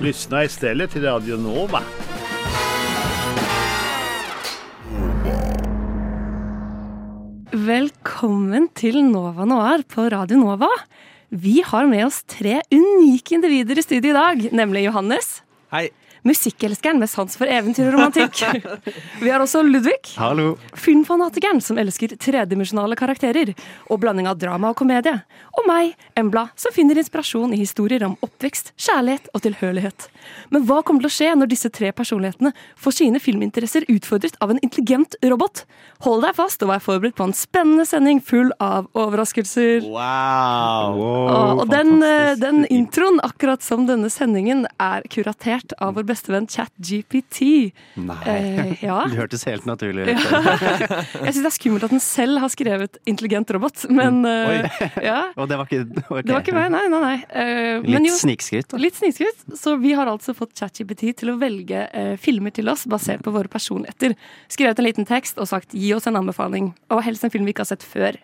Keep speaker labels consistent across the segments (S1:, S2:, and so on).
S1: Lyssna istället till Radio Nova.
S2: Velkommen til Nova Noir på Radio Nova. Vi har med oss tre unike individer i studio i dag, nemlig Johannes.
S3: Hei.
S2: Musikkelskeren med sans for eventyr og romantikk. Vi har også Ludvig.
S3: Hallo.
S2: Filmfanatikeren som elsker tredimensjonale karakterer og blanding av drama og komedie. Og meg, Embla, som finner inspirasjon i historier om oppvekst, kjærlighet og tilhørighet. Men hva kommer til å skje når disse tre personlighetene får sine filminteresser utfordret av en intelligent robot? Hold deg fast og vær forberedt på en spennende sending full av overraskelser.
S3: Wow.
S2: Åh, og den, eh, den introen, akkurat som denne sendingen, er kuratert av vår beste venn ChatGPT.
S3: Nei.
S2: Eh, ja.
S3: Det hørtes helt naturlig ut.
S2: Jeg syns det er skummelt at den selv har skrevet 'intelligent robot', men eh, ja.
S3: Og det var ikke Mm. ok.
S2: Det var ikke meg, nei, nei, nei. Eh, men
S3: Litt
S2: jo,
S3: snikskritt. da.
S2: litt snikskritt. Så vi har altså fått ChatGPT til å velge eh, filmer til oss basert på våre personligheter. Skrevet en liten tekst og sagt 'gi oss en anbefaling', og helst en film vi ikke har sett før.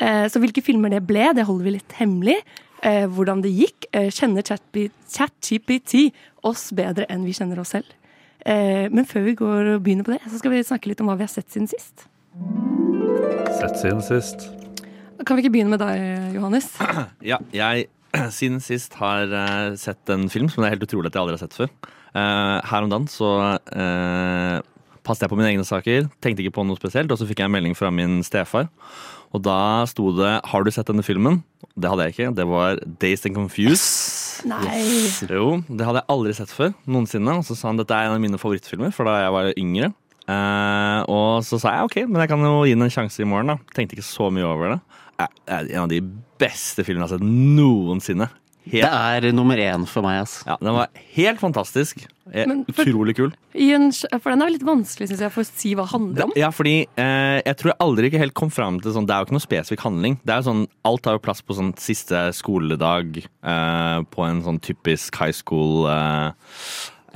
S2: Eh, så hvilke filmer det ble, det holder vi litt hemmelig. Eh, hvordan det gikk, eh, kjenner ChatB- ChatGPT oss bedre enn vi kjenner oss selv. Eh, men før vi går og begynner på det, så skal vi snakke litt om hva vi har sett siden sist.
S4: Sett siden sist.
S2: Kan vi ikke begynne med deg, Johannes?
S5: Ja, jeg siden sist har eh, sett en film som det er helt utrolig at jeg aldri har sett før. Eh, her om dagen så eh, passet jeg på mine egne saker, tenkte ikke på noe spesielt, og så fikk jeg en melding fra min stefar. Og da sto det 'Har du sett denne filmen?' Det hadde jeg ikke. Det var 'Dazed and Confused'.
S2: Nei.
S5: Jo, det hadde jeg aldri sett før noensinne. Og så sa han dette er en av mine favorittfilmer, for da jeg var yngre. Eh, og så sa jeg ok, men jeg kan jo gi den en sjanse i morgen. da Tenkte ikke så mye over det. Eh, eh, en av de beste filmene jeg har sett noensinne.
S3: Det
S5: Helt,
S3: er nummer én for meg, altså. ass.
S5: ja, den var helt fantastisk. Eh,
S2: Men for-
S5: utrolig kul.
S2: I en, sj- for den er litt vanskelig, syns jeg, for å si hva det handler om.
S5: Ja, fordi eh, jeg tror jeg aldri ikke helt kom fram til sånn Det er jo ikke noe spesifikk handling. Det er jo sånn, Alt tar jo plass på sånn siste skoledag eh, på en sånn typisk high school eh,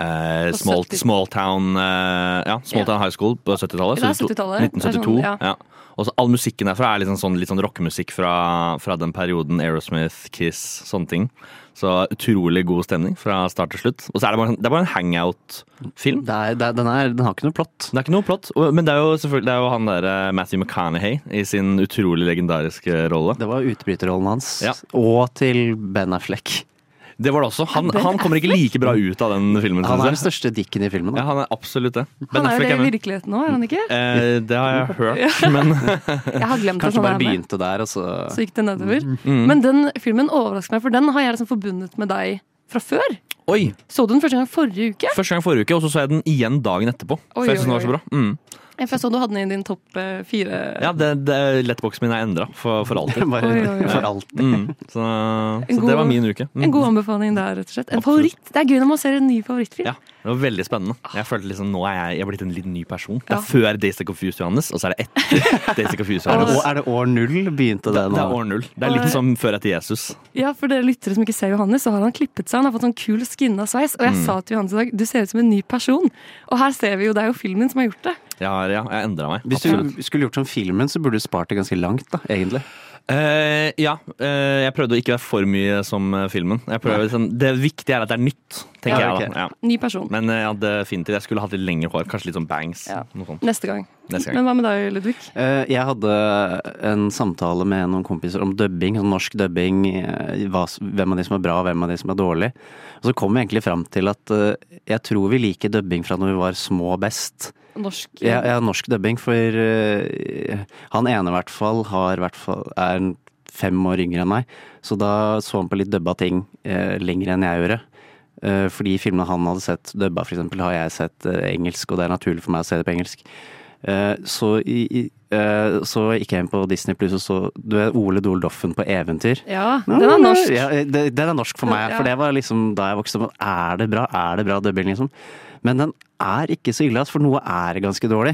S5: eh,
S2: På
S5: small,
S2: 70
S5: small town eh, Ja, small
S2: Ja.
S5: town high school på 70-tallet.
S2: Det er
S5: så det sto-
S2: 70-tallet. Det er sånn,
S5: 1972.
S2: ja.
S5: ja. Og så all musikken derfra er liksom sånn, litt sånn rockemusikk fra, fra den perioden. Aerosmith, Kiss, sånne ting. Så utrolig god stemning fra start til slutt. Og så er det bare, det er bare en hangout-film.
S3: Det er, det er, den, er, den har ikke noe plott.
S5: Det er ikke noe plott, og- men det er jo selvfølgelig det er jo han der eh, Matthew McConaughey i sin utrolig legendariske rolle.
S3: Det var utbryterrollen hans.
S5: Ja.
S3: Og til Ben Affleck.
S5: Det var det også. Han, han kommer ikke like bra ut av den filmen.
S3: Han
S5: synes
S3: er den
S5: jeg.
S3: største dicken i filmen.
S5: Ja,
S3: Da.
S5: han er absolutt det. Ben
S2: Han er jo
S5: Affleck
S2: det
S5: er
S2: i
S5: med.
S2: virkeligheten nå, er han ikke?
S5: Eh, det har jeg hørt, men
S2: Jeg har glemt at
S3: Kanskje
S2: han
S3: bare
S2: er med.
S3: begynte der, og så
S2: Så gikk det nedover.
S5: Mm.
S2: Men den filmen overrasker meg, for den har jeg liksom forbundet med deg fra før.
S5: Oi!
S2: Så du den første gang forrige uke?
S5: Første gang forrige uke, og så så jeg den igjen dagen etterpå.
S2: Oi,
S5: for jeg synes den
S2: oi,
S5: var så bra. Mm.
S2: For jeg så du hadde den i din topp eh, fire.
S5: Ja, det, det, Lettboxen min er endra for, for alltid.
S3: bare
S2: Oi, oi, oi.
S3: for alt.
S5: Mm. Så,
S2: En
S5: så
S2: god-
S5: det var min uke. Mm.
S2: En god anbefaling der, rett og slett. En
S5: Absolutt.
S2: favoritt. Det er gøy når man ser en ny favorittfilm.
S5: Ja, det var veldig spennende. Jeg følte liksom, Nå er jeg, jeg er blitt en liten ny person.
S2: Ja.
S5: Det er før Days of Confused Johannes, og så er det etter Days of Confused
S3: Er det,
S5: Johannes.
S3: å- er det år null begynte det
S5: Det
S3: nå?
S5: er år null. Det er litt som før etter Jesus.
S2: Ja, for dere lyttere som ikke ser Johannes, så har han klippet seg. Han har fått sånn kul skinna sveis. Og jeg
S5: Mm.
S2: sa til Johannes i dag du ser ut som en ny person. Og her ser vi jo, det er jo filmen som har gjort det.
S5: Jeg har, ja, jeg endra meg.
S3: Hvis
S5: absolutt.
S3: du skulle gjort som filmen, så burde du spart det ganske langt, da, egentlig.
S5: Eh, ja, eh, jeg prøvde å ikke være for mye som eh, filmen. Jeg prøver, sånn, det viktige er at det er nytt,
S3: Ja,
S5: tenker jeg.
S3: ok.
S5: da. Ja.
S2: Ny person.
S5: Men eh, ja, definitivt. Jeg skulle hatt litt lengre hår. Kanskje litt sånn bangs.
S2: Ja.
S5: Noe sånt.
S2: Neste gang.
S5: Neste gang.
S2: Men hva med deg, Ludvig?
S3: Eh, Jeg hadde en samtale med noen kompiser om dubbing, sånn norsk dubbing. eh, hva s- Hvem av de som er bra, og hvem av de som er dårlig. Og så kom vi egentlig fram til at eh, jeg tror vi liker dubbing fra når vi var små best.
S2: Norsk
S3: Jeg, jeg har norsk dubbing, for eh, han ene i hvert fall har hvert fall er en fem år yngre enn meg. Så da så han på litt dubba ting eh, lenger enn jeg gjorde. Eh, For de filmene han hadde sett dubba, for eksempel, har jeg sett eh, engelsk, og det er naturlig for meg å se det på engelsk. Eh, Så, i, i, eh, så gikk jeg inn på Disney Pluss og så du vet, Ole Dole Doffen på Eventyr.
S2: Ja, den er norsk.
S3: Ja, eh, det, den er norsk for meg,
S2: Ja.
S3: for det var liksom da jeg vokste opp. Er det bra? Er det bra dubbing, liksom? Men den er ikke så ille, ass, for noe er ganske dårlig.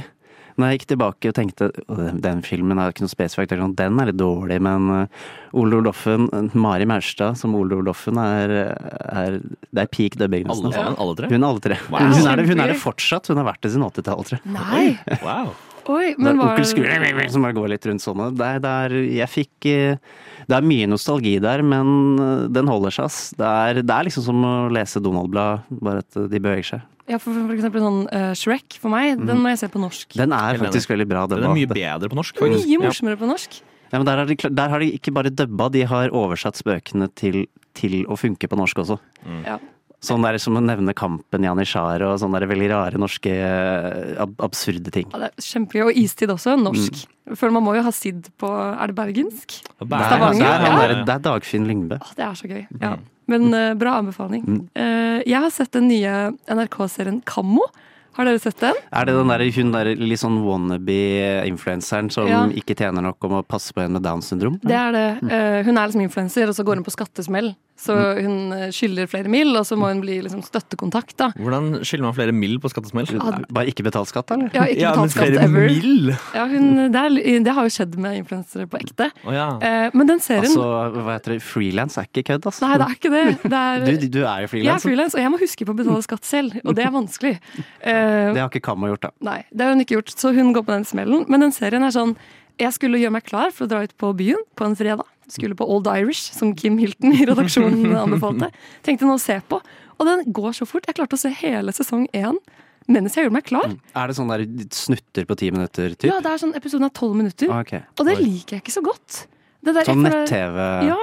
S3: Når jeg gikk tilbake og tenkte «Å, den filmen er ikke noe spesifikt, eller noe, den er litt dårlig, men eh, Ole Oldoffen, Mari Maurstad som Ole Oldoffen er, er Det er peak dubbing.
S5: Alle
S3: nesten. altså.
S5: sammen? Alle tre?
S3: Hun er alle tre.
S5: Wow.
S3: Hun, er det, hun er det
S2: Kjempegøy.
S3: fortsatt. Hun har vært det siden 80-tallet, tror jeg.
S2: Nei!
S5: Wow.
S2: Oi,
S3: Det
S2: men
S3: er
S2: var
S3: onkel Skule som bare går litt rundt sånn. og Det er, det er, jeg fikk, eh, det er mye nostalgi der, men eh, den holder seg. ass. Det er, det er liksom som å lese Donald-blad, bare at eh, de beveger seg.
S2: Ja, for, for eksempel sånn eh, Shrek for meg, den må jeg se på norsk.
S3: Mm. Den er
S5: Helt enig.
S3: faktisk veldig bra. Den
S5: Den er
S3: var-
S5: mye bedre på norsk.
S2: Det var
S5: faktisk.
S2: mye
S5: Ja.
S2: morsommere på norsk.
S3: Ja, men der, har de, kla- der har de ikke bare dubba, de har oversatt spøkene til, til å funke på norsk også.
S2: Ja.
S3: Sånn der som å nevne Kampen, Janitsjar og sånne der veldig rare norske eh, ab absurde ting.
S2: Ja, det er kjempegøy. Og istid også. Norsk.
S3: Mm.
S2: Føler man må jo ha sidd på Er det bergensk?
S5: Bæ-
S3: Der,
S2: Stavanger,
S3: der, han
S2: ja.
S3: der, det er Dagfinn Lyngbø.
S2: Å, det er så gøy. Ja.
S3: Mm.
S2: Men eh, bra anbefaling. Eh, jeg har sett den nye NRK-serien Kammo. Har dere sett den?
S3: Er det den der, hun der litt sånn wannabe-influenseren som
S2: Ja.
S3: ikke tjener nok om å passe på en med Downs syndrom?
S2: Det er det.
S3: Mm.
S2: Eh, hun er liksom influenser, og så går hun på skattesmell. Så hun eh, skylder flere mil, og så må hun bli liksom støttekontakt, da.
S5: Hvordan skylder man flere mill på skattesmell?
S3: Bare ikke betalt skatt, eller?
S2: Jeg har ikke betalt skatt
S5: flere
S2: ever.
S5: mill?
S2: Ja, hun, det, er, det har jo skjedd med influensere på ekte.
S5: Å ja.
S2: Eh, men den serien
S3: Altså, hva heter det, frilans er ikke kødd, altså.
S2: Nei, det er ikke det. det er,
S3: Du, altså. du er
S2: jeg
S3: jo
S2: er
S3: frilans.
S2: frilans, og jeg må huske på å betale skatt selv, og det er vanskelig. Eh,
S3: Det har ikke Kamma gjort, da.
S2: Nei, det har hun ikke gjort, så hun går på den smellen. Men den serien er sånn Jeg skulle gjøre meg klar for å dra ut på byen på en fredag. Skulle på Old Irish, som Kim Hilton i redaksjonen anbefalte. Tenkte nå å se på. Og den går så fort. Jeg klarte å se hele sesong én mens jeg gjorde meg klar.
S3: Er det sånn der snutter på ti minutter, typ?
S2: Ja, det er sånn Episoden er tolv minutter,
S3: Ah, ok.
S2: og det liker jeg ikke så godt. Det der-
S3: Sånn
S2: jeg føler-
S3: nett-TV.
S2: Ja,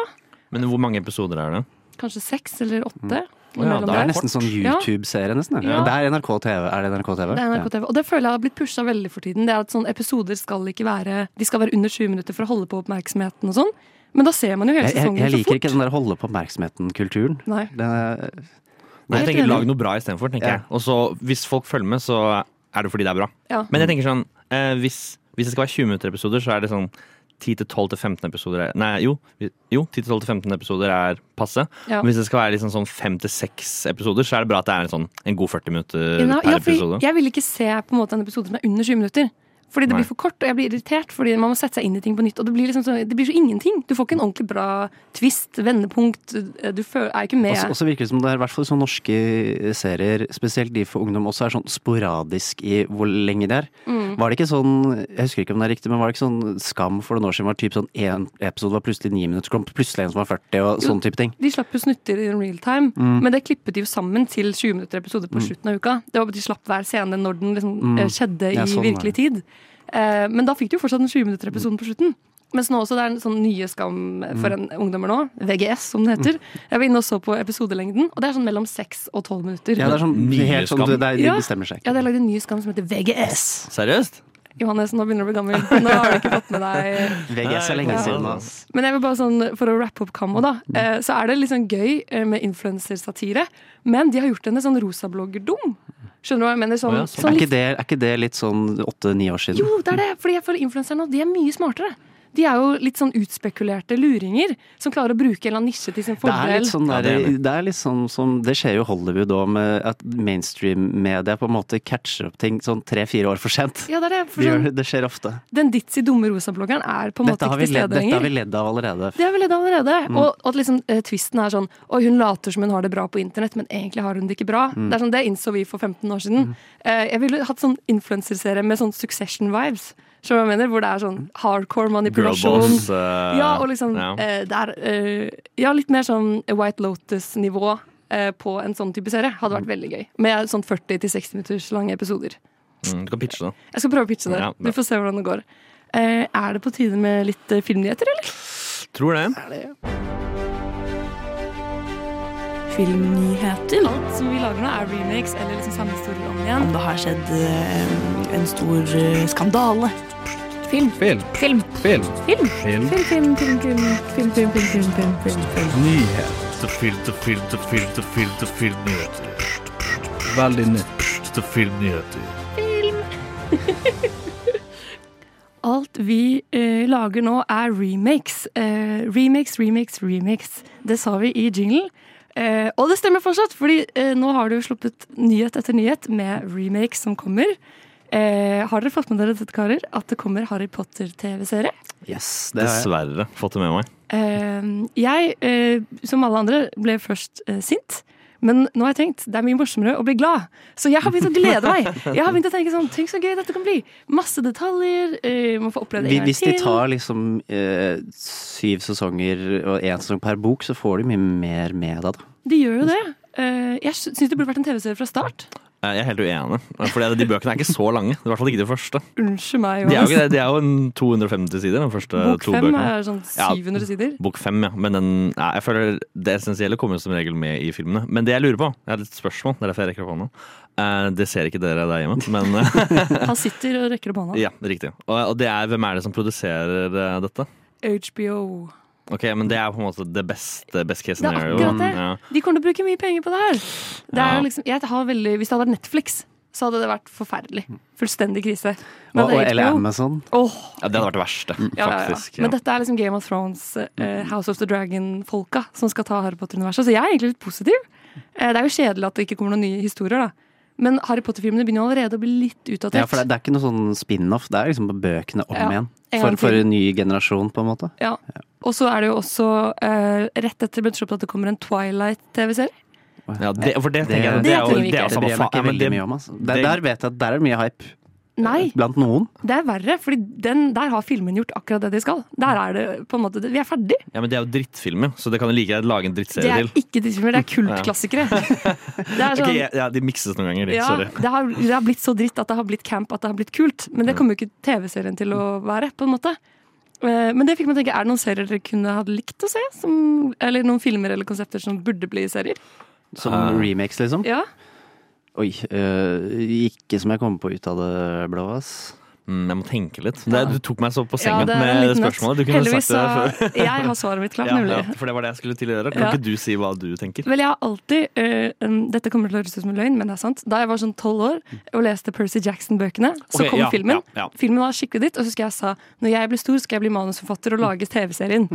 S5: Men hvor mange episoder er det?
S2: kanskje seks eller åtte.
S5: ja,
S2: imellom
S3: Det
S5: da
S2: der.
S3: Mm. er nesten sånn
S2: Ja.
S3: YouTube-serie, nesten. ja.
S2: Ja.
S3: Det er NRK TV. Er det NRK TV?
S2: Det er NRK TV. Og det føler jeg har blitt pusha veldig for tiden. Det er at sånne Episoder skal ikke være De skal være under 20 minutter for å holde på oppmerksomheten og sånn. Men da ser man jo hele
S3: Jeg, jeg,
S2: sesongen
S3: jeg
S2: så
S3: liker
S2: fort.
S3: ikke den der holde på oppmerksomheten-kulturen.
S2: Nei.
S3: Den er-
S5: Nei, jeg
S2: Helt
S5: tenker
S2: enig.
S5: Lag noe bra istedenfor. tenker
S3: Ja.
S5: jeg. Og så Hvis folk følger med, så er det fordi det er bra.
S2: Ja.
S5: Men jeg tenker sånn, eh, hvis, hvis det skal være 20 minutter episoder, så er det sånn 10-12-15 episoder er, Nei, jo. vi- jo 10-12-15 episoder er passe.
S2: Ja.
S5: Men Hvis det skal være liksom sånn 5-6 episoder, så er det bra at det er en, sånn, en god 40 minutter
S2: Ja,
S5: per
S2: ja, fordi
S5: episode.
S2: jeg vil ikke se på en måte en episode som er under 20 minutter. Fordi det
S5: Nei.
S2: blir for kort, og jeg blir irritert fordi man må sette seg inn i ting på nytt. Og det blir, liksom så, det blir så ingenting. Du får ikke en ordentlig bra twist, vendepunkt. Du føler, er ikke med.
S3: Også, også virker det som det er i hvert fall sånn norske serier, spesielt de for ungdom, også er sånn sporadisk i hvor lenge det er.
S2: Mm.
S3: Var det ikke sånn, jeg husker ikke om det er riktig, men var det ikke sånn skam for noen år siden var typ sånn en episode var plutselig ni minutter, så kom plutselig en som var 40 og
S2: Jo.
S3: sånn type ting?
S2: De slapp jo snutter i real time,
S3: Mm.
S2: men det klippet de jo sammen til 20 minutter episode på slutten av uka. Det var bare De slapp hver scene når den liksom, eh, skjedde
S3: Ja,
S2: i
S3: sånn Mm. var
S2: virkelig tid. Eh, men da fikk de jo fortsatt den 20 minutter episoden på slutten. Mens nå også det er en sånn nye skam for
S3: Mm.
S2: en ungdommer nå, VGS som det heter. Jeg var inne og så på episodelengden, og det er sånn mellom 6 og 12 minutter.
S3: Ja, det er sånn
S5: Mye
S3: helt sånn,
S5: skam.
S3: det er, de
S2: Ja.
S3: bestemmer seg.
S2: Ja, de har lagd en ny skam som heter VGS.
S5: Seriøst?
S2: Johannes, nå begynner du å bli gammel. Nå har du ikke fått med deg
S3: VGS er lenge
S5: Ja.
S3: siden, ass.
S2: men jeg vil bare sånn, for å wrappe opp Kammo, da,
S3: Mm.
S2: eh, så er det litt sånn gøy eh, med influensersatire. Men de har gjort henne sånn rosablogger-dum. Skjønner du hva jeg mener? Sånn,
S5: Å ja, sånn.
S2: sånn
S3: Er ikke
S2: litt,
S3: det, er ikke det litt sånn åtte-ni år siden?
S2: jo, det er det! Fordi jeg føler influensere nå, de er mye smartere. De er jo litt sånn utspekulerte luringer som klarer å bruke en eller annen nisje til sin
S3: Det er
S2: fordel.
S3: litt sånn der,
S5: Ja, det er enig.
S3: det er litt sånn som Det skjer jo i Hollywood òg, med at mainstream-media på en måte catcher opp ting sånn tre-fire år for sent.
S2: Ja, det er det.
S3: Det,
S2: For sånn,
S3: gjør, det skjer ofte.
S2: den ditzy dumme rosabloggeren er på en måte
S3: Dette har,
S2: ikke
S3: vi
S2: til
S3: ledd,
S2: stede
S3: dette har
S2: lenger.
S3: vi ledd av allerede.
S2: Det har vi ledd av allerede.
S5: Mm.
S2: Og, og at liksom, eh, twisten er sånn Oi, hun later som hun har det bra på internett, men egentlig har hun det ikke bra.
S5: Mm.
S2: Det er sånn, det innså vi for 15 år siden. Eh, jeg ville hatt sånn influenserserie med sånn Succession-vibes. Skjønner du hva jeg mener? Hvor det er sånn hardcore manipulasjon.
S5: Girlboss eh,
S2: Ja, og liksom
S5: ja.
S2: eh, det er eh, Ja, litt mer sånn White Lotus-nivå eh, på en sånn type serie. Hadde vært veldig gøy. Med sånn 40-60 minutters lange episoder.
S5: Mm, Du kan pitche det.
S2: Jeg skal prøve å pitche det.
S5: Ja, bra.
S2: vi får se hvordan det går. Eh, er det på tide med litt eh, filmnyheter, eller?
S5: Tror det.
S2: filmnyheter. Alt som vi lager nå, er remakes eller liksom samme historier om igjen.
S6: Det har skjedd eh, en stor eh, skandale. Film.
S4: Film.
S6: Film.
S4: Film.
S6: Film.
S4: Film.
S6: Film, film, film, film, film, film, film, film, film, film.
S7: Nyheter. Filter, filter, filter, filter, filmnyheter.
S4: Veldig nytt.
S7: Filter, filmnyheter.
S2: Alt vi eh, lager nå, er remakes. Eh, remakes, remakes, remakes. Det sa vi i jinglen. Eh, og det stemmer fortsatt, fordi eh, nå har det jo sluppet nyhet etter nyhet med remakes som kommer. Eh, har dere fått med dere dette, karer, at det kommer Harry Potter-TV-serie?
S3: Yes, det har jeg.
S5: Dessverre. Fått det med meg.
S2: Eh, jeg, eh, som alle andre, ble først eh, sint. Men nå har jeg tenkt, det er mye morsommere å bli glad. Så jeg har begynt å glede meg. Jeg har begynt å tenke sånn, Tenk så gøy dette kan bli. Masse detaljer. eh, Må få oppleve det en gang
S3: Hvis de
S2: til.
S3: tar liksom eh, syv sesonger og én sesong per bok, så får du mye mer med deg, da.
S2: De gjør jo det. Eh, Jeg syns det burde vært en TV-serie fra start.
S5: Eh, Jeg er helt uenig. For de bøkene er ikke så lange. I hvert fall ikke de første.
S2: Unnskyld meg.
S5: De er jo,
S2: Johannes.
S5: ikke det, de er jo en 250 sider, de første
S2: Bok
S5: to
S2: fem
S5: bøkene.
S2: er sånn
S5: Ja.
S2: 700 sider.
S5: Bok fem, ja. Men den, nei, jeg føler det essensielle kommer jo som regel med i filmene. Men det jeg lurer på, jeg har et spørsmål, det er derfor jeg rekker opp hånda. Eh, det ser ikke dere der hjemme, men eh,
S2: Han sitter og rekker opp hånda.
S5: ja, riktig. Og, og det er hvem er det som produserer eh, dette?
S2: HBO.
S5: Ok, Men det er på en måte det beste best case
S2: Det er
S5: scenario.
S2: akkurat det.
S5: Ja.
S2: De kommer til å bruke mye penger på det her. Det er
S5: Ja.
S2: liksom, jeg har veldig, hvis det hadde vært Netflix, så hadde det vært forferdelig. Fullstendig krise. Men
S3: Og, og,
S2: det er
S3: eller
S2: HBO.
S3: Amazon.
S2: Åh,
S5: Ja, det hadde vært det verste,
S2: ja, ja, ja.
S5: faktisk.
S2: Men dette er liksom Game of Thrones, eh,
S3: Mm.
S2: House of the Dragon-folka som skal ta Harry Potter-universet. Så jeg er egentlig litt positiv. Eh, det er jo kjedelig at det ikke kommer noen nye historier, da. Men Harry Potter-filmene begynner jo allerede å bli litt utdatert.
S3: Ja, for det, det er ikke noe sånn spin-off, det er liksom bare bøkene om
S2: Ja,
S3: igjen.
S2: en gang
S3: For, for
S2: til.
S3: en ny generasjon, på en måte.
S2: Ja. Og så er det jo også eh, rett etter Butch Up at det kommer en Twilight-TV-serie.
S5: Ja, det, for det
S3: Det-
S5: tenker jeg
S2: det
S5: det er jo
S2: trenger vi
S5: det
S2: ikke.
S5: er jo
S3: Det
S5: samme
S3: bryr jeg meg
S5: faen. Ja,
S3: ikke
S5: men
S3: veldig
S5: det-
S3: mye om. Altså. Der,
S5: det-
S3: der vet jeg at der er det mye hype.
S2: Nei,
S3: Blant noen.
S2: det er verre, fordi den, der har filmen gjort akkurat det de skal. Der er det på en måte, Vi er ferdig.
S5: ja, men det er jo drittfilmer, så det kan du like gjerne lage en
S2: Det
S5: drittserie
S2: er
S5: til.
S2: ikke drittfilmer, det er kultklassikere. Det er
S5: Ok,
S2: sånn,
S5: ja, ja, De mikses noen ganger, de.
S2: ja,
S5: Sorry.
S2: det har, det har blitt så dritt at det har blitt camp at det har blitt kult. Men det kommer jo ikke TV-serien til å være, på en måte. Eh, Men det fikk meg tenke, er det noen serier dere kunne ha likt å se? Som, eller noen filmer eller konsepter som burde bli serier?
S3: Som
S5: Ah.
S3: remakes, liksom.
S2: Ja,
S3: Oi. øh, ikke som jeg kommer på ut av det blå, ass.
S5: Mm, jeg må tenke litt. Det, du tok meg så på
S2: ja
S5: sengen med det spørsmålet. Du kunne
S2: Heldigvis
S5: sagt det før.
S2: så Jeg har svaret mitt klart,
S5: Ja,
S2: nemlig.
S5: ja, for det var det jeg skulle til å gjøre. Kan
S2: Ja.
S5: ikke du si hva du tenker?
S2: Vel, jeg har alltid eh, um, Dette kommer til å høres ut som en løgn, men det er sant. Da jeg var sånn tolv år og leste Percy Jackson-bøkene, så
S5: Ok,
S2: kom
S5: ja,
S2: filmen.
S5: ja, ja.
S2: Filmen var skikkelig ditt, og så husker jeg jeg sa når jeg blir stor, skal jeg bli manusforfatter og lage TV-serien.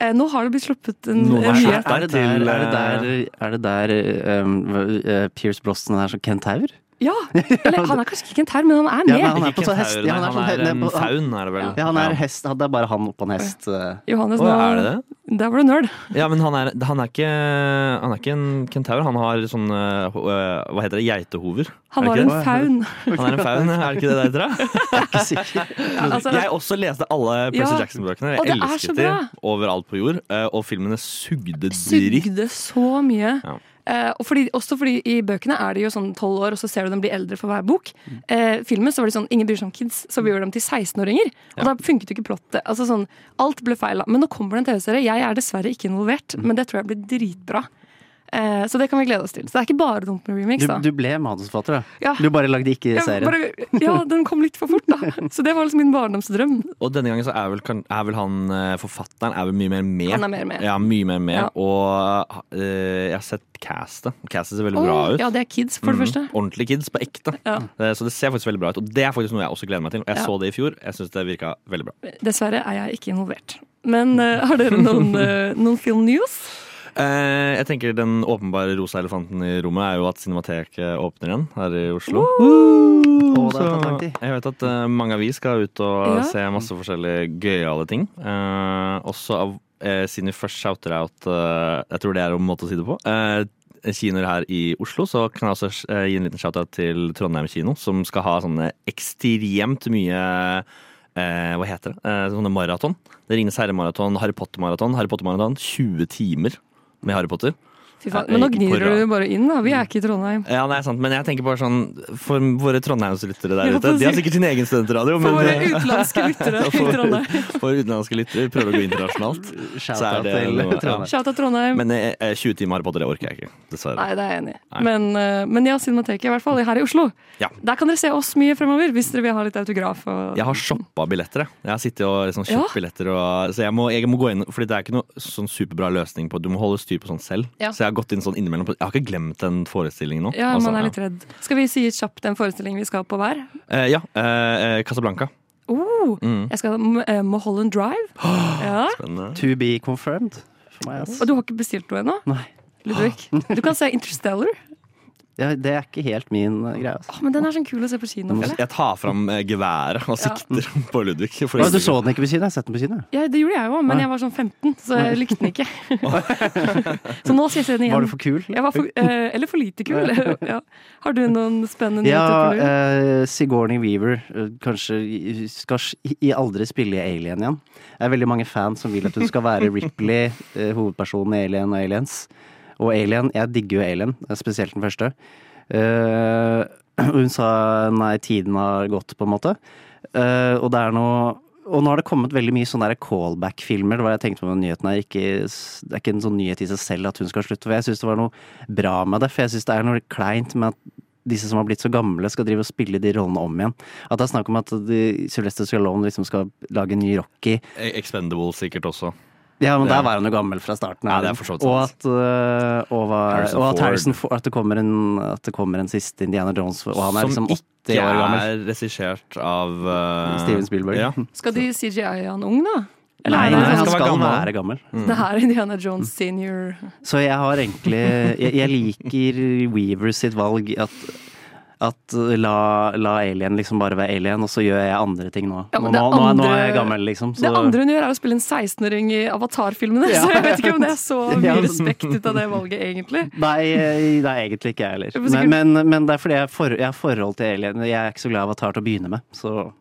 S2: Eh, nå har det blitt sluppet en en
S5: Noen er
S2: nyhet.
S5: skjerpet.
S3: Er det
S5: Til,
S3: der, er det der,
S5: eh,
S3: er det der øh, øh, Pierce Brosnan er som kentaur?
S2: Ja! Eller han er kanskje ikke en term, men han er med.
S3: Ja, men han er på så
S5: Ikke en
S3: hest.
S5: taur,
S3: Ja,
S5: nei,
S3: han er,
S5: en faun, er det vel?
S3: Ja, han er hest. Det er bare han oppå en hest. øh.
S2: Johannes,
S5: Å,
S2: nå,
S5: er det det?
S2: der var du nerd.
S5: Ja, men han er, han er ikke Han er ikke en kentaur. Han har sånn eh, ho- eh, Hva heter det? Geitehover?
S2: Han
S5: Er
S2: var
S5: det
S2: en
S5: ikke
S2: faun.
S5: det? Han er en faun, er det ikke det der, tror jeg?
S3: Ikke sikker.
S2: Altså,
S5: Jeg også leste alle Percy
S2: Ja.
S5: Jackson-bøkene.
S2: Og
S5: Jeg
S2: det er så
S5: elsket de
S2: bra.
S5: overalt på jord. eh, Og filmene sugde dritt.
S2: sugde så mye.
S5: Ja.
S2: Eh, og fordi, også fordi i bøkene er de jo sånn 12 år, og så ser du dem bli eldre for hver bok. Eh, filmen så var de sånn ingen bryr seg om kids, så vi gjør dem til 16-åringer. Og da funket jo ikke plottet. Altså sånn, alt ble feil. Men nå kommer det en TV-serie. Jeg er dessverre ikke involvert, men det tror jeg blir dritbra. Eh, så det kan vi glede oss til. Så det er ikke bare dumt med remix,
S3: Du,
S2: da.
S3: du ble manusforfatter, da.
S2: Ja.
S3: Du bare lagde ikke
S2: Jeg
S3: serien.
S2: bare, ja, den kom litt for fort, da. Så det var liksom min barndomsdrøm.
S5: Og denne gangen så er vel, kan- er vel han eh, forfatteren er vel mye mer med.
S2: Han er mer med.
S5: Ja, mye mer med.
S2: Ja.
S5: Og eh, jeg har sett castet. Castet ser veldig bra
S2: Åh,
S5: ut.
S2: ja, det er kids, for det
S5: Mhm.
S2: første.
S5: Ordentlige kids på ekte.
S2: Ja.
S5: Eh, Så det ser faktisk veldig bra ut. Og det er faktisk noe jeg også gleder meg til. Og jeg
S2: Ja.
S5: så det i fjor. Jeg synes det virka veldig bra.
S2: Dessverre er jeg ikke involvert. Men eh, har dere noen, eh, noen film news?
S5: Eh, Jeg tenker Den åpenbare rosa elefanten i rommet er jo at Cinemateket åpner igjen her i Oslo.
S3: Å, det har tatt lang
S5: Så
S3: tid.
S5: jeg vet at eh, mange av vi skal ut og
S2: Ja.
S5: se masse forskjellige gøyale ting. Eh, også av, eh, siden vi først shouter out eh, Jeg tror det er en måte å si det på. eh, Kinoer her i Oslo, så kan jeg også eh, gi en liten shout-out til Trondheim kino, som skal ha sånne ekstremt mye eh, Hva heter det? Eh, sånne maraton. Det Ringenes herre-maraton, Harry Potter-maraton, Harry Potter-maraton. 20 timer med Harry Potter.
S2: Fy faen. Men nå
S5: Ikke
S2: gnir
S5: på rad.
S2: du bare inn, da. Vi er ikke i Trondheim.
S5: Ja, det er sant, men jeg tenker bare sånn For våre trondheimslyttere der
S2: Ja,
S5: ute. De har
S2: precis.
S5: sikkert sin egen studentradio,
S2: For
S5: men
S2: våre utenlandske lyttere i Trondheim.
S5: eh, for utenlandske lyttere prøver å gå internasjonalt. Så er
S3: Shout-out
S5: det
S3: til
S5: noe, ja.
S3: Trondheim.
S2: Shout out Trondheim.
S5: Men eh, eh, 20 timer Harry Potter, det orker jeg ikke. Dessverre.
S2: Nei, det er jeg enig i.
S5: Nei.
S2: Men, eh, men ja, Cinemateket, i hvert fall her i Oslo.
S5: Ja.
S2: Der kan dere se oss mye fremover, hvis dere vil ha litt autograf og
S5: Jeg har shoppa billetter. Jeg Jeg har sittet og liksom
S2: Ja.
S5: kjøpt billetter. Og, så jeg må, jeg må gå inn Fordi det er ikke noe sånn superbra løsning på Du må holde styr på sånt selv.
S2: Ja.
S5: Så jeg har gått inn sånn innimellom. på- Jeg har ikke glemt en forestilling nå.
S2: Ja,
S5: Altså,
S2: man er litt redd. Skal vi si kjapt den forestillingen vi skal på hver?
S5: ja. Eh, ja. eh, eh, Casablanca.
S2: Oh,
S5: Mm.
S2: jeg skal uh, Mulholland Drive. Ja.
S5: Spennende.
S3: To be confirmed. For meg, ass.
S2: Og du har ikke bestilt noe ennå,
S3: Nei.
S2: Ludvig? Du kan se Interstellar.
S3: Ja, det er ikke helt min eh, greie. Altså.
S2: Åh, men den er sånn kul å se på kino.
S5: Jeg,
S2: føler jeg.
S5: jeg tar fram eh, geværet og
S2: Ja.
S5: sikter på Ludvig. for
S3: Å, Altså, Du
S5: å-
S3: så den ikke på kino? Jeg har sett den på kino. jeg.
S2: Ja, det gjorde jeg jo, men
S3: Nei.
S2: jeg var sånn 15, så jeg likte den ikke. så nå skal jeg se den igjen.
S3: Var du for kul?
S2: Jeg var for, eh, eller for lite kul. ja. Har du noen spennende
S3: Ja,
S2: nyheter? Ja,
S3: eh, Sigourney Weaver eh, kanskje i- skal s- i- i aldri spille i Alien igjen. Det er veldig mange fans som vil at hun skal være Ripley, eh, hovedpersonen i Alien og Aliens. Og Alien, jeg digger jo Alien, eh, spesielt den første. Eh, hun sa nei, tiden har gått, på en måte. Eh, og det er noe og nå har det kommet veldig mye sånne der callback-filmer. Det var det jeg tenkte på med nyheten her. Ikke, s- det er ikke en sånn nyhet i seg selv at hun skal slutte. For jeg syns det var noe bra med det. For jeg syns det er noe kleint med at disse som har blitt så gamle, skal drive og spille de rollene om igjen. At det er snakk om at de, Sylvester Stallone liksom skal lage en ny Rocky.
S5: Eh, Expendables sikkert også.
S3: Ja, men
S5: Ja.
S3: der var han jo gammel fra starten.
S5: Ja, det er for så vidt
S3: og
S5: sant.
S3: at, øh, og, hva-
S5: Harrison
S3: og at,
S5: Ford.
S3: Harrison Ford, at, det kommer en, at det kommer en siste Indiana Jones, og han er
S5: Som
S3: liksom 80 år gammel.
S5: er regissert av eh,
S3: Steven Spielberg.
S5: Ja.
S2: skal de CGI han ung, da? Eller
S3: Nei,
S2: er det
S3: han skal,
S5: han skal være gammel.
S3: være gammel.
S2: sånn, det her er Indiana Jones senior?
S3: Så jeg har egentlig Jeg, jeg liker Weaver sitt valg. At, at la, la alien liksom bare være alien, og så gjør jeg andre ting nå.
S2: Ja,
S3: nå,
S2: men
S3: nå,
S2: det
S3: nå, er- nå er
S2: andre-
S3: jeg gammel, liksom.
S2: Det andre hun gjør, er å spille en 16-åring i Avatar-filmene, så jeg vet ikke om det er så mye
S3: Ja.
S2: respekt ut av det valget, egentlig.
S3: Nei, det er egentlig ikke jeg
S2: Det er sikkert-
S3: heller. Men, men, men det er fordi jeg, har for, jeg har forhold til Alien. Jeg er ikke så glad i Avatar til å begynne med. Så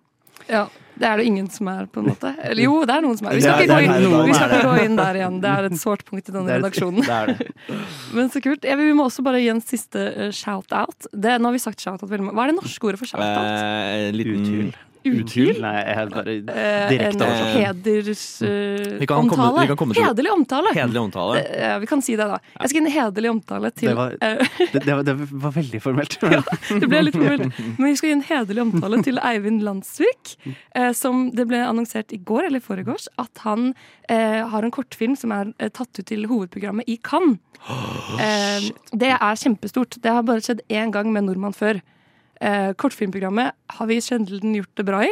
S2: Ja, Det er det ingen som er, på en måte. Eller jo, det er noen som er. Vi
S3: Det
S2: skal
S3: er-
S2: ikke
S3: det er
S2: gå inn,
S3: noen
S2: vi skal
S3: er
S2: ikke gå inn der igjen. Det er et sårt punkt i denne
S3: det er-
S2: redaksjonen.
S3: Det er det.
S2: Men så kult. Jeg, vi må også bare gi en siste eh, shout-out. Det- Nå har vi sagt shout-out veldig mange. Hva er det norske ordet for shout-out?
S5: Eh, en liten
S3: Uthyl.
S5: Uthyl?
S3: Nei, jeg er bare
S2: Eh, en
S3: direkte
S5: oversatt. Mm. Vi kan komme- vi kan komme
S2: hedersomtale.
S5: til-
S2: hederlig omtale.
S5: Hederlig omtale.
S2: Eh, vi kan si det, da. Jeg skal gi en hederlig omtale til
S3: Det var-
S2: eh,
S3: det, det, var- det var veldig formelt.
S2: Det ble litt formelt. Men vi skal gi en hederlig omtale til Eivind Landsvik. Eh, som det ble annonsert i går eller i forgårs at han eh, har en kortfilm som er eh, tatt ut til hovedprogrammet i Cannes. Eh, det er kjempestort. Det har bare skjedd én gang med nordmann før. Eh, kortfilmprogrammet har vi sjelden gjort det bra i.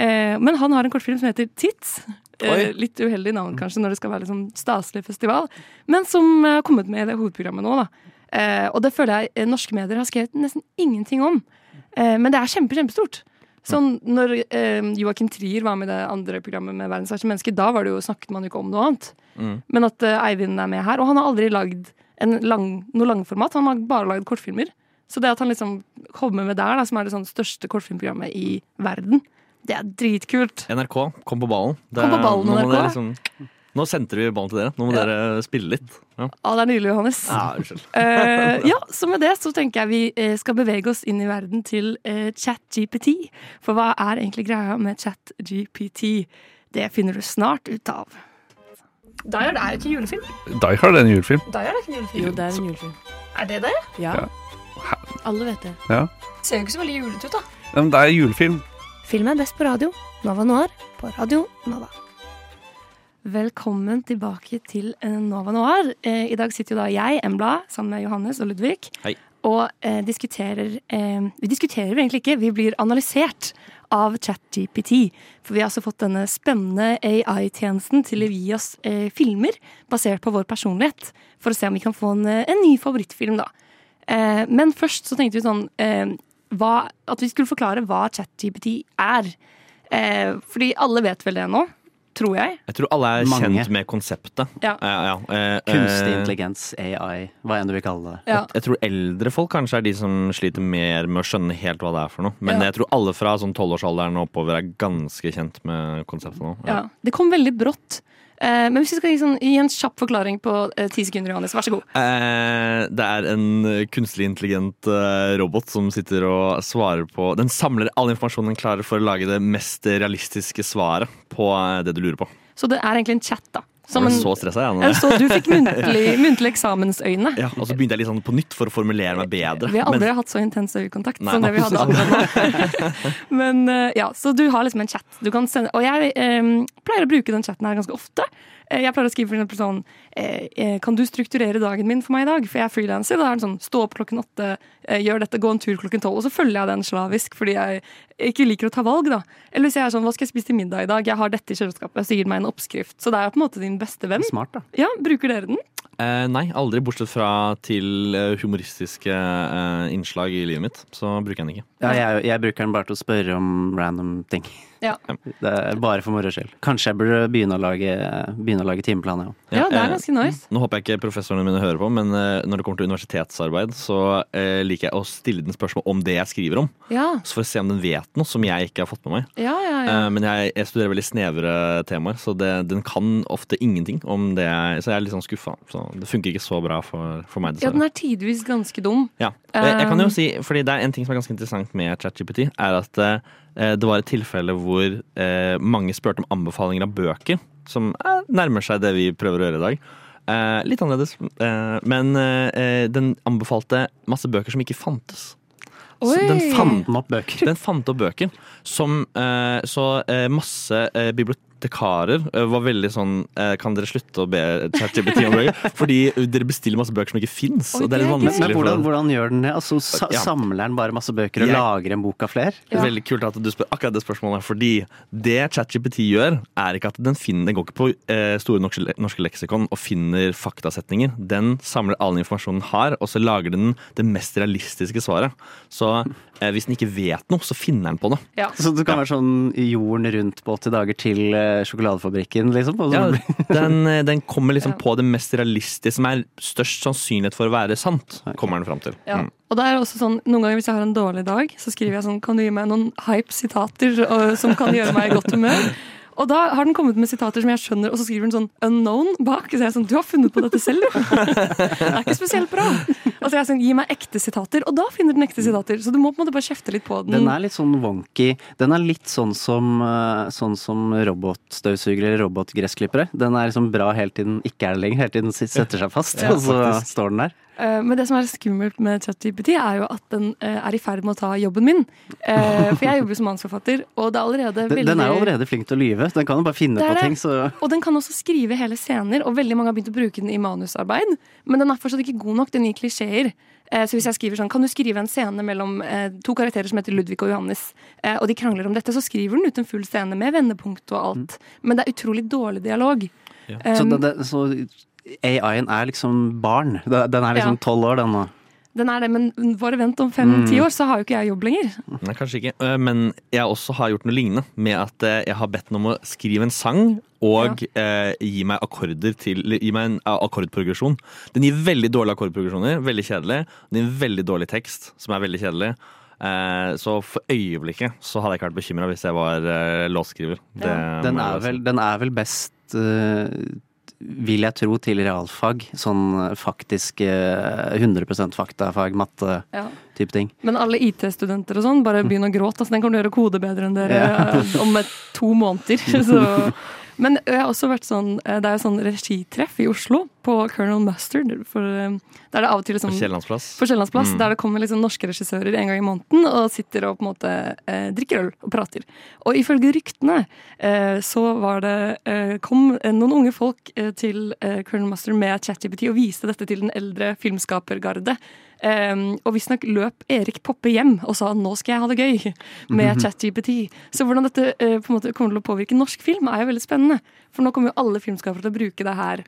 S2: Eh, men han har en kortfilm som heter Tits. Eh,
S5: Oi.
S2: litt uheldig navn kanskje når det skal være litt sånn staselig festival, men som eh, har kommet med i det hovedprogrammet nå. da. Eh, og det føler jeg eh, norske medier har skrevet nesten ingenting om. Eh, men det er kjempe, kjempestort. Sånn, når eh, Joakim Trier var med i det andre programmet med Verdens verste menneske, da var det jo, snakket man jo ikke om noe annet.
S5: Mm.
S2: Men at eh, Eivind er med her, og han har aldri lagd en lang, noe langformat, han har bare lagd kortfilmer. Så det at han liksom kommer med der, da, som er det sånn største kortfilmprogrammet i verden, det er dritkult.
S5: NRK, kom på ballen. Det
S2: Kom på
S5: er-
S2: ballen,
S5: nå må
S2: NRK.
S5: dere liksom- Nå sentrer vi ballen til dere. Nå må
S2: Ja.
S5: dere eh, spille litt. Ja,
S2: Ja, det er nydelig, Johannes.
S5: ja unnskyld.
S2: Eh, ja, så med det så tenker jeg vi eh, skal bevege oss inn i verden til eh, ChatGPT. For hva er egentlig greia med ChatGPT? Det finner du snart ut av. Dyer, det er jo ikke julefilm.
S7: Die Hard er en julefilm.
S2: Dyer er ikke julefilm.
S6: Jo, det er en julefilm.
S2: Er det det?
S6: Ja.
S7: Ja.
S6: Alle vet det.
S2: Ser jo ikke så veldig julete ut, da.
S7: Ja, men det er en julefilm.
S8: Film er best på radio. Nova Noir på Radio Nova.
S2: Velkommen tilbake til eh, Nova Noir. Eh, I dag sitter jo da jeg, Embla, sammen med Johannes og Ludvig.
S5: Hei.
S2: Og eh, diskuterer eh, Vi diskuterer egentlig ikke, vi blir analysert av ChatGPT. For vi har altså fått denne spennende AI-tjenesten til å gi oss eh, filmer basert på vår personlighet. For å se om vi kan få en, eh, en ny favorittfilm, da. Eh, men først så tenkte vi sånn eh, hva, At vi skulle forklare hva ChatGPT er. Eh, fordi alle vet vel det nå, tror jeg.
S5: Jeg tror alle er
S3: Mange.
S5: kjent med konseptet.
S2: Ja.
S5: Ja, ja. Eh,
S3: Kunstig
S5: eh,
S3: intelligens, AI, hva enn du vil kalle det.
S2: Ja.
S5: Jeg tror eldre folk kanskje er de som sliter mer med å skjønne helt hva det er for noe. Men
S2: Ja.
S5: jeg tror alle fra sånn tolvårsalderen og oppover er ganske kjent med konseptet nå.
S2: Ja, det kom veldig brått. Eh, men hvis vi skal gi, sånn, gi en kjapp forklaring på eh, ti sekunder, Johannes, vær så god.
S5: Eh, det er en eh, kunstig intelligent eh, robot som sitter og svarer på Den samler all informasjonen den klarer for å lage det mest realistiske svaret på eh, det du lurer på.
S2: Så det er egentlig en chat, da. Som
S5: Var du
S2: en,
S5: så stressa, jeg.
S2: jeg
S5: nå?
S2: så du fikk muntlig, muntlig eksamensøyne.
S5: Ja, og så begynte jeg litt sånn på nytt for å formulere meg bedre.
S2: Vi har aldri
S5: men,
S2: hatt så intens øyekontakt
S5: Nei,
S2: som det vi hadde akkurat nå. Men eh, ja, Så du har liksom en chat. Du kan sende, og jeg eh, pleier å bruke den chatten her ganske ofte. Eh, Jeg pleier å skrive for eksempel sånn eh, eh, Kan du strukturere dagen min for meg i dag? For jeg er frilanser. Da er det sånn stå opp klokken åtte, eh, gjør dette, gå en tur klokken tolv. Og så følger jeg den slavisk fordi jeg ikke liker å ta valg, da. Eller hvis jeg er sånn hva skal jeg spise til middag i dag? Jeg har dette i kjøleskapet. Så gir den meg en oppskrift. Så det er på en måte din beste venn.
S3: Smart, da.
S2: Ja, bruker dere den?
S5: Eh, nei, aldri, bortsett fra til eh, humoristiske eh, innslag i livet mitt. Så bruker jeg den ikke.
S3: Ja, jeg, jeg bruker den bare til å spørre om random ting.
S2: Ja.
S3: Det er bare for moro skyld. Kanskje jeg burde begynne å lage, begynne å lage timeplan, jeg òg.
S2: Ja, det
S5: eh,
S2: er ganske nice.
S5: Nå håper jeg ikke professorene mine hører på, men eh, når det kommer til universitetsarbeid, så eh, liker jeg å stille den spørsmål om det jeg skriver om.
S2: Ja,
S5: Så får jeg se om den vet noe som jeg ikke har fått med meg.
S2: ja, ja. ja.
S5: Eh, men jeg, jeg studerer veldig snevre temaer, så det, den kan ofte ingenting om det jeg Så jeg er litt sånn skuffa. Så det funker ikke så bra for, for meg,
S2: Ja, den
S5: dessverre.
S2: er tidvis ganske dum.
S5: Ja. Og Jeg, jeg kan jo
S2: Um,
S5: si, fordi det er en ting som er ganske interessant med ChatGPT, er at eh, det var et tilfelle hvor eh, mange spurte om anbefalinger av bøker, som eh, nærmer seg det vi prøver å gjøre i dag. Eh, litt annerledes. Eh, men eh, den anbefalte masse bøker som ikke fantes. Så
S2: Oi.
S5: den
S3: Fant
S5: fant
S3: den opp bøker.
S5: den fant opp bøker som eh, Så eh, masse eh, bibliotekarer eh, var veldig sånn eh, Kan dere slutte å be ChatGPT om bøker? Fordi eh, dere bestiller masse bøker som ikke fins.
S2: Oi,
S5: Og det er litt
S2: det er
S5: vanskelig.
S3: Men
S5: for-
S3: hvordan, hvordan gjør den det? Altså, sa,
S5: Ja.
S3: Samler den bare masse bøker og
S5: Jeg-
S3: lager en bok av flere?
S2: Ja.
S5: Veldig kult at du spør akkurat det spørsmålet. Fordi det ChatGPT gjør, er ikke at den finner Den går ikke på eh, Store norske, le- norske leksikon og finner faktasetninger. Den samler all informasjonen den har, og så lager den det mest realistiske svaret. Så eh, hvis den ikke vet noe, så finner den på det.
S2: Ja.
S3: Så det kan være sånn jorden rundt på 80 dager til eh, sjokoladefabrikken, liksom? Og så
S5: Ja,
S3: blir-
S5: den, den kommer liksom
S2: Ja.
S5: på det mest realistiske, som er størst sannsynlighet for å være sant. kommer den frem til.
S2: Ja.
S5: Mm.
S2: Og det er også sånn, Noen ganger hvis jeg har en dårlig dag, så skriver jeg sånn Kan du gi meg noen hype-sitater og- som kan gjøre meg i godt humør? Og da har den kommet med sitater som jeg skjønner, og så skriver den sånn 'unknown' bak. Så jeg er sånn Du har funnet på dette selv, du! Det er ikke spesielt bra. Og så er jeg sånn Gi meg ekte sitater. Og da finner den ekte sitater. Så du må på en måte bare kjefte litt på den.
S3: Den er litt sånn wonky. Den er litt sånn som, eh, sånn som robotstøvsugere eller robotgressklippere. Den er liksom bra helt til den ikke er det lenger, helt til den sit- setter seg fast, og så står den der.
S2: Eh, Men det som er skummelt med ChatGPT, er jo at den eh, er i ferd med å ta jobben min. Eh, For jeg jobber som manusforfatter, og det er allerede
S3: Den,
S2: veldig
S3: den er jo allerede flink til å lyve. Den kan jo bare finne
S2: Det er
S3: på
S2: det.
S3: ting, så
S2: Og den kan også skrive hele scener, og veldig mange har begynt å bruke den i manusarbeid. Men den er fortsatt ikke god nok. Den gir klisjeer. Eh, Så hvis jeg skriver sånn, kan du skrive en scene mellom eh, to karakterer som heter Ludvig og Johannes, eh, og de krangler om dette, så skriver den ut en full scene med vendepunkt og alt. Men det er utrolig dårlig dialog.
S3: Så,
S2: Um,
S3: det, det, så AI-en er liksom barn. Den den er
S2: Ja.
S3: liksom tolv år, den nå.
S2: Den er det, men bare vent om fem-ti år, så har jo ikke jeg jobb lenger.
S5: Nei, kanskje ikke. Eh, Men jeg også har gjort noe lignende. Med at eh, jeg har bedt den om å skrive en sang og eh, gi meg akkorder til eller Gi meg en eh, akkordprogresjon. Den gir veldig dårlige akkordprogresjoner. Veldig kjedelig. Den gir veldig dårlig tekst, som er veldig kjedelig. Eh, så for øyeblikket så hadde jeg ikke vært bekymra hvis jeg var eh, låtskriver. Det
S2: Ja.
S3: Den
S5: må jeg
S3: er
S5: bare si.
S3: vel, den er vel best eh, vil jeg tro til realfag. Sånn faktisk eh, 100 faktafag, matte-type
S2: Ja.
S3: ting.
S2: Men alle IT-studenter og sånn, bare begynn å gråte. Altså, den kommer til å gjøre kode bedre enn dere eh, om et, to måneder. Så. Men jeg har også vært sånn, eh, det er jo sånn regitreff i Oslo på Colonel Mustard. For, eh, der er det av og til liksom,
S5: På Kiellandsplass.
S2: på Kiellandsplass,
S5: Mm.
S2: der det kommer liksom norske regissører en gang i måneden og sitter og på en måte eh, drikker øl og prater. Og ifølge ryktene eh, så var det eh, kom eh, noen unge folk eh, til eh, Colonel Mustard med ChatGPT og viste dette til den eldre filmskapergarde. Eh, og visstnok løp Erik Poppe hjem og sa 'nå skal jeg ha det gøy' med ChatGPT. Så hvordan dette eh, på en måte kommer til å påvirke norsk film, er jo veldig spennende. For nå kommer jo alle filmskapere til å bruke det her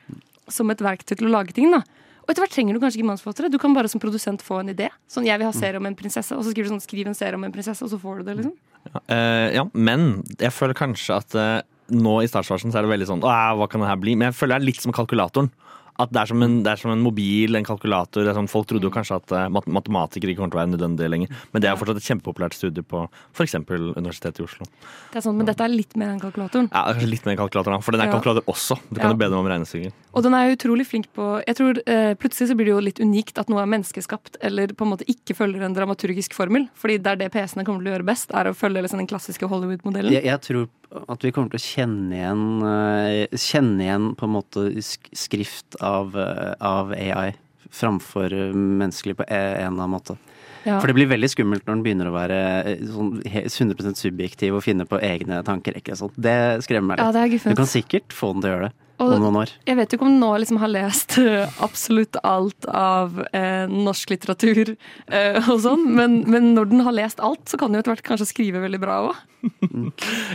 S2: som et verktøy til å lage ting. da og etter hvert trenger du kanskje ikke manusforfattere. Du kan bare som produsent få en idé. Sånn, jeg vil ha
S3: Mm.
S2: serie om en prinsesse, og så skriver du sånn, skriv en serie om en prinsesse, og så får du det,
S3: Mm.
S2: liksom.
S5: Eh, ja, men jeg føler kanskje at eh, nå i startfasen så er det veldig sånn Åh, hva kan det her bli? Men jeg føler det er litt som kalkulatoren. At det er som en, det er som en mobil, en kalkulator. Det er sånn, folk trodde jo kanskje at eh, mat matematikere ikke kommer til å være nødvendig lenger. Men det er fortsatt et kjempepopulært studie på f.eks. Universitetet i Oslo.
S2: Det er sånn, men dette er litt mer enn kalkulatoren.
S5: Ja, kanskje litt mer kalkulator, da. For den er
S2: Ja.
S5: kalkulator også. Du
S2: Ja.
S5: kan jo be dem om regnestykker.
S2: Og den er jo utrolig flink på Jeg tror eh, Plutselig så blir det jo litt unikt at noe er menneskeskapt, eller på en måte ikke følger en dramaturgisk formel. Fordi det er det PC-ene kommer til å gjøre best, er å følge liksom, den klassiske Hollywood-modellen.
S3: Jeg, jeg tror at vi kommer til å kjenne igjen eh, Kjenne igjen på en måte sk skrift av, eh, av AI framfor eh, menneskelig på e- en eller annen måte.
S2: Ja.
S3: For det blir veldig skummelt når den begynner å være eh, sånn he- 100 subjektiv og finne på egne tanker. Ikke? sant? det skremmer meg
S2: Ja,
S3: litt.
S2: det er
S3: du kan
S2: guffent.
S3: sikkert få den til å gjøre det.
S2: Og
S3: om noen år.
S2: jeg vet jo ikke om nå liksom har lest eh, absolutt alt av eh, norsk litteratur eh, og sånn, men, men når den har lest alt, så kan den jo etter hvert kanskje skrive veldig bra òg.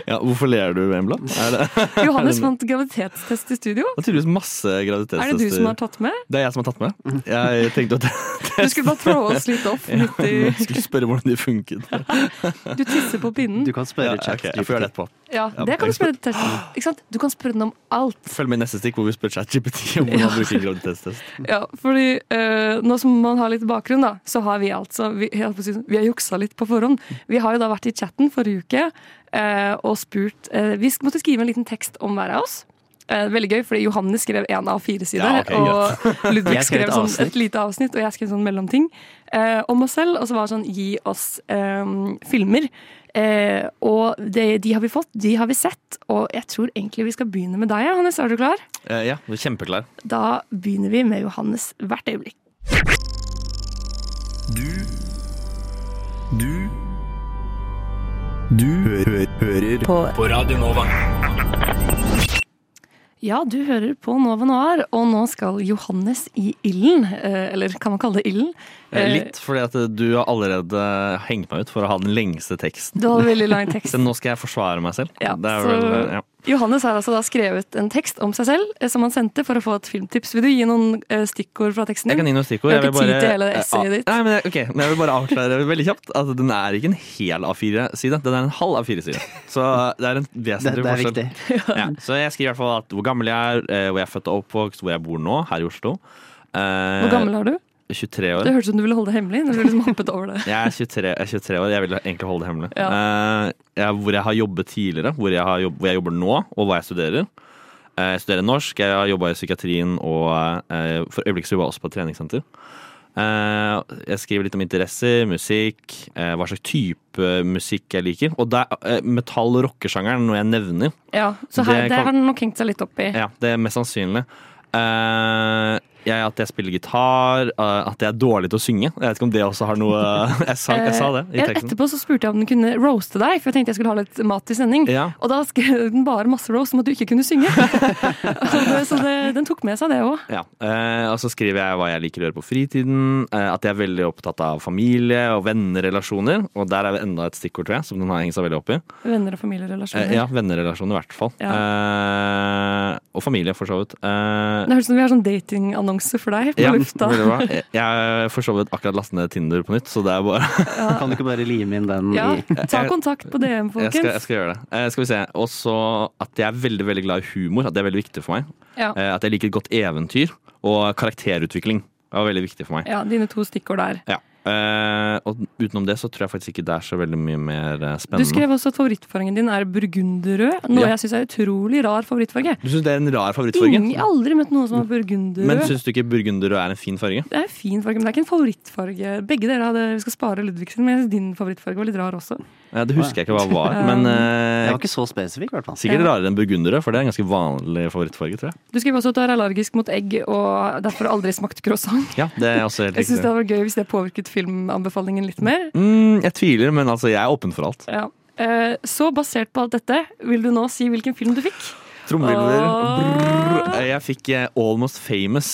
S5: Ja, hvorfor ler du, Embla? Er det,
S2: Johannes vant graviditetstest i studio.
S5: det er tydeligvis masse
S2: Er det du som har Mhm.
S5: graviditetstester.
S2: tatt med?
S5: Det er jeg som har tatt med. Jeg tenkte at
S2: Du skulle bare throw oss litt off. Midt
S5: jeg
S2: i,
S5: skulle spørre hvordan de funket.
S2: du tisser på pinnen.
S3: Du kan
S5: Ja,
S3: spørre
S5: ok,
S3: ChatGPT.
S5: jeg får gjøre det etterpå.
S2: Ja, det kan du spørre testen. Ikke sant? Du kan spørre den om alt.
S5: Følg med i neste stikk hvor vi spør ChatGPT om hvordan
S2: Ja.
S5: bruke en graviditetstest.
S2: Ja, fordi eh, nå som man har litt bakgrunn, da, så har vi altså vi, jeg holdt på å si, vi har juksa litt på forhånd. Vi har jo da vært i chatten forrige uke eh, og spurt eh, Vi sk- måtte skrive en liten tekst om hver av oss. Eh, veldig gøy, fordi Johannes skrev én av fire sider,
S5: Ja, ok,
S2: og Ludvig
S3: Jeg skrev
S2: skrev
S3: et
S2: sånn,
S3: avsnitt.
S2: et lite avsnitt, og jeg skrev sånn mellomting eh, om oss selv. Og så var det sånn Gi oss eh, filmer. Eh, og det, de har vi fått, de har vi sett. Og jeg tror egentlig vi skal begynne med deg, Johannes. Er du klar?
S5: Eh, Ja, du er kjempeklar.
S2: Da begynner vi med Johannes hvert øyeblikk.
S4: Du Du Du hø hø hører på. Radio Nova.
S2: Ja, du hører på Nova Noir, og nå skal Johannes i ilden. eh, Eller kan man kalle det ilden?
S5: Eh,
S2: Eh,
S5: Litt fordi at eh, du har allerede hengt meg ut for å ha den lengste teksten.
S2: Det var en veldig lang tekst.
S5: Så nå skal jeg forsvare meg selv.
S2: Ja,
S5: det er
S2: så-
S5: vel, eh, ja.
S2: Johannes har altså da skrevet en tekst om seg selv eh, som han sendte for å få et filmtips. Vil du gi noen eh, stikkord fra teksten din?
S5: Jeg kan gi noen stikkord.
S2: Jeg har
S5: Jeg vil
S2: ikke tid til hele
S5: eh, ah,
S2: essayet ditt.
S5: Nei, men jeg, ok, men jeg vil bare avklare veldig kjapt at den er ikke en hel A4-side, den er en halv A4-side. Så eh, det er en
S3: Det, det
S5: vesentlig
S3: er
S5: forskjell.
S3: viktig.
S5: Ja, så jeg skriver i hvert fall at hvor gammel jeg er, eh, hvor jeg er født og oppvokst, hvor jeg bor nå, her i Oslo. Eh,
S2: Hvor gammel er du?
S5: 23
S2: Det
S5: år.
S2: hørtes ut som du ville holde det hemmelig. når du liksom hoppet over det.
S5: Jeg er 23, jeg er 23 år, jeg vil egentlig holde det hemmelig.
S2: Ja.
S5: Eh, jeg, hvor jeg har jobbet tidligere, hvor jeg, har jobb, hvor jeg jobber nå, og hva jeg studerer. Eh, jeg studerer norsk, jeg har jobba i psykiatrien, og eh, for øyeblikket så jobber jeg også på et treningssenter. Eh, jeg skriver litt om interesser, musikk, eh, hva slags type musikk jeg liker. Og der, eh, metall- og rockesjangeren, noe jeg nevner,
S2: Ja, Så her, det
S5: Det kan-
S2: har han nok hengt seg litt opp i.
S5: Ja, det er mest sannsynlig. Eh, jeg, at jeg spiller gitar, eh, at jeg er dårlig til å synge. Jeg vet ikke om det også har noe Jeg sa, jeg sa det i
S2: Eh,
S5: teksten.
S2: Etterpå så spurte jeg om den kunne roaste deg, for jeg tenkte jeg skulle ha litt mat i sending.
S5: Ja.
S2: Og da skrev den bare masse roast om at du ikke kunne synge. Og det- så det, den tok med seg det òg.
S5: Ja. eh, og så skriver jeg hva jeg liker å gjøre på fritiden. eh, at jeg er veldig opptatt av familie og vennerelasjoner. Og der er det enda et stikkord, tror jeg, som den har hengt seg veldig opp i.
S2: Venner og familierelasjoner.
S5: Eh, ja, vennerelasjoner i hvert fall. Eh, og familie, for så vidt. Eh,
S2: Det høres ut som vi har sånn datingannonse for deg på
S5: ja,
S2: lufta.
S5: veldig bra. Jeg- Jeg har for så vidt akkurat lastet ned Tinder på nytt, så det er bare
S3: Kan du ikke bare lime inn den
S2: Ja,
S3: i
S2: ta kontakt på DM,
S5: Jeg skal, jeg
S2: folkens.
S5: skal gjøre det. Eh, skal vi se. Og så at jeg er veldig veldig glad i humor. At det er veldig viktig for meg.
S2: Ja.
S5: Eh, at jeg liker et godt eventyr. Og karakterutvikling. Det var veldig viktig for meg.
S2: ja, dine to stikkord der.
S5: Ja. Eh, og utenom det så tror jeg faktisk ikke det er så veldig mye mer eh,
S2: Du
S5: spennende.
S2: skrev også at favorittfargen din er burgunderrød, noe
S5: Ja.
S2: jeg syns er utrolig rar favorittfarge.
S5: Du syns det er en rar favorittfarge?
S2: Ingen, jeg har aldri møtt noen som har
S5: Men
S2: burgunderrød.
S5: syns du ikke burgunderrød er en fin farge?
S2: Det er en fin farge, men det er ikke en favorittfarge. Begge dere hadde, Vi skal spare Ludvig sin, men jeg synes din favorittfarge var litt rar også.
S5: Eh, det husker jeg ikke hva var, men
S3: Det
S5: eh,
S3: var ikke så spesifikk, i hvert fall.
S5: sikkert
S2: Ja.
S5: rarere enn burgunderrød, for det er en ganske vanlig favorittfarge, tror jeg.
S2: Du skriver også at du er allergisk mot egg og derfor aldri smakt croissant.
S5: Ja, det er også helt
S2: Jeg syns det
S5: riktig.
S2: hadde vært gøy hvis det påvirket filmanbefalingen litt mer.
S5: Mm, jeg tviler, men altså, jeg er åpen for alt.
S2: Ja. Eh, Så basert på alt dette, vil du nå si hvilken film du fikk?
S5: Trommevirvler.
S2: Åh.
S5: Brrr. Jeg fikk eh, Almost Famous.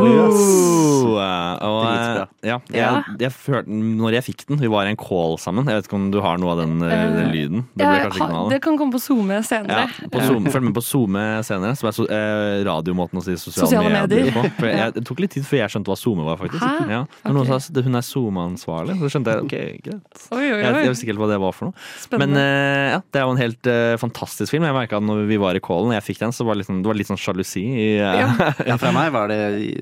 S3: Sjaluas.
S5: Oh, eh, og, eh,
S3: Dritbra.
S5: ja,
S2: Ja.
S5: jeg, jeg følte den når jeg fikk den. Vi var i en call sammen. Jeg vet ikke om du har noe av den, eh, den
S2: Eh,
S5: lyden? Det ble
S2: Jeg
S5: kanskje
S2: har-
S5: ikke noe av
S2: det
S5: det.
S2: kan komme på SoMe
S5: Ja,
S2: senere.
S5: på Zoom, følg med på SoMe senere, som er so, eh, radiomåten å si sosiale,
S2: Sosiale
S5: medier,
S2: medier.
S5: på. For jeg, det tok litt tid før jeg skjønte hva SoMe var, faktisk.
S2: Hæ?
S5: Ja. Når
S2: Ok.
S5: noen sa at hun er SoMe-ansvarlig, så skjønte jeg ok, greit.
S2: Oi, oi,
S5: Jeg, jeg
S2: oi.
S5: visste ikke helt hva det var for noe.
S2: Spennende.
S5: Men eh, ja, det er jo en helt eh, fantastisk film. Jeg merket at når vi var i callen, og jeg fikk den, så var det, litt sånn- det var litt sånn sjalusi. I, eh,
S3: Ja, fra meg var det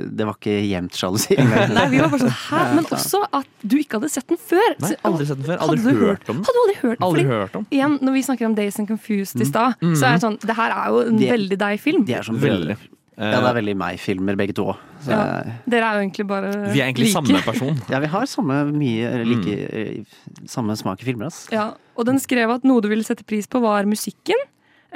S3: Det var ikke jevnt sjalusi engang.
S2: Nei, vi var bare sånn, hæ? Men også at du ikke hadde sett den før.
S5: Nei,
S2: Så-
S5: aldri sett den før.
S2: Hadde
S5: Aldri
S2: du
S5: hørt om den.
S2: Hadde du aldri hørt den?
S5: Aldri
S2: Fordi-
S5: hørt om. Mm.
S2: Igjen, når vi snakker om Days and Confused i stad, så er det sånn Det her er jo en
S3: De-
S2: veldig deg film.
S3: De er som
S5: Veldig. eh.
S3: brødre. Ja, det er veldig meg-filmer, begge to òg.
S2: Ja. Dere er jo egentlig bare
S5: Vi er egentlig
S2: like.
S5: samme person.
S3: Ja, vi har samme mye eller like
S5: Mm.
S3: eh, Samme smak i filmer, ass.
S2: Ja, og den skrev at noe du ville sette pris på, var musikken.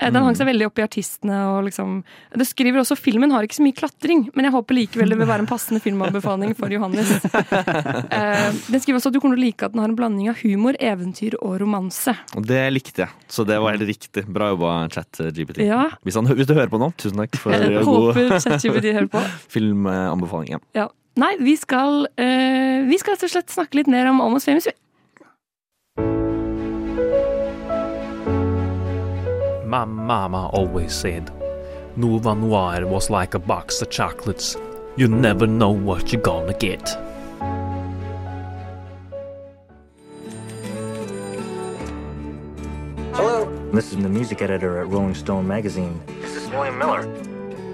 S2: Eh, Den hang
S5: Mm.
S2: seg veldig opp i artistene. og liksom... Det skriver også filmen har ikke så mye klatring, men jeg håper likevel det vil være en passende filmanbefaling for Johannes. Eh, Den skriver også at du kommer til å like at den har en blanding av humor, eventyr og romanse.
S5: Og det likte jeg, så det var helt riktig. Bra jobba, chat eh, GPT.
S2: Ja.
S5: Hvis, han, hø- hvis du hører på nå, tusen takk for eh,
S2: Jeg
S5: god
S2: håper ChatGPT hører på.
S5: filmanbefaling. Ja.
S2: Ja. Nei, vi skal, eh, vi skal rett og slett snakke litt mer om Almost Famous. vi.
S7: My mama always said, Nouveau Noir was like a box of chocolates. You never know what you're gonna get.
S9: This is the music editor at Rolling Stone magazine. This is William Miller.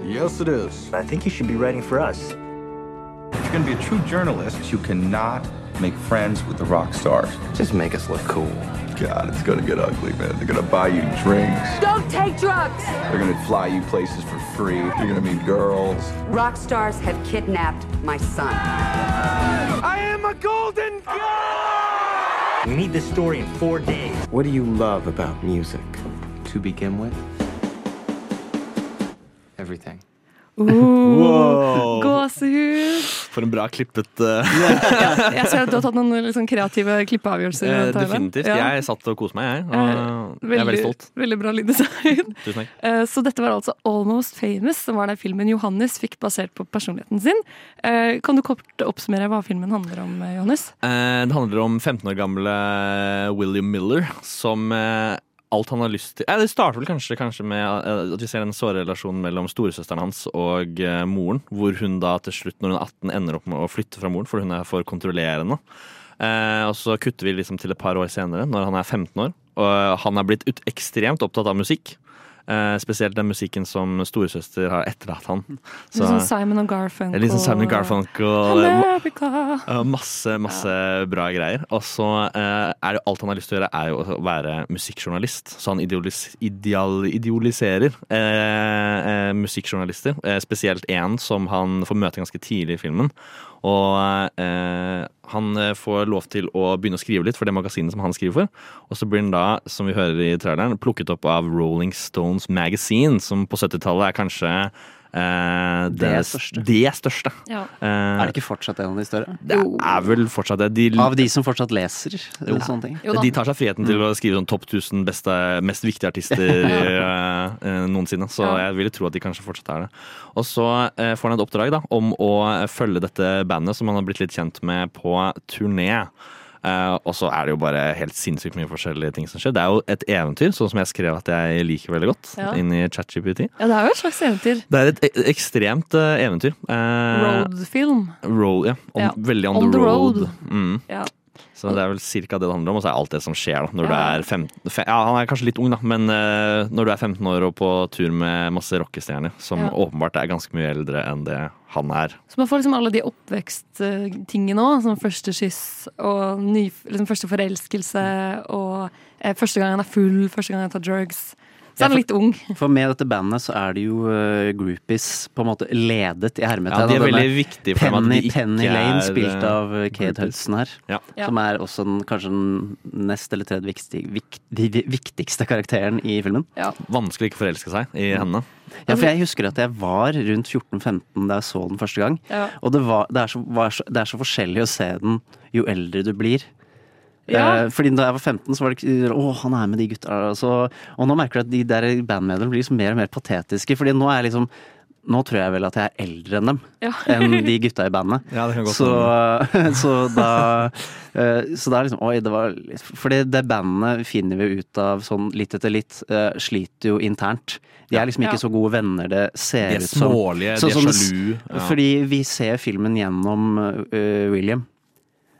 S10: Yes, it is.
S9: I think you should be writing for us.
S10: If you're going to be a true journalist, you cannot make friends with the rock stars. Just make us look cool. God, it's going to get ugly, man. They're going to buy you drinks.
S11: Don't take drugs!
S10: They're going to fly you places for free. You're going to meet girls.
S11: Rock stars have kidnapped my son. I am a golden
S9: We need this story in four days.
S12: What do you love about music to begin with? Everything.
S5: Wow.
S2: Uh, Gåsehud!
S5: For en bra klippet eh,
S2: Ja, jeg ser at du har tatt noen litt sånn kreative klippeavgjørelser.
S5: eh,
S2: Tyler.
S5: Definitivt.
S2: Ja.
S5: Jeg satt og koste meg, jeg.
S2: Eh,
S5: Og jeg er veldig stolt.
S2: Veldig bra lyddesign.
S5: Tusen takk.
S2: Eh, Så dette var altså Almost Famous, som var den filmen Johannes fikk basert på personligheten sin. Eh, Kan du kort oppsummere hva filmen handler om, eh, Johannes?
S5: Eh, Det handler om 15 år gamle William Miller som eh, alt han har lyst til eh, Det starter vel kanskje, kanskje med eh, at vi ser en sårrelasjon mellom storesøsteren hans og eh, moren, hvor hun da til slutt, når hun er 18, ender opp med å flytte fra moren, for hun er for kontrollerende. Eh, og så kutter vi liksom til et par år senere, når han er 15 år. Og eh, han er blitt ut ekstremt opptatt av musikk. Eh, spesielt den musikken som storesøster har etterlatt han.
S2: Litt sånn Simon og Garfunkel.
S5: Litt sånn Simon Garfunkel.
S2: America!
S5: Ja, Eh, Masse, masse bra greier. Og så eh, er det alt han har lyst til å gjøre, er jo å være musikkjournalist. Så han idealis ideal idealiserer eh, eh, musikkjournalister. Eh, spesielt én som han får møte ganske tidlig i filmen. Og eh, han eh, får lov til å begynne å skrive litt for det magasinet som han skriver for. Og så blir han da, som vi hører i traileren, plukket opp av Rolling Stones Magazine, som på 70-tallet er kanskje eh,
S3: Det
S5: det
S3: største.
S5: Det største.
S2: Ja.
S5: Eh,
S3: Er det ikke fortsatt en av de større?
S5: det er vel fortsatt det. De,
S3: Av de som fortsatt leser? Eller sånne ting.
S2: Jo da. Mm.
S5: de tar seg friheten til å skrive sånn topp 1000 beste, mest viktige artister eh, eh, noensinne. Så
S2: Ja.
S5: jeg ville tro at de kanskje fortsatt er det. Og så eh, får han et oppdrag da, om å følge dette bandet som han har blitt litt kjent med på turné. Eh, og så er det jo bare helt sinnssykt mye forskjellige ting som skjer. Det er jo et eventyr, sånn som jeg skrev at jeg liker veldig godt,
S2: Ja.
S5: inn i ChatGPT.
S2: Ja, det er jo et slags eventyr.
S5: Det er et e- ekstremt eh, eventyr. Eh,
S2: Roadfilm.
S5: roll, ja. On,
S2: Ja.
S5: Veldig on,
S2: On
S5: the
S2: the
S5: road.
S2: road.
S5: Mm.
S2: Ja.
S5: Så det er vel cirka det det handler om, og så er alt det som skjer da, når
S2: Ja.
S5: du er 15 fe- Ja, han er kanskje litt ung, da, men eh, når du er 15 år og på tur med masse rockestjerner, som
S2: Ja.
S5: åpenbart er ganske mye eldre enn det han er.
S2: Så man får liksom alle de oppveksttingene òg. Som første kyss og ny, liksom første forelskelse. Og eh, første gang han er full, første gang han tar drugs. Så
S3: Ja,
S2: er han
S3: for-
S2: litt ung.
S3: For med dette bandet så er det jo eh, groupies på en måte ledet i hermetegn.
S5: Ja, de er
S3: av denne
S5: veldig viktige for dem at
S3: Penny,
S5: de ikke
S3: Penny Lane,
S5: er,
S3: spilt
S5: eh,
S3: av eh,
S5: groupies.
S3: Kate Hudson her.
S5: Ja.
S2: Ja.
S3: Som er også den, kanskje den nest eller tredje viktig, vikt- de- de viktigste karakteren i filmen.
S2: Ja.
S5: Vanskelig å ikke forelske seg
S3: Mm.
S5: i henne.
S3: Ja, for jeg husker at jeg var rundt 14-15 da jeg så den første gang.
S2: Ja.
S3: Og det, var, det, er så, var så, det er så forskjellig å se den jo eldre du blir.
S2: Ja.
S3: Eh, Fordi da jeg var 15, så var det ikke Å, han er med de gutta. Og, så, og nå merker du at de der bandmedlemmene blir liksom mer og mer patetiske. Fordi nå er jeg liksom Nå tror jeg vel at jeg er eldre enn dem.
S2: Ja.
S3: Enn de gutta i bandet.
S5: Ja, det kan godt
S3: så, så da eh, Så da er liksom Oi, det var litt Fordi det bandet finner vi ut av sånn litt etter litt, eh, sliter jo internt. De er liksom
S2: Ja.
S3: ikke så gode venner det ser
S5: De er
S3: ut som.
S5: smålige, de
S3: Sånn
S5: er
S3: som-
S5: sjalu, ja.
S3: Fordi vi ser filmen gjennom eh, William.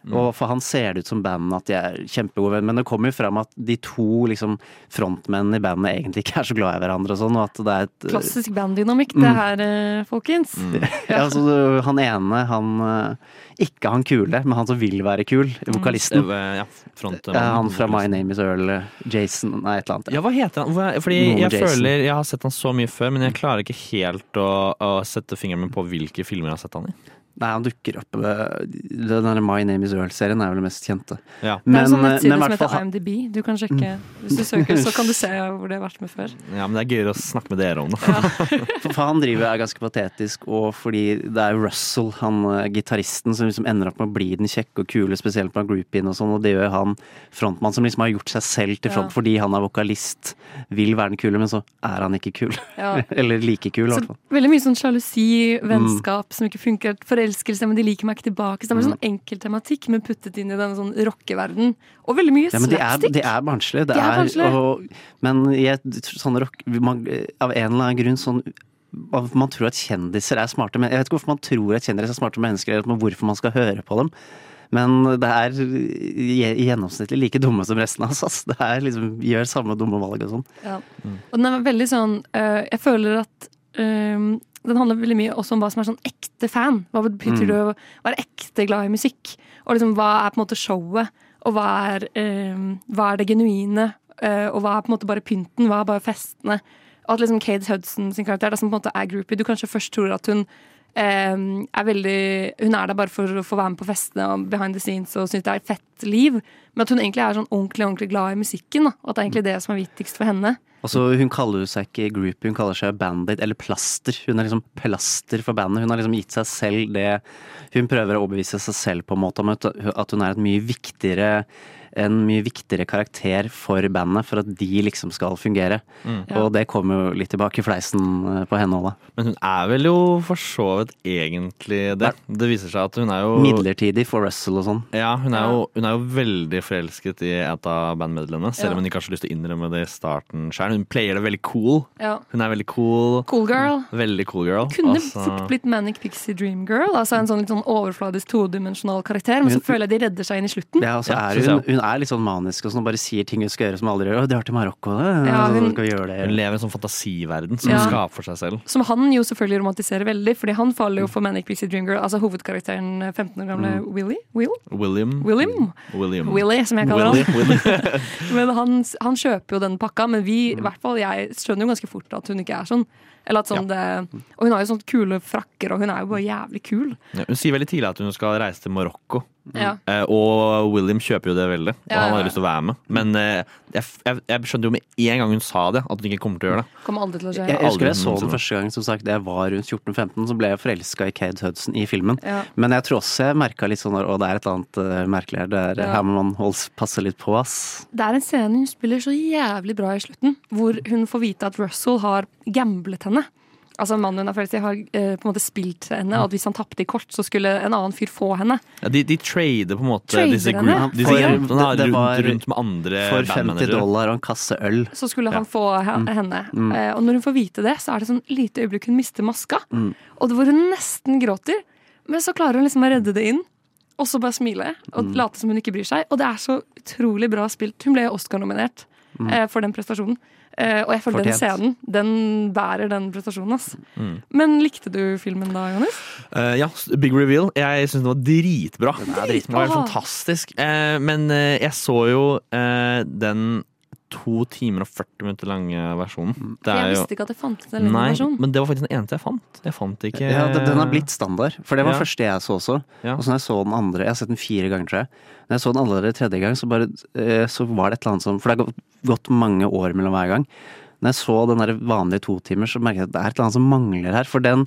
S5: Mm.
S3: Og for han ser det ut som bandet at de er kjempegode venner, men det kommer jo fram at de to liksom, frontmennene i bandet egentlig ikke er så glad i hverandre og sånn, og at det er et
S2: Klassisk banddynamikk,
S3: Mm.
S2: det her, eh, folkens.
S3: ja, altså, Han ene, han eh, Ikke han kule, men han som vil være kul, vokalisten.
S5: Eh, Ja, front,
S3: Eh, Han fra My Name Is Earl, eh, Jason, nei, et eller annet.
S5: Ja, hva heter han? Hvor er- Fordi
S3: Noe med
S5: jeg
S3: Jason.
S5: føler Jeg har sett han så mye før, men jeg klarer ikke helt å, å sette fingeren min på hvilke filmer jeg har sett han i.
S3: Nei, han dukker opp eh, Den der My Name Is Earl-serien er vel den mest kjente.
S5: Ja.
S2: Det er en sånn
S3: eh,
S2: nettside som
S3: i hvert fall Mm.
S2: heter
S3: han-
S2: IMDb. Du kan sjekke. Hvis du søker, så kan du se hvor det har vært med før.
S5: Ja, men det er gøyere å snakke med dere om det.
S3: For for han driver er ganske patetisk, og fordi det er Russell, han eh, gitaristen, som liksom ender opp med å bli den kjekke og kule, spesielt blant groupien og sånn, og det gjør han frontmann som liksom har gjort seg selv til
S2: Ja.
S3: front fordi han er vokalist, vil være den kule, men så er han ikke kul.
S2: Ja.
S3: Eller like kul, i
S2: Så
S3: hvert fall. Mm.
S2: veldig mye sånn sjalusi, vennskap som ikke funker, forelskelse, men de liker meg ikke tilbake. Så det er bare sånn enkel tematikk, men puttet inn i denne sånn rockeverden. Og veldig mye
S3: Ja, men de er,
S2: slapstick.
S3: de er barnslige. Det
S2: De er
S3: er,
S2: barnslige.
S3: Og, men jeg, tror sånne rock, man, av en eller annen grunn sånn av- man tror at kjendiser er smarte men Jeg vet ikke hvorfor man tror at kjendiser er smarte mennesker, eller at man- hvorfor man skal høre på dem. Men det er i- i gjennomsnittlig like dumme som resten av oss. ass. Det er liksom, gjør samme dumme valg og sånn.
S2: Ja. Og den er veldig sånn eh, Jeg føler at eh, den handler veldig mye også om hva som er sånn ekte fan. Hva betyr
S3: Mm.
S2: det å være ekte glad i musikk? Og liksom, hva er på en måte showet? Og hva er, eh, hva er det genuine? Eh, og hva er på en måte bare pynten? Hva er bare festene? Og at liksom Kate Hudson sin karakter, da, som på en måte er groupie Du kanskje først tror at hun eh, er veldig Hun er der bare for å få være med på festene og behind the scenes og syns det er et fett liv. Men at hun egentlig er sånn ordentlig ordentlig glad i musikken. Da, og at det er egentlig det som er viktigst for henne.
S3: Altså, hun kaller jo seg ikke groupie, hun kaller seg bandit, eller plaster. Hun er liksom plaster for bandet. Hun har liksom gitt seg selv det Hun prøver å overbevise seg selv på en måte om at at hun er et mye viktigere en mye viktigere karakter for bandet for at de liksom skal fungere.
S5: Mm.
S3: Og det kommer jo litt tilbake i fleisen eh, på henne òg, da.
S5: Men hun er vel jo for så vidt egentlig det. Det viser seg at hun er jo
S3: Midlertidig for Russell og sånn.
S5: Ja, hun er, jo, hun er jo veldig forelsket i et av bandmedlemmene, selv om hun ikke har så lyst til å innrømme det i starten sjøl. Hun player det veldig cool.
S2: Ja.
S5: Hun er veldig cool.
S2: Cool girl.
S5: Veldig cool girl.
S2: Kunne
S5: Altså-
S2: fort blitt Manic Pixie Dream Girl. Altså en sånn litt sånn overfladisk todimensjonal karakter, men så
S3: Hun-
S2: føler jeg de redder seg inn i slutten.
S3: Ja, og så er hun, hun er litt sånn manisk og sånn, og bare sier ting hun skal gjøre som alle gjør. Å, det har til Marokko, det.
S2: Ja, hun-
S3: hun, skal gjøre det.
S5: Hun lever i en sånn fantasiverden som
S2: Ja.
S5: hun skaper for seg selv.
S2: Som han jo selvfølgelig romantiserer veldig, fordi han faller jo for Manic Pixie Dream Girl, altså hovedkarakteren 15 år gamle
S5: Mm.
S2: Willy. Will?
S5: William.
S2: William?
S5: William.
S2: Willy, som jeg kaller
S5: Willy,
S2: han.
S5: Willy.
S2: Men han, han kjøper jo den pakka, men vi,
S5: Mm.
S2: i hvert fall jeg, skjønner jo ganske fort at hun ikke er sånn. Eller at sånn det, og hun har jo sånne kule frakker, og hun er jo bare jævlig kul.
S5: Ja, hun sier veldig tidlig at hun skal reise til Marokko.
S2: Ja.
S5: Eh, og William kjøper jo det veldig, og
S2: Ja,
S5: han
S2: ja,
S5: hadde
S2: ja.
S5: lyst til å være med. Men eh, jeg, f- jeg, jeg skjønte jo med en gang hun sa det, at hun ikke kommer til å gjøre det.
S2: Kommer aldri til å skje.
S3: Jeg, jeg husker jeg så
S5: noensinne.
S3: den første gang, som sagt, jeg var rundt 14-15, så ble jeg forelska i Cade Hudson i filmen.
S2: Ja.
S3: Men jeg tror også jeg merka litt sånn Å, det er et eller annet eh, merkelig her. Det er,
S2: Ja.
S3: Her må man holde, passe litt på, ass.
S2: Det er en scene hun spiller så jævlig bra i slutten, hvor hun får vite at Russell har gamblet henne. Altså Mannen hun har følt seg har eh, på en måte spilt henne, og at hvis han tapte i kort, så skulle en annen fyr få henne.
S5: Ja, de, de trader på en måte
S2: Trader
S5: disse
S2: henne?
S5: group- disse
S3: For-
S5: groupene da,
S3: det- det var-
S5: rundt, rundt med andre
S3: For 50 dollar og en kasse øl.
S2: Så skulle
S3: Ja.
S2: han få he-
S3: Mm.
S2: henne.
S3: Mm.
S2: Eh, og når hun får vite det, så er det sånn lite øyeblikk hun mister maska.
S3: Mm.
S2: Og det hvor hun nesten gråter, men så klarer hun liksom å redde det inn. Og så bare smile og
S3: Mm.
S2: late som hun ikke bryr seg. Og det er så utrolig bra spilt. Hun ble jo Oscar-nominert
S3: Mm.
S2: eh, for den prestasjonen. Eh, og jeg føler den scenen.
S3: Fortjent.
S2: Den bærer den prestasjonen, ass.
S5: Mm.
S2: Men likte du filmen da, Johannes?
S5: Eh, ja, Big Reveal. Jeg syns den var dritbra. Den var helt
S2: Dritbra.
S5: fantastisk. Eh, men eh, jeg så jo eh, den to timer og 40 minutter lange
S3: Mm.
S5: versjonen. Det
S2: jeg
S5: er jo-
S2: visste ikke at det fantes en lengre
S5: Nei,
S2: versjon.
S5: men det var faktisk den eneste jeg fant. Jeg fant ikke
S3: Ja, den, den har blitt standard. For det var
S5: Ja.
S3: første jeg så også.
S5: Ja.
S3: Og så når jeg så den andre Jeg har sett den fire ganger, tror jeg. Når jeg så den allerede tredje gang, så, bare, eh, så var det et eller annet som For det har gått, gått mange år mellom hver gang. Når jeg så den der vanlige to timer, så merket jeg at det er et eller annet som mangler her. For den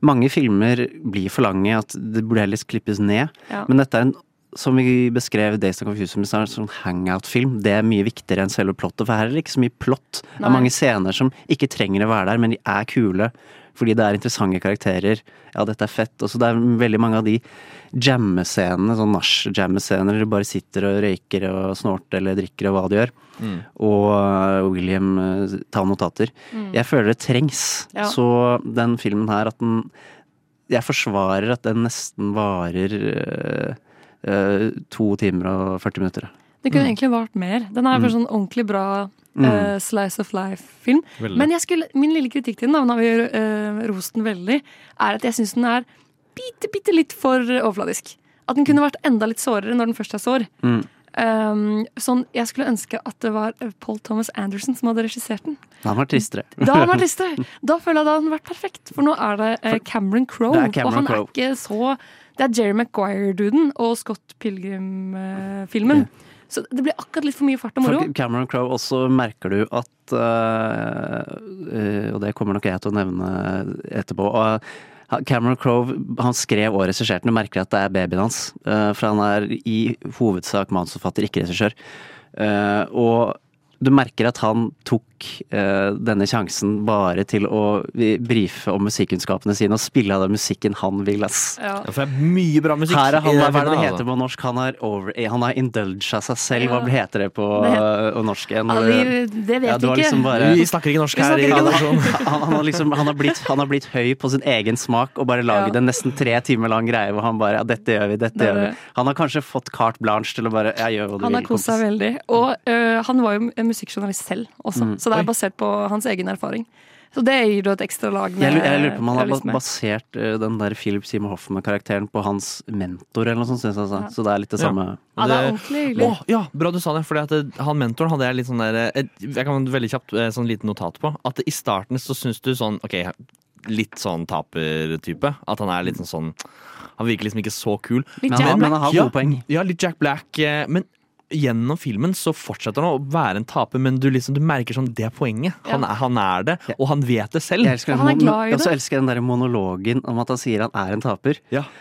S3: Mange filmer blir for lange, at det burde heller klippes ned.
S2: Ja.
S3: Men dette er en som vi beskrev Days of Confusion, så er det en sånn hangout-film. Det er mye viktigere enn selve plottet, for her er det ikke så mye plott. Det
S2: Nei.
S3: er mange scener som ikke trenger å være der, men de er kule. Fordi det er interessante karakterer. Ja, dette er fett. Og så det er veldig mange av de jammescenene, sånn nach-jammescener, der du bare sitter og røyker og snorter eller drikker og hva du gjør.
S5: Mm.
S3: Og eh, William eh, tar notater.
S5: Mm.
S3: Jeg føler det trengs.
S5: Ja.
S3: Så den filmen her, at den Jeg forsvarer at den nesten varer eh, eh, to timer og 40 minutter.
S2: Det kunne egentlig vart mer. Den er bare sånn ordentlig bra
S3: Mm.
S2: eh, slice of life-film.
S3: Veldig.
S2: Men jeg skulle, min lille kritikk til den, da, nå har vi eh, rost den veldig, er at jeg syns den er bitte, bitte litt for overfladisk. At den kunne vært enda litt sårere når den først er sår.
S3: Mm.
S2: Um, sånn, jeg skulle ønske at det var eh, Paul Thomas Anderson som hadde regissert den.
S3: Da var tristere.
S5: Mm.
S2: Da hadde han vært listere! Da føler jeg da hadde han vært perfekt, for nå er det eh, Cameron Crowe.
S3: Det er Cameron
S2: Og han
S3: Crowe.
S2: er ikke så Det er Jerry Maguire-duden og Scott Pilgrim-filmen. Så det blir akkurat litt for mye fart og moro.
S3: For Cameron Crowe også merker du at eh, eh, Og det kommer nok jeg til å nevne etterpå. og eh, Cameron Crowe han skrev og regisserte den, og merker at det er babyen hans. eh, for han er i hovedsak manusforfatter, ikke regissør. Eh, og du merker at han tok eh, denne sjansen bare til å brife om musikkunnskapene sine og spille av den musikken han vil. Ass.
S2: Ja.
S5: for det er mye bra musikk.
S3: Her er han,
S5: i
S3: hva er
S5: den
S3: det
S5: filmen,
S3: det
S5: altså.
S3: heter på norsk? Han har, over, eh, han har indulga seg selv, hva
S2: Ja.
S3: heter det på
S2: Det
S3: uh, norsk igjen? Eh,
S2: Ja, vi- det vet
S3: ja, det var
S2: vi ikke.
S3: Liksom bare,
S5: Vi snakker ikke norsk Vi her snakker i ikke norsk.
S3: han, sånn. han, han, har liksom, han, har blitt, han har blitt høy på sin egen smak og bare lagd
S2: Ja.
S3: en nesten tre timer lang greie hvor han bare ja, dette gjør vi, dette
S2: Det er
S3: gjør vi.
S2: det.
S3: Han har kanskje fått carte blanche til å bare ja, gjør hva du
S2: Han har
S3: vil.
S2: kost seg
S3: kompis».
S2: veldig. Og øh, han var jo en musikkjournalist selv også,
S3: Mm.
S2: så det
S3: Oi.
S2: er basert på hans egen erfaring. Så det gir jo et ekstra lag med
S3: Jeg lurer, jeg lurer på om han har
S2: realisme.
S3: ba- basert uh, den der Philip Seymour Hoffman-karakteren på hans mentor eller noe sånt, synes jeg. sa.
S2: Ja.
S3: Så det er litt det samme.
S2: Ja, det er ordentlig hyggelig.
S5: Åh, ja, bra du sa det, fordi at eh, han mentoren hadde jeg litt sånn der eh, et, Jeg kan veldig kjapt eh, sånn liten notat på. At i starten så syns du sånn OK, litt sånn taper-type. At han er litt sånn sånn Han virker liksom ikke så kul.
S3: Litt Men Jack han- Black. men han har gode poeng.
S5: Ja, litt Jack Black. eh, Men gjennom filmen så fortsetter han å være en taper, men du liksom, du merker sånn det er poenget. Han,
S3: Ja.
S5: er, han er det, og han vet det selv.
S3: Jeg elsker, den mon- Og så elsker jeg den der monologen om at han sier han er en taper.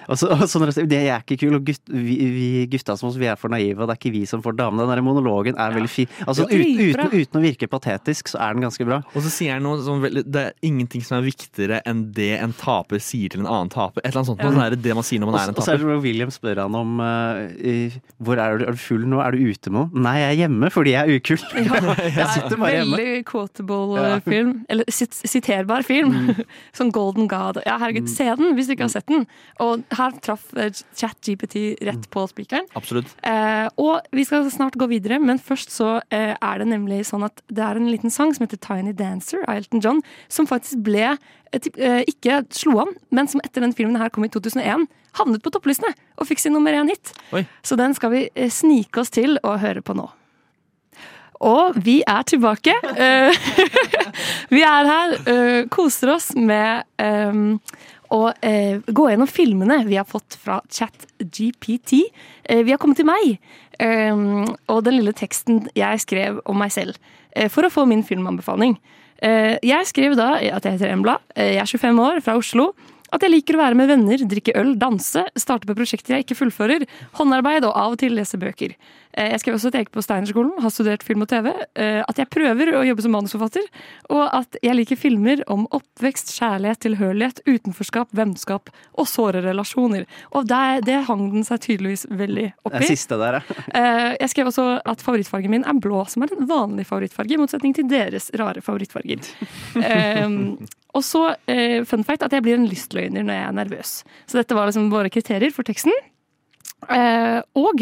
S3: Og så, og så når han sier, det er ikke kul, og gutt, vi, vi gutta som oss, vi er for naive, og det er ikke vi som får damene. Den der monologen er veldig fin. Altså,
S5: Ja.
S3: ut,
S5: Dritbra.
S3: uten, uten å virke patetisk, så er den ganske bra.
S5: Og så sier han noe som veldig, Det er ingenting som er viktigere enn det en taper sier til en annen taper. Et eller annet sånt.
S3: Ja.
S5: Noe sånn der, det man sier når
S3: Og
S5: man
S3: så
S5: er en
S3: og så er det
S5: taper.
S3: når William spør han om eh, i- hvor er du, er du full nå, er du ute nå? Nei, jeg er hjemme fordi jeg er ukul. jeg sitter bare hjemme.
S2: Veldig
S3: Ja. Mm.
S2: quotable eh, film. Eller sit siterbar film. Sånn Golden God. Ja, herregud, se den hvis du ikke har sett den! Og her traff eh, ChatGPT rett
S3: Mm.
S2: på spikeren.
S5: Absolutt.
S2: Eh, og vi skal snart gå videre, men først så eh, er det nemlig sånn at det er en liten sang som heter Tiny Dancer av Elton John, som faktisk ble eh, typ- eh, ikke slo an, men som etter den filmen her kom i 2001, havnet på topplistene og fikk sin nummer én hit.
S5: Oi.
S2: Så den skal vi eh, snike oss til og høre på nå. Og vi er tilbake. Eh, vi er her, eh, koser oss med eh, å eh, gå gjennom filmene vi har fått fra ChatGPT. Eh, vi har kommet til meg eh, og den lille teksten jeg skrev om meg selv eh, for å få min filmanbefaling. Eh, jeg skrev da at jeg heter Embla, eh, jeg er 25 år, fra Oslo. At jeg liker å være med venner, drikke øl, danse, starte på prosjekter jeg ikke fullfører, håndarbeid og av og til lese bøker. Eh, Jeg skrev også at jeg gikk på Steinerskolen, har studert film og TV, eh, at jeg prøver å jobbe som manusforfatter, og at jeg liker filmer om oppvekst, kjærlighet, tilhørighet, utenforskap, vennskap og såre relasjoner. Og det, det hang den seg tydeligvis veldig
S3: Det
S2: opp i.
S3: siste der, ja.
S2: Eh, Jeg skrev også at favorittfargen min er blå, som er en vanlig favorittfarge, i motsetning til deres rare favorittfarger. Ehm, og så, eh, fun fact, at jeg blir en lystløgner når jeg er nervøs. Så dette var liksom våre kriterier for teksten. Eh, og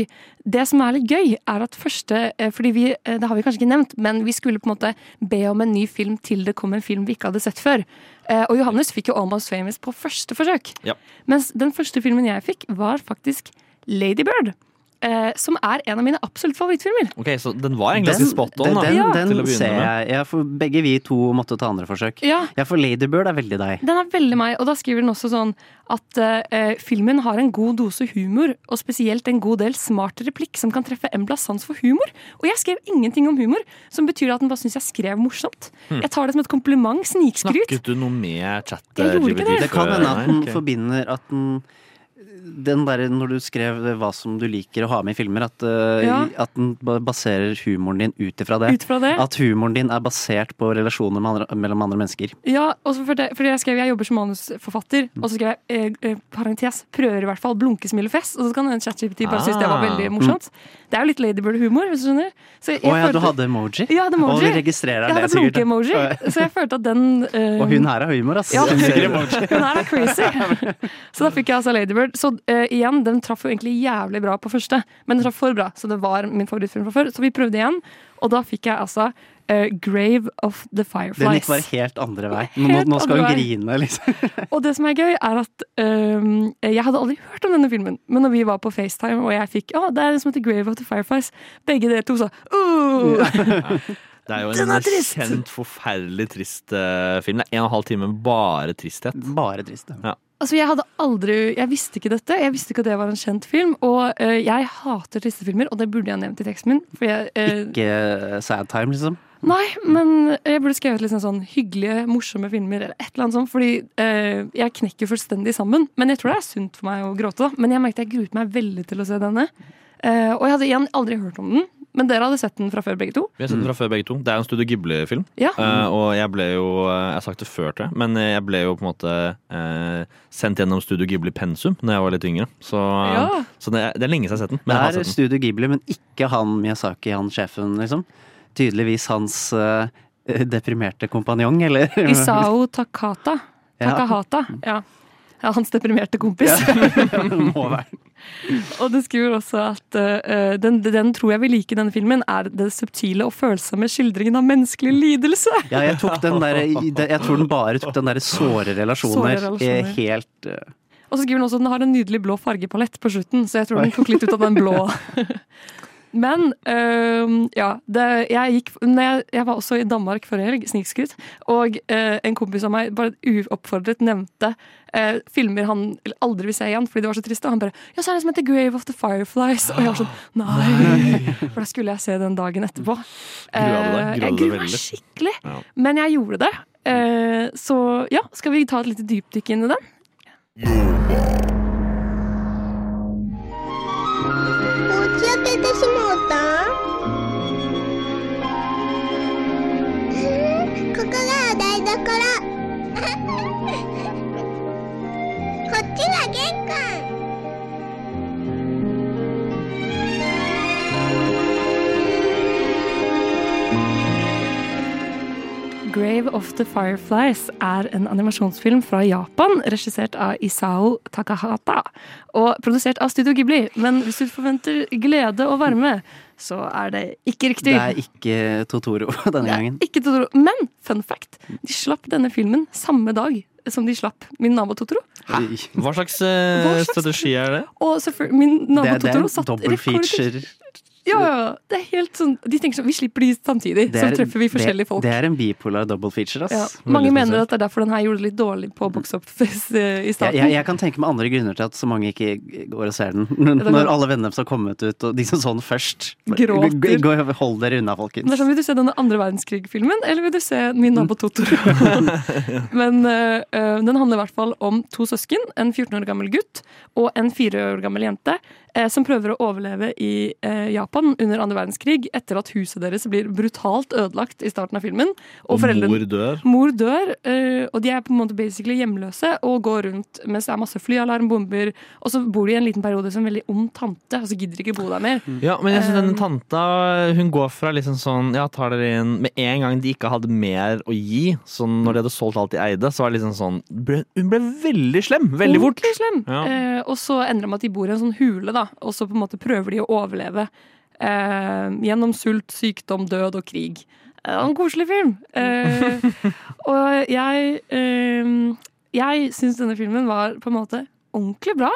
S2: det som er litt gøy, er at første eh, Fordi vi, eh, det har vi kanskje ikke nevnt, men vi skulle på en måte be om en ny film til det kom en film vi ikke hadde sett før. Eh, og Johannes fikk jo Almost Famous på første forsøk.
S5: Ja.
S2: Mens den første filmen jeg fikk, var faktisk Lady Bird. Eh, som er en av mine absolutt favorittfilmer.
S5: Ok, Så den var egentlig ganske spot on.
S3: den,
S5: da,
S3: den, den,
S5: til å begynne
S3: ser
S5: med.
S3: jeg. jeg for begge vi to måtte ta andre forsøk.
S2: Ja.
S3: Ja, for Ladybird er veldig deg.
S2: Den er veldig meg, og da skriver den også sånn at eh, filmen har en god dose humor, og spesielt en god del smart replikk som kan treffe Emblas sans for humor. Og jeg skrev ingenting om humor, som betyr at den bare syns jeg skrev morsomt.
S5: Hmm.
S2: Jeg tar det som et kompliment, snikskryt.
S5: Snakket du noe med chat?
S2: Jeg gjorde ikke det.
S3: Det kan hende at den
S5: Nei, ok.
S3: forbinder at den den der, Når du skrev hva som du liker å ha med i filmer, at, eh,
S2: Ja.
S3: at den ba- baserer humoren din ut ifra det.
S2: Ut fra det.
S3: At humoren din er basert på relasjoner med andre, mellom andre mennesker.
S2: Ja, og så fordi, fordi jeg skrev jeg jobber som manusforfatter,
S3: Mm.
S2: og så skrev jeg eh, eh, parentes prøver i hvert fall blunkesmilefest, og så kan en ChatGPT bare synes det var
S3: Ah.
S2: veldig morsomt. Det er jo litt Ladybird-humor, hvis du skjønner. Så jeg
S3: Å ja, du
S2: følte-
S3: hadde emoji?
S2: Ja, jeg hadde emoji.
S3: Og vi registrerer
S2: Jeg
S3: det,
S2: hadde
S3: sikkert.
S2: blunke-emoji,
S3: Å,
S2: så jeg følte at den eh,
S3: ja. Og hun her har humor, ass.
S2: Ja,
S3: Hun sikkert emoji.
S2: hun her er crazy. Så da fikk jeg altså Ladybird. Så eh, igjen, den traff jo egentlig jævlig bra på første, men den traff for bra, så det var min favorittfilm fra før. Så vi prøvde igjen, og da fikk jeg altså eh, Grave of the
S3: Den gikk
S2: Fireflies.
S3: bare helt andre vei. Nå,
S2: Helt
S3: må- nå skal hun
S2: andre vei.
S3: grine, liksom.
S2: Og det som er gøy, er at øhm, jeg hadde aldri hørt om denne filmen. Men når vi var på FaceTime, og jeg fikk Å, det er en som heter Grave of the Fireflies, begge dere to sa «Åh!»
S5: Det er jo
S2: Den
S5: en
S2: er trist!
S5: kjent, forferdelig trist eh, film. Det er en og en halv time med bare tristhet.
S3: Bare trist,
S5: ja.
S2: Altså, jeg hadde aldri Jeg visste ikke dette. Jeg visste ikke at det var en kjent film. Og øh, jeg hater triste filmer, og det burde jeg ha nevnt i teksten min. For jeg, øh,
S3: Ikke sad time, liksom.
S2: Nei, men jeg burde skrevet liksom sånn hyggelige, morsomme filmer eller et eller annet sånt, fordi øh, jeg knekker fullstendig sammen. Men jeg tror det er sunt for meg å gråte, da. Men jeg merket jeg gruet meg veldig til å se denne. Eh, og jeg hadde igjen aldri hørt om den, men dere hadde sett den fra før, begge to.
S5: Vi har sett den fra før, begge to. Det er jo en Studio Ghibli-film.
S2: Ja.
S5: Eh, og jeg ble jo eh, Jeg har sagt det før, tror jeg, men jeg ble jo på en måte eh, sendt gjennom Studio Ghibli-pensum Når jeg var litt yngre. Så, eh,
S3: Ja.
S5: så det, er- det er lenge siden jeg har sett den. Men jeg
S3: det
S5: har
S3: er
S5: sett den.
S3: Studio Ghibli, men ikke han Miyazaki, han sjefen, liksom. Tydeligvis hans eh, deprimerte kompanjong, eller?
S2: Isao Takata.
S3: Ja.
S2: Takahata. Ja. ja, hans deprimerte kompis.
S3: Må være.
S2: Og du skriver også at eh, den, den tror jeg vil like i denne filmen, er det subtile og følsomme skildringen av menneskelig lidelse.
S3: Ja, jeg tok den der Jeg tror den bare tok den derre såre relasjoner.
S2: Såre relasjoner.
S3: eh, Helt eh,
S2: Og så skriver den også at den har en nydelig blå fargepalett på slutten, så jeg tror den tok litt ut av den blå. Men øhm, ja, det, jeg gikk når jeg, jeg var også i Danmark forrige helg, snikskryt, og eh, en kompis av meg bare uoppfordret nevnte eh, filmer han aldri vil se igjen fordi det var så trist. Og han bare 'Ja, så er det en som heter Grave of the Fireflies'. Og jeg var sånn Nei! For da skulle jeg se den dagen etterpå.
S5: Grua du deg? Grua
S2: Eh, jeg
S5: du deg
S2: gruer meg
S5: veldig?
S2: skikkelig.
S5: Ja. Mm.
S2: Men jeg gjorde det. Eh, så ja, skal vi ta et lite dypdykk inn i den? Grave of the Fireflies er en animasjonsfilm fra Japan, regissert av Isao Takahata og produsert av Studio Ghibli. Men hvis du forventer glede og varme, så er det ikke riktig.
S3: Det er ikke Totoro denne gangen.
S2: Ikke Totoro. Men fun fact, de slapp denne filmen samme dag som de slapp Min nabo Totoro.
S5: Hæ? Hva slags, eh,
S2: Hva slags-
S5: strategi er det?
S2: Og selvfølgelig- min nabo
S3: Det, det er
S2: Totoro
S3: en
S2: satt
S3: double feature.
S2: Ja, ja, ja. det er helt sånn De tenker sånn Vi slipper de samtidig,
S3: Det
S2: så
S3: er-
S2: treffer vi
S3: det-
S2: forskjellige folk.
S3: Det er en bipolar double feature, ass.
S2: Ja. Mange mener at det er derfor den her gjorde det litt dårlig på box office eh, i
S3: jeg,
S2: starten.
S3: jeg, jeg kan tenke meg andre grunner til at så mange ikke går og ser den. Men
S2: det er
S3: Når
S2: godt.
S3: alle vennene deres har kommet ut, og de som så den først
S2: Gråter.
S3: Gå- gå- Hold dere
S2: Men
S3: unna,
S2: det
S3: folkens.
S2: er sånn, Vil du se denne andre verdenskrig-filmen, eller vil du se Min nabo Totoro? Men eh, eh, den handler i hvert fall om to søsken, en 14 år gammel gutt og en 4 år gammel jente, eh, som prøver å overleve i eh, Japan under andre verdenskrig etter at huset deres blir brutalt ødelagt i starten av filmen.
S5: Og
S2: foreldrene-
S5: mor dør.
S2: Mor dør, eh, og de er på en måte basically hjemløse og går rundt mens det er masse flyalarm, bomber, og så bor de i en liten periode som en veldig ond tante, og så gidder de ikke bo der mer.
S5: Ja, men jeg synes denne
S2: Um,
S5: tanta Hun går fra liksom sånn Ja, tar dere inn Med en gang de ikke hadde mer å gi Sånn når de hadde solgt alt de eide Så var det liksom sånn ble, Hun ble veldig slem Veldig fort
S2: Ordentlig slem.
S5: Ja.
S2: Eh, og så endrer det med at de bor i en sånn hule, da, og så på en måte prøver de å overleve eh, gjennom sult, sykdom, død og krig. Eh, en koselig film. Eh, og jeg eh, Jeg syns denne filmen var på en måte ordentlig bra.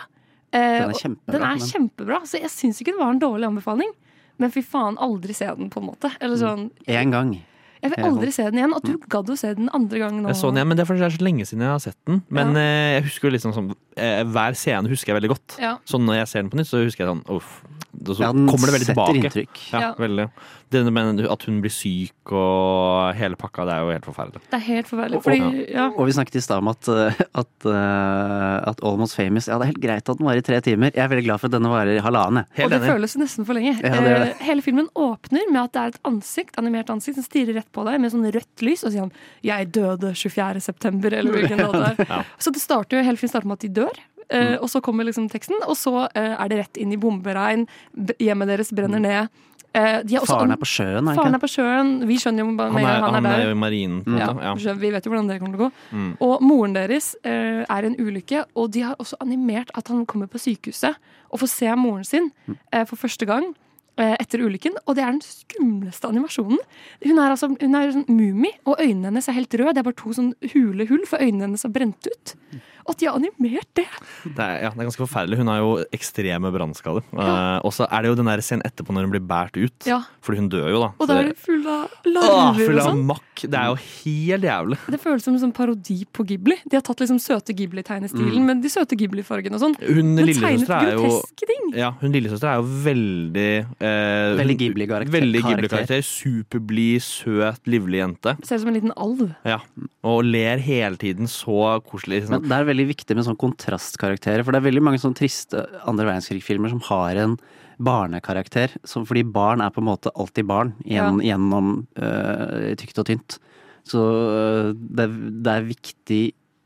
S2: Eh,
S3: Den er
S2: og
S3: kjempebra,
S2: Den er
S3: men-
S2: kjempebra så jeg syns ikke det var en dårlig anbefaling. Men fy faen, aldri se den, på en måte. Eller
S3: Mm.
S2: sånn,
S3: Én gang.
S2: jeg vil aldri se den igjen. At du
S3: Mm.
S2: gadd å se den andre gangen nå.
S5: Jeg så den igjen, men det er fordi det er så lenge siden jeg har sett den Men eh, jeg husker jo liksom sånn eh, Hver scene husker jeg veldig godt
S2: Ja.
S5: Så når jeg ser den på nytt så husker jeg sånn Uff og så
S3: Ja, den
S5: kommer det veldig
S3: setter
S5: tilbake
S3: inntrykk.
S5: Ja,
S2: Ja.
S5: veldig det, men At hun blir syk og hele pakka Det er jo helt forferdelig
S2: Det er helt forferdelig.
S3: Og-
S2: Fordi, ja.
S3: Og vi snakket i stad om at, eh, at, eh, at Almost Famous Ja, det er helt greit at den varer i tre timer. Jeg er veldig glad for at denne varer i halvannen. jeg.
S2: og det føles jo nesten for lenge.
S3: Ja, det gjør det.
S2: Eh, Hele filmen åpner med at det er et ansikt, animert ansikt som stirrer rett på deg med sånn rødt lys, og sier han 'Jeg døde 24. september', eller hvilken dag det er.
S5: Ja.
S2: Så det starter jo, hele filmen starter med at de dør. eh,
S3: Mm.
S2: Og så kommer liksom teksten, og så eh, er det rett inn i bomberegn. b- Hjemmet deres brenner ned. Eh, de har også
S3: Mm. Faren
S2: an-
S3: er på sjøen, er
S2: Faren
S3: han
S2: er
S3: ikke?
S2: på sjøen. Vi skjønner jo bare
S5: Han
S2: med
S5: er,
S2: en gang
S5: han er jo
S2: der.
S5: i
S3: Mm.
S5: marinen på en
S2: Ja,
S5: måte, ja.
S2: skjønner- vi vet jo hvordan det kommer til å gå.
S5: Mm.
S2: Og moren deres eh, er i en ulykke, og
S5: Mm.
S2: de har også animert at han kommer på sykehuset og får se moren sin eh, for første gang. Eh, eh, etter ulykken, og det er den skumleste animasjonen. Hun er altså hun er sånn mumie, og øynene hennes er helt røde. Det er bare to sånn hule hull, for øynene hennes har brent ut.
S5: Mm.
S2: Og at de har animert det!
S5: Det er, ja, det er ganske forferdelig. Hun har jo ekstreme brannskader. Eh, og så er det jo den der scenen etterpå når hun blir båret ut.
S2: Ja.
S5: Fordi hun dør jo, da.
S2: Og da er det full av
S5: Åh,
S2: larver
S5: full
S2: og
S5: av
S2: sånn.
S5: makk. Det er jo helt jævlig.
S2: Det føles som en sånn parodi på Ghibli. De har tatt liksom søte Ghibli-tegnestilen,
S5: Mm.
S2: men de søte Ghibli-fargene og sånn.
S5: Hun
S2: Men tegnet
S5: lillesøstera er jo
S2: groteske ting.
S5: Ja, hun lillesøstera er jo veldig eh,
S3: Veldig
S5: hun-
S3: Ghibli-karakter-
S5: Veldig Ghibli-karakter.
S3: karakter.
S5: Superblid, søt, livlig jente.
S2: Ser ut som en liten alv.
S5: Ja, Og ler hele tiden. Så koselig.
S3: Men
S5: Sånn.
S3: det er veldig viktig med sånn kontrastkarakterer, for det er veldig mange sånn triste andre verdenskrig-filmer som har en barnekarakter, som, fordi barn er på en måte alltid barn gjennom, gjennom øh, tykt og tynt. Så øh, det, er- det er viktig,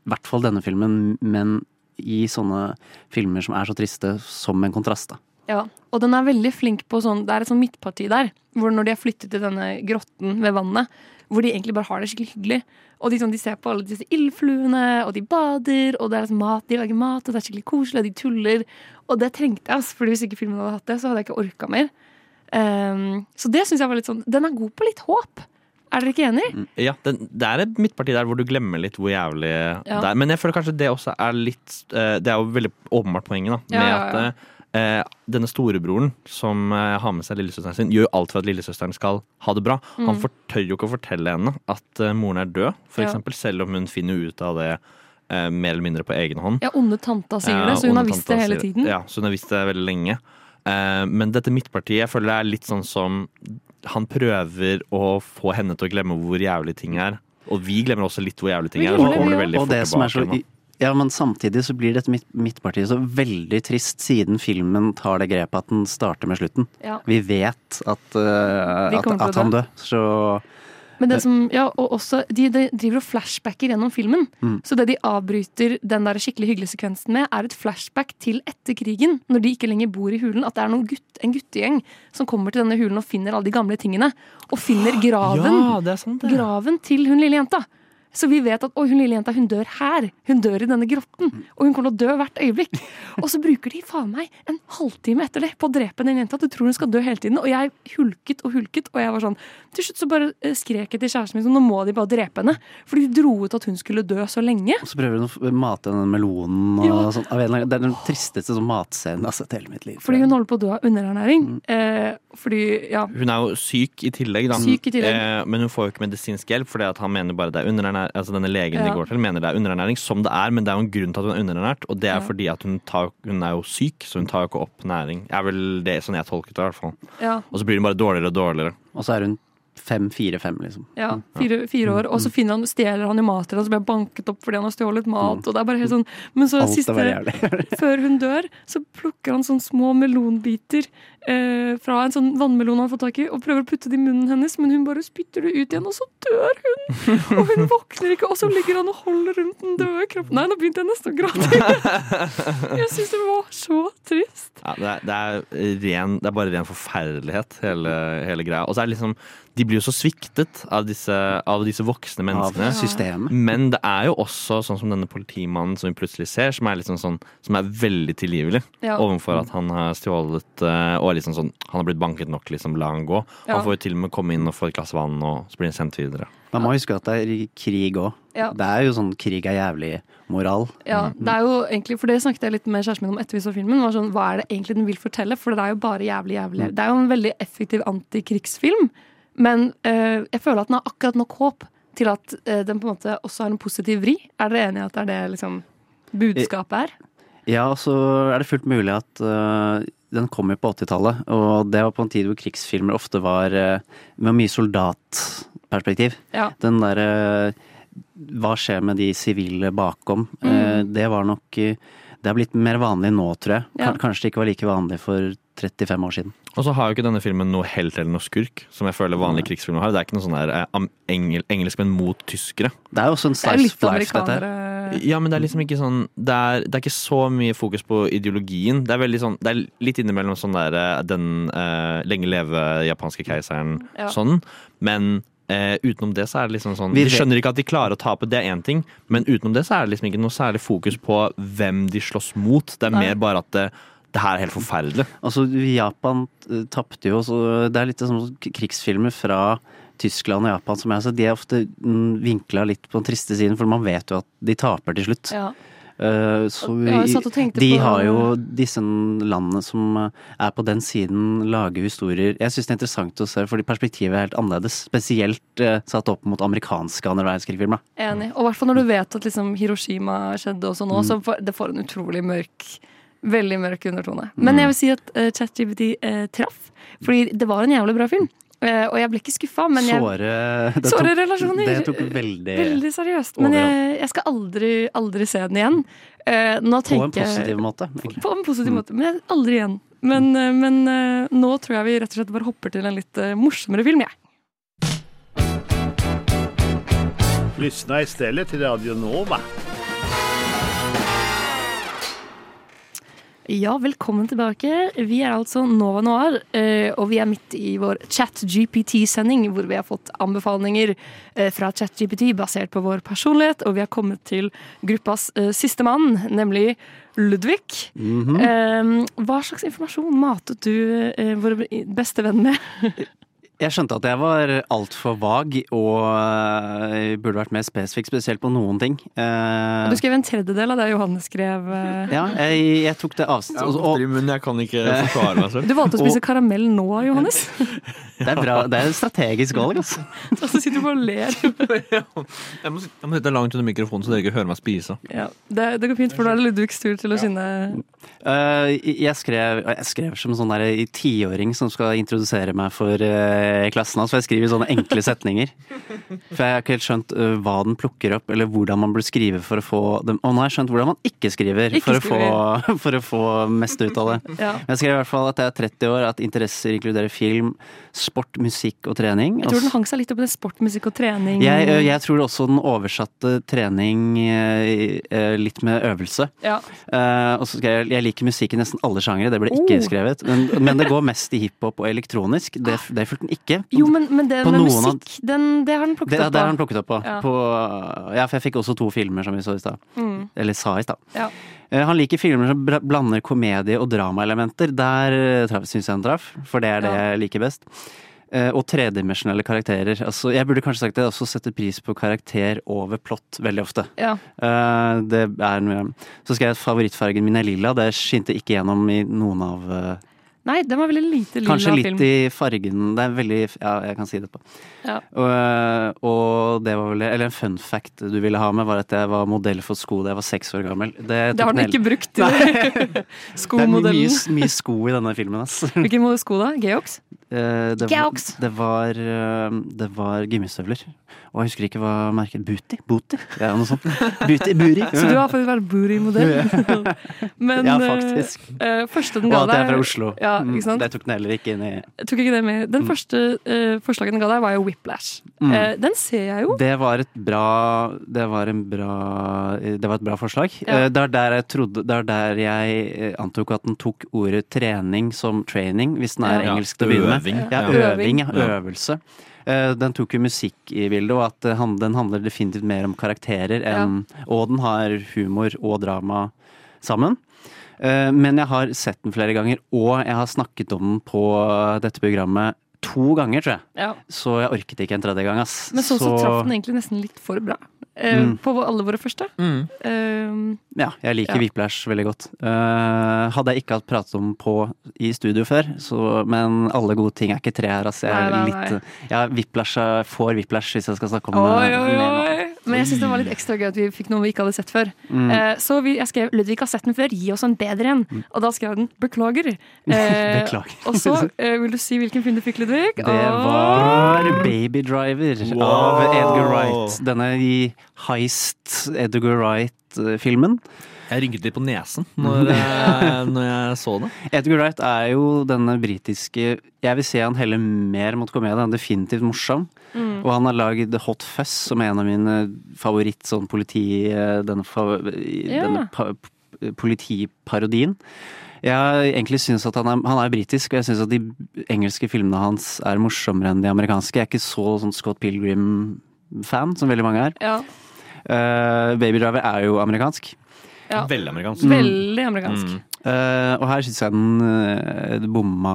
S3: i hvert fall denne filmen, men i sånne filmer som er så triste, som en kontrast, da.
S2: Ja, og den er veldig flink på sånn Det er et sånn midtparti der, hvor når de har flyttet til denne grotten ved vannet, hvor de egentlig bare har det skikkelig hyggelig. Og de, sånn, de ser på alle disse ildfluene, og de bader, og det er sånn mat, de lager mat, og det er skikkelig koselig, og de tuller. Og det trengte jeg, altså, fordi hvis ikke filmen hadde hatt det, så hadde jeg ikke orka mer. Ehm, så det syns jeg var litt sånn Den er god på litt håp. Er dere ikke enig?
S5: Ja, den, Det er et midtparti der hvor du glemmer litt hvor jævlig
S2: Ja.
S5: det er. Men jeg føler kanskje det også er litt eh, Det er jo veldig åpenbart poenget, da.
S2: Ja,
S5: Med
S2: ja, ja.
S5: at eh, denne storebroren som eh, har med seg lillesøsteren sin, gjør jo alt for at lillesøsteren skal ha det bra. Han
S13: Mm.
S5: for, tør jo ikke å fortelle henne at eh, moren er død, for
S2: Ja.
S5: eksempel, selv om hun finner ut av det eh, mer eller mindre på egen hånd.
S2: Ja, onde tanta sier
S5: Ja,
S2: det, så hun
S5: onde
S2: har visst det
S5: tanta
S2: hele
S5: sier-
S2: tiden.
S5: Ja, så hun har visst det veldig lenge. Eh, Men dette midtpartiet jeg føler det er litt sånn som han prøver å få henne til å glemme hvor jævlig ting er. Og vi glemmer også litt hvor jævlig ting
S2: Vi
S5: er.
S2: gjorde
S5: Og så
S2: det,
S5: kommer det
S2: vi
S5: veldig
S3: og
S5: fort
S3: det som er så,
S5: tilbake. igjen,
S3: ja, men samtidig så blir dette midt, midtpartiet så veldig trist, siden filmen tar det grepet at den starter med slutten.
S2: Ja.
S3: Vi vet at, eh,
S2: Vi
S3: at,
S2: kommer til å
S3: at han
S2: dø.
S3: dør, så
S2: Men det som, ja, og også, de, de driver og flashbacker gjennom filmen.
S3: Mm.
S2: Så det de avbryter den der skikkelig hyggelige sekvensen med, er et flashback til etter krigen, når de ikke lenger bor i hulen. At det er noen gutt, en guttegjeng som kommer til denne hulen og finner alle de gamle tingene. Og finner graven,
S5: Ja, det er sant, det.
S2: graven til hun lille jenta. Så vi vet at «Oi, hun lille jenta hun dør her. Hun dør i denne grotten. Og hun kommer til å dø hvert øyeblikk. Og så bruker de faen meg en halvtime etter det på å drepe den jenta. Du tror hun skal dø hele tiden. Og jeg hulket og hulket. Og jeg var sånn Til slutt så bare eh, skrek jeg til kjæresten min sånn Nå må de bare drepe henne. Fordi de dro ut at hun skulle dø så lenge.
S3: så prøver hun å f- mate den melonen og
S2: Ja.
S3: sånn. Av en eller annen- Det er den tristeste sånn matscenen jeg har sett i hele mitt liv.
S2: Fordi hun holder på å dø av underernæring.
S3: Mm.
S2: Eh, fordi, ja.
S5: Hun er jo syk i tillegg, da.
S2: Syk i tillegg.
S5: Eh, men hun får jo ikke medisinsk hjelp, fordi at han mener bare det er underernæring. Altså denne legen
S2: Ja.
S5: de går til, mener det er underernæring, som det er, men det er jo en grunn til at hun er underernært, og det
S2: Ja.
S5: er fordi at hun, tar, hun er jo syk, så hun tar jo ikke opp næring. Er vel det sånn jeg tolket det, i hvert fall.
S2: Ja.
S5: Og så blir hun bare dårligere og dårligere.
S3: Og så er hun fem, fire, fem, liksom.
S2: Ja, fire, fire år.
S3: Mm.
S2: Og så finner han, stjeler han jo mat til henne, så blir han banket opp fordi han har stjålet mat. Og det er bare helt sånn Men så
S3: Mm. Alt er bare
S2: siste, før hun dør, så plukker han sånne små melonbiter eh, fra en sånn vannmelon han har fått tak i, og prøver å putte det i munnen hennes, men hun bare spytter det ut igjen, og så dør hun! Og hun våkner ikke, og så ligger han og holder rundt den døde kroppen Nei, nå begynte jeg nesten å gråte. Jeg syns det var så trist.
S5: Ja, det, er, det, er ren, det er bare ren forferdelighet, hele, hele greia. Og så er det liksom De blir jo så sviktet av disse, av disse voksne menneskene.
S3: Av systemet.
S5: Men det er jo også sånn som denne politimannen som vi plutselig ser, som er, liksom sånn, som er veldig tilgivelig
S13: Ja.
S5: overfor at han har stjålet eh, og er liksom sånn, han har blitt banket nok, liksom, la han gå.
S2: Ja.
S5: Han får jo til og med komme inn og få et glass vann, og så blir han sendt videre.
S3: Man må huske at det er i krig òg.
S2: Ja.
S3: Det er jo sånn krig er jævlig-moral.
S2: Ja, det er jo egentlig, for det snakket jeg litt med kjæresten min om etter vi så filmen. var sånn, Hva er det egentlig den vil fortelle? For det er jo bare jævlig, jævlig. Det er jo en veldig effektiv antikrigsfilm. Men eh, jeg føler at den har akkurat nok håp til at eh, den på en måte også har en positiv vri. Er dere enige i at det er det liksom budskapet er?
S3: Ja, og så er det fullt mulig at øh, den kom jo på 80-tallet, og det var på en tid hvor krigsfilmer ofte var øh, med mye soldatperspektiv.
S2: Ja.
S3: Den derre Hva skjer med de sivile bakom?
S2: Mm.
S3: Eh, det var nok øh, Det har blitt mer vanlig nå, tror jeg.
S2: Ja.
S3: Kan- Kanskje det ikke var like vanlig for 35 år siden.
S5: Og så har jo ikke denne filmen noe helt eller noe skurk, som jeg føler vanlige krigsfilmer har. Det er ikke noe sånn der eh, am- engel, engelskmenn mot tyskere.
S3: Det er jo sånn også en
S2: Det er jo slice litt of life, dette her. amerikanere-
S5: Ja, men det er liksom ikke sånn det er, det er ikke så mye fokus på ideologien. Det er veldig sånn Det er litt innimellom sånn der eh, den eh, lenge leve japanske keiseren
S13: Ja.
S5: sånn, men eh, utenom det så er det liksom sånn
S3: Vi
S5: De
S3: vet-
S5: skjønner ikke at de klarer å tape, det er én ting, men utenom det så er det liksom ikke noe særlig fokus på hvem de slåss mot. Det er
S3: Nei.
S5: mer bare at det, Det her er helt forferdelig.
S3: Altså, Japan eh, tapte jo, så det er litt sånn som krigsfilmer fra Tyskland og Japan som jeg har sett. De er ofte mm, vinkla litt på den triste siden, for man vet jo at de taper til slutt.
S2: Ja.
S3: Eh, så
S2: Og jeg har satt og
S3: i-
S2: tenkte
S3: de
S2: på-
S3: har jo disse landene som eh, er på den siden, lager historier Jeg syns det er interessant å se, fordi perspektivet er helt annerledes. Spesielt eh, satt opp mot amerikanske andre verdenskrig-filmer.
S2: Enig. Og i hvert fall når du vet at liksom, Hiroshima skjedde også nå,
S3: Mm.
S2: så får, det får en utrolig mørk Veldig mørk undertone. Men
S3: Mm.
S2: jeg vil si at uh, ChatGPT eh, traff. Fordi det var en jævlig bra film. Eh, og jeg ble ikke skuffa, men jeg
S3: Såre det
S2: Såre
S3: tok-
S2: relasjoner.
S3: Det tok veldig,
S2: Veldig seriøst. Men jeg, jeg skal aldri, aldri se den igjen. Eh, nå
S3: På en
S2: tenker jeg-
S3: positiv måte. Mm. egentlig.
S2: På en positiv måte. Men jeg, aldri igjen. Men, eh, men eh, nå tror jeg vi rett og slett bare hopper til en litt eh, morsommere film, jeg.
S1: Lyssna istället till Radio Nova.
S2: Ja, velkommen tilbake. Vi er altså Nova Noir, eh, og vi er midt i vår ChatGPT-sending, hvor vi har fått anbefalinger eh, fra ChatGPT basert på vår personlighet, og vi har kommet til gruppas eh, siste mann, nemlig Ludvig.
S3: Mhm.
S2: Eh, Hva slags informasjon matet du eh, vår beste venn med?
S3: Jeg skjønte at jeg var altfor vag og eh, burde vært mer spesifikk, spesielt på noen ting. Eh,
S2: Du skrev en tredjedel av det Johanne skrev. eh.
S3: Ja, jeg, jeg tok det avstand.
S5: i munnen, jeg kan ikke forsvare meg selv.
S2: Du valgte å spise karamell nå, Johannes.
S3: Det er bra. Det er en strategisk valg, altså.
S2: Og så sitter du bare og ler.
S5: Jeg må, sit- jeg må sitte langt under mikrofonen så dere ikke hører meg spise.
S2: Ja, det, det går fint, for nå er det Ludvigs tur til å skinne.
S3: Eh, jeg, skrev, jeg skrev som en sånn der i tiåring som skal introdusere meg for eh, klassen hans. For jeg skriver sånne enkle setninger. For jeg har ikke helt skjønt eh, hva den plukker opp, eller hvordan man burde skrive for å få dem. Og nå har jeg skjønt hvordan man ikke skriver,
S13: Ikke
S3: for, Å få, for å få mest ut av det.
S13: Ja.
S3: Men Jeg skrev i hvert fall at jeg er 30 år, at interesser inkluderer film, sport, musikk og trening.
S2: Jeg tror den hang seg litt opp i det sport, musikk og trening.
S3: Jeg, eh, jeg tror også den oversatte trening eh, eh, litt med øvelse.
S2: Ja.
S3: Eh, og så skrev jeg jeg liker musikk i nesten alle sjangere, det ble ikke
S2: Oh.
S3: skrevet. Men, men det går mest i hiphop og elektronisk. Det, det fulgte den ikke.
S2: Ah. Jo, men, men det
S3: På
S2: med
S3: noen av-
S2: musikk, den, det har den
S3: Det,
S2: plukket
S3: det
S2: opp. da.
S3: har han plukket opp på.
S2: Ja.
S3: på. Ja, for jeg fikk også to filmer som vi så i stad.
S2: Mm.
S3: Eller sa i stad.
S2: Ja.
S3: Eh, Han liker filmer som bra- blander komedie og dramaelementer. Der syns jeg han traff, for det er det jeg liker best. Eh, Og tredimensjonelle karakterer. Altså, jeg burde kanskje sagt det, jeg også setter pris på karakter over plott veldig ofte.
S2: Ja.
S3: Eh, Det er noe Så skal jeg favorittfargen min er lilla. Det skinte ikke gjennom i noen av eh,
S2: Nei, den var veldig lite lilla
S3: Kanskje litt
S2: film.
S3: i fargen Det er veldig Ja, jeg kan si det på.
S2: Ja.
S3: Og, eh, og det var vel Eller en fun fact du ville ha med, var at jeg var modell for sko da jeg var seks år gammel. Det, tok
S2: Det har den
S3: hele-
S2: ikke brukt.
S3: Det er mye,
S2: Skomodellen.
S3: mye sko i denne filmen, ass.
S2: Hvilken modell sko da? Geox?
S3: Eh, Det var,
S2: Geox.
S3: det var, eh, det var gummistøvler. Og jeg husker ikke hva merket Booty? Booty? Ja, noe sånt. Booty, Buri.
S2: Så du har faktisk vært booty-modell. Men
S3: Ja,
S2: eh,
S3: faktisk.
S2: eh, første den
S3: Og
S2: ga
S3: at jeg er
S2: deg
S3: fra Oslo.
S2: Ja,
S3: Mm,
S2: ikke sant?
S3: Det tok den heller ikke inn i
S2: Jeg tok ikke det med. Den første eh, forslaget den ga deg, var jo Whiplash.
S3: Mm.
S2: Eh, den ser jeg jo.
S3: Det var et bra Det var, en bra, det var et bra forslag.
S2: Ja.
S3: Eh, Det er der jeg trodde Det er der jeg eh, antok at den tok ordet trening som training, hvis den er
S5: Ja.
S3: engelsk til å begynne
S5: Øving.
S3: med. Ja,
S5: Ja.
S3: øving. Ja,
S5: Ja.
S3: øvelse. Eh, Den tok jo musikk i bildet, og at eh, han- den handler definitivt mer om karakterer enn Og den har humor og drama sammen. Eh, Men jeg har sett den flere ganger, og jeg har snakket om den på eh, dette programmet to ganger, tror jeg.
S2: Ja.
S3: Så jeg orket ikke en tredje gang, ass.
S2: Men sånn så, traff den egentlig nesten litt for bra. Eh,
S3: Mm.
S2: På alle våre første. Eh,
S3: Ja, jeg liker
S2: Ja.
S3: Whiplash veldig godt. Eh, hadde jeg ikke hatt pratet om på i studio før, så Men alle gode ting er ikke tre her, ass. Jeg er
S2: Nei, nei,
S3: litt
S2: nei.
S3: Ja, whiplash er- får whiplash hvis jeg skal snakke om
S2: Oi,
S3: eh,
S2: oi,
S3: mer nå.
S2: oi. Men jeg syns det var litt ekstra gøy at vi fikk noe vi ikke hadde sett før.
S3: Mm.
S2: Eh, så vi, jeg skrev 'Ludvig har sett den før, gi oss en bedre en'. Og da skrev den 'beklager'. Eh,
S3: Beklager.
S2: og så eh, vil du si hvilken film du fikk, Ludvig?
S3: Det
S2: Og-
S3: var Baby Driver
S5: Wow.
S3: av Edgar Wright. Denne i Heist Edgar Wright-filmen.
S5: Jeg rynket litt på nesen når, eh, når jeg så det.
S3: Edgar Wright er jo denne britiske Jeg vil si han heller mer mot komedie. Han er definitivt morsom.
S5: Mm.
S3: Og han har lagd Hot Fuzz, som er en av mine favoritt sånn politi... Denne, fa, denne pa, politiparodien. Jeg har egentlig synes at han er, han er britisk, og jeg syns at de engelske filmene hans er morsommere enn de amerikanske. Jeg er ikke så sånn Scott Pilgrim-fan, som veldig mange er.
S2: Ja.
S3: Eh, Baby Driver er jo amerikansk.
S2: ja.
S5: Veldig amerikansk.
S3: Mm.
S2: Veldig amerikansk.
S3: Mm. Eh, og her syns jeg den eh, bomma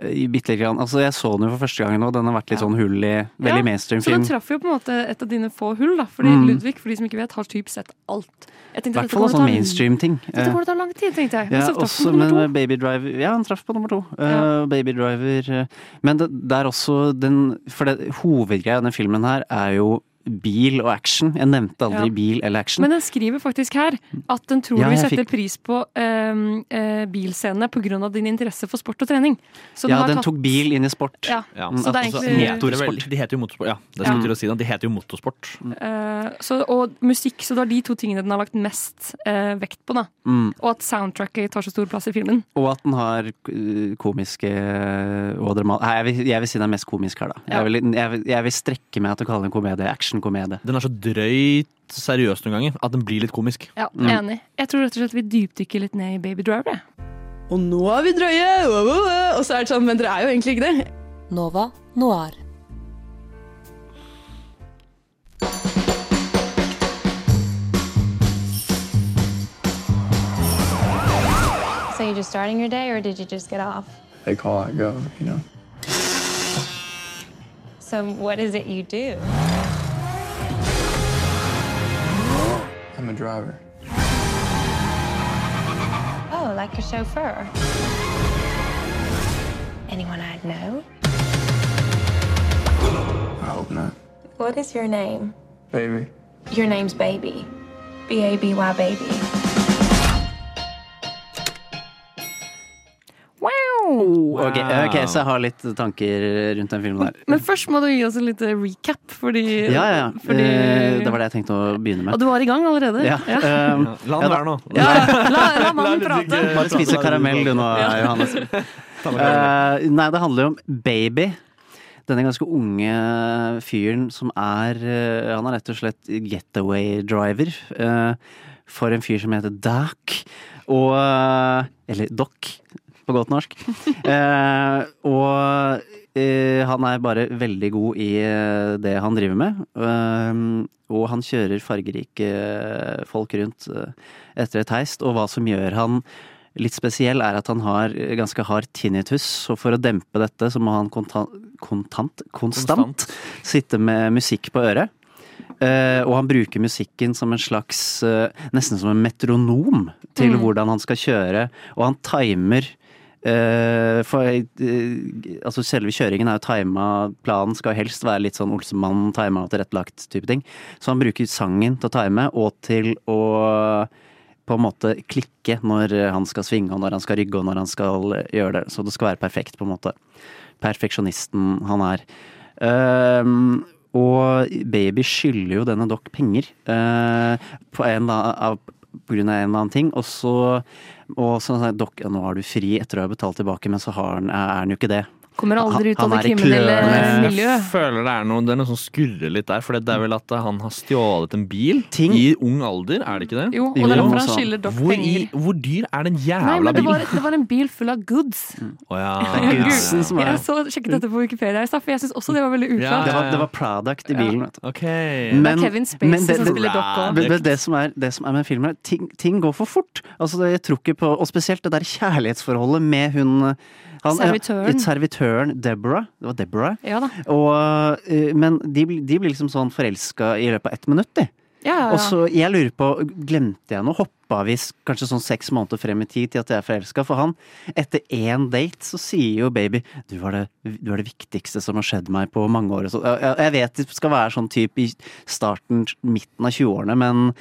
S3: eh, i bitte lite grann. Altså, jeg så den jo for første gang nå. Den har vært litt sånn hull i Veldig mainstream
S2: Så
S3: film.
S2: den traff jo på en måte et av dine få hull, da. Fordi
S3: Mm.
S2: Ludvig, for de som ikke vet, har typ sett alt. Jeg
S3: I
S2: tenkte,
S3: hvert
S2: dette
S3: fall
S2: kommer
S3: sånn
S2: til å ta-
S3: mainstream-ting.
S2: Dette kommer til å ta lang tid, tenkte jeg. Men
S3: Ja,
S2: så traff
S3: også,
S2: den på
S3: men eh,
S2: nummer to.
S3: Baby Driver Ja, han traff på nummer to. Eh, Baby Driver eh, Men det, det er også den For det, hovedgreia i denne filmen her er jo bil og action. Jeg nevnte aldri
S2: Ja.
S3: bil eller action.
S2: Men den skriver faktisk her at den tror
S3: Ja,
S2: du
S3: jeg
S2: setter
S3: fikk-
S2: pris på um, uh, bilscenene pga. din interesse for sport og trening. Så
S3: ja,
S2: har
S3: den
S2: tatt-
S3: tok bil inn i sport.
S2: Ja, så det er
S5: Altså,
S2: egentlig
S5: motorsport. Mm. De heter jo motorsport. Ja, det
S2: Ja.
S5: skulle til å si det. De heter jo motorsport.
S2: eh, så, Og musikk, så det er de to tingene den har lagt mest eh, vekt på. da
S3: Mm.
S2: Og at soundtracket tar så stor plass i filmen.
S3: Og at den har eh, komiske og drama... Nei, jeg vil, jeg vil si den er mest komisk her, da.
S2: Ja.
S3: Jeg, vil, jeg, vil, jeg vil strekke meg til å kalle den komedie. Actionkomedie.
S5: Den er så drøyt seriøs noen ganger at den blir litt komisk.
S2: Ja,
S5: Mm.
S2: Enig. Jeg tror rett og slett vi dypdykker litt ned i Baby Driver. jeg.
S13: Og nå er vi drøye! wow, wow, wow. Og så er det sånn, men dere er jo egentlig ikke det. Nova Noir.
S14: So you're just starting your day, or did you just get off?
S15: They call, I go, you know.
S14: So what is it you do?
S15: I'm a driver.
S14: Oh, like a chauffeur. Anyone I'd know?
S15: I hope not.
S14: What is your name?
S15: Baby.
S14: Your name's Baby. B A B Y Baby.
S2: Wow!
S3: Ok, ok, så jeg har litt tanker rundt den filmen der.
S2: Men først må du gi oss en liten recap, fordi,
S3: Ja, ja.
S2: fordi
S3: eh, Det var det jeg tenkte å begynne
S2: Og
S3: med.
S2: du var i gang allerede?
S3: Ja, ehm,
S5: La
S3: ja da.
S5: den være nå.
S3: Ja,
S2: La, la mannen prate.
S3: Bare spise karamell du nå, Johannes. Eh, nei, det handler jo om Baby. Denne ganske unge fyren som er eh, Han er rett og slett getaway-driver eh, for en fyr som heter Doc. Og eh, Eller Doc, på godt norsk. Eh, og eh, han er bare veldig god i eh, det han driver med. Eh, og han kjører fargerike folk rundt eh, etter et heist, og hva som gjør han litt spesiell, er at han har eh, ganske hard tinnitus, og for å dempe dette så må han kontant, kontant konstant, sitte med musikk på øret. Eh, og han bruker musikken som en slags eh, Nesten som en metronom til
S16: Mm.
S3: hvordan han skal kjøre, og han timer eh, for eh, altså selve kjøringen er jo tima, planen skal helst være litt sånn Olsemann, tima og tilrettelagt type ting. Så han bruker sangen til å time, og til å på en måte klikke når eh, han skal svinge, og når han skal rygge, og når han skal eh, gjøre det. Så det skal være perfekt, på en måte. Perfeksjonisten han er. Ehm, og Baby skylder jo denne Doc penger eh, på, en, eller annen- av, på grunn av en eller annen ting. Og så og så sier han, Doc, ja, nå har du fri etter å ha betalt tilbake, men så har han, er han jo ikke det.
S2: Kommer aldri ut av
S3: Han- han
S2: det
S3: er i
S2: kriminelle
S3: klørne.
S2: miljøet.
S5: Jeg føler det er noe, det er noe som skurrer litt der. For det er vel at han har stjålet en bil i ung alder, er det ikke det?
S2: Jo, altså, og det er Jo, derfor han skylder Doc
S5: hvor, i,
S2: penger.
S5: hvor dyr er den
S2: Nei,
S5: jævla
S2: men det var,
S5: bilen?
S2: det var en bil full av goods.
S5: Å ja.
S2: Gud, Mm. Jeg så sjekket dette på Wikipedia i stad, for jeg syns også det var veldig uklart.
S3: Det, var, det var product i bilen. vet du.
S2: Det er Kevin Spacey som spiller dokka.
S3: Men det, det, som er, det som er med filmen, er ting, ting går for fort. Altså, det, jeg tror ikke på, og spesielt det der kjærlighetsforholdet med hun han,
S2: Servitøren.
S3: Ja, servitøren Deborah. Det var Deborah.
S2: Ja da.
S3: Og, eh, men de, blir- de blir liksom sånn forelska i løpet av ett minutt, de.
S2: Ja, ja, ja.
S3: Og så jeg lurer på, glemte jeg noe? Hoppa vi s- kanskje sånn seks måneder frem i tid til at jeg er forelska? For han, etter én date, så sier jo baby du var, det, du var det viktigste som har skjedd meg på mange år. og så- Jeg, jeg- jeg vet det skal være sånn type i starten, midten av 20-årene, men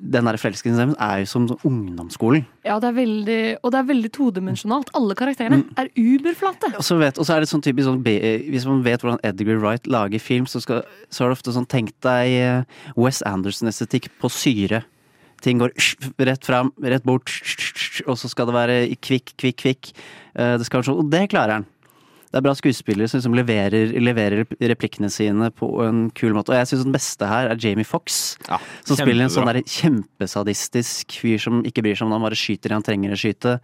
S3: den der forelskelsen deres er jo som sånn ungdomsskolen.
S2: Ja, det er veldig, og det er veldig todimensjonalt. Alle karakterene er uberflate.
S3: Og så, vet, og så er det sånn typisk sånn B- eh, Hvis man vet hvordan Edgar Wright lager film, så, skal, så er det ofte sånn Tenk deg eh, Wes Anderson-estetikk på syre. Ting går rett fram, rett bort, og så skal det være kvikk, kvikk, kvikk. Eh, Det skal være sånn, og det klarer han. Det er bra skuespillere som liksom leverer, leverer replikkene sine på en kul måte. Og jeg syns den beste her er Jamie Fox. som
S5: kjempebra.
S3: spiller en sånn der kjempesadistisk fyr som ikke bryr seg om det. Han bare skyter det han trenger å skyte.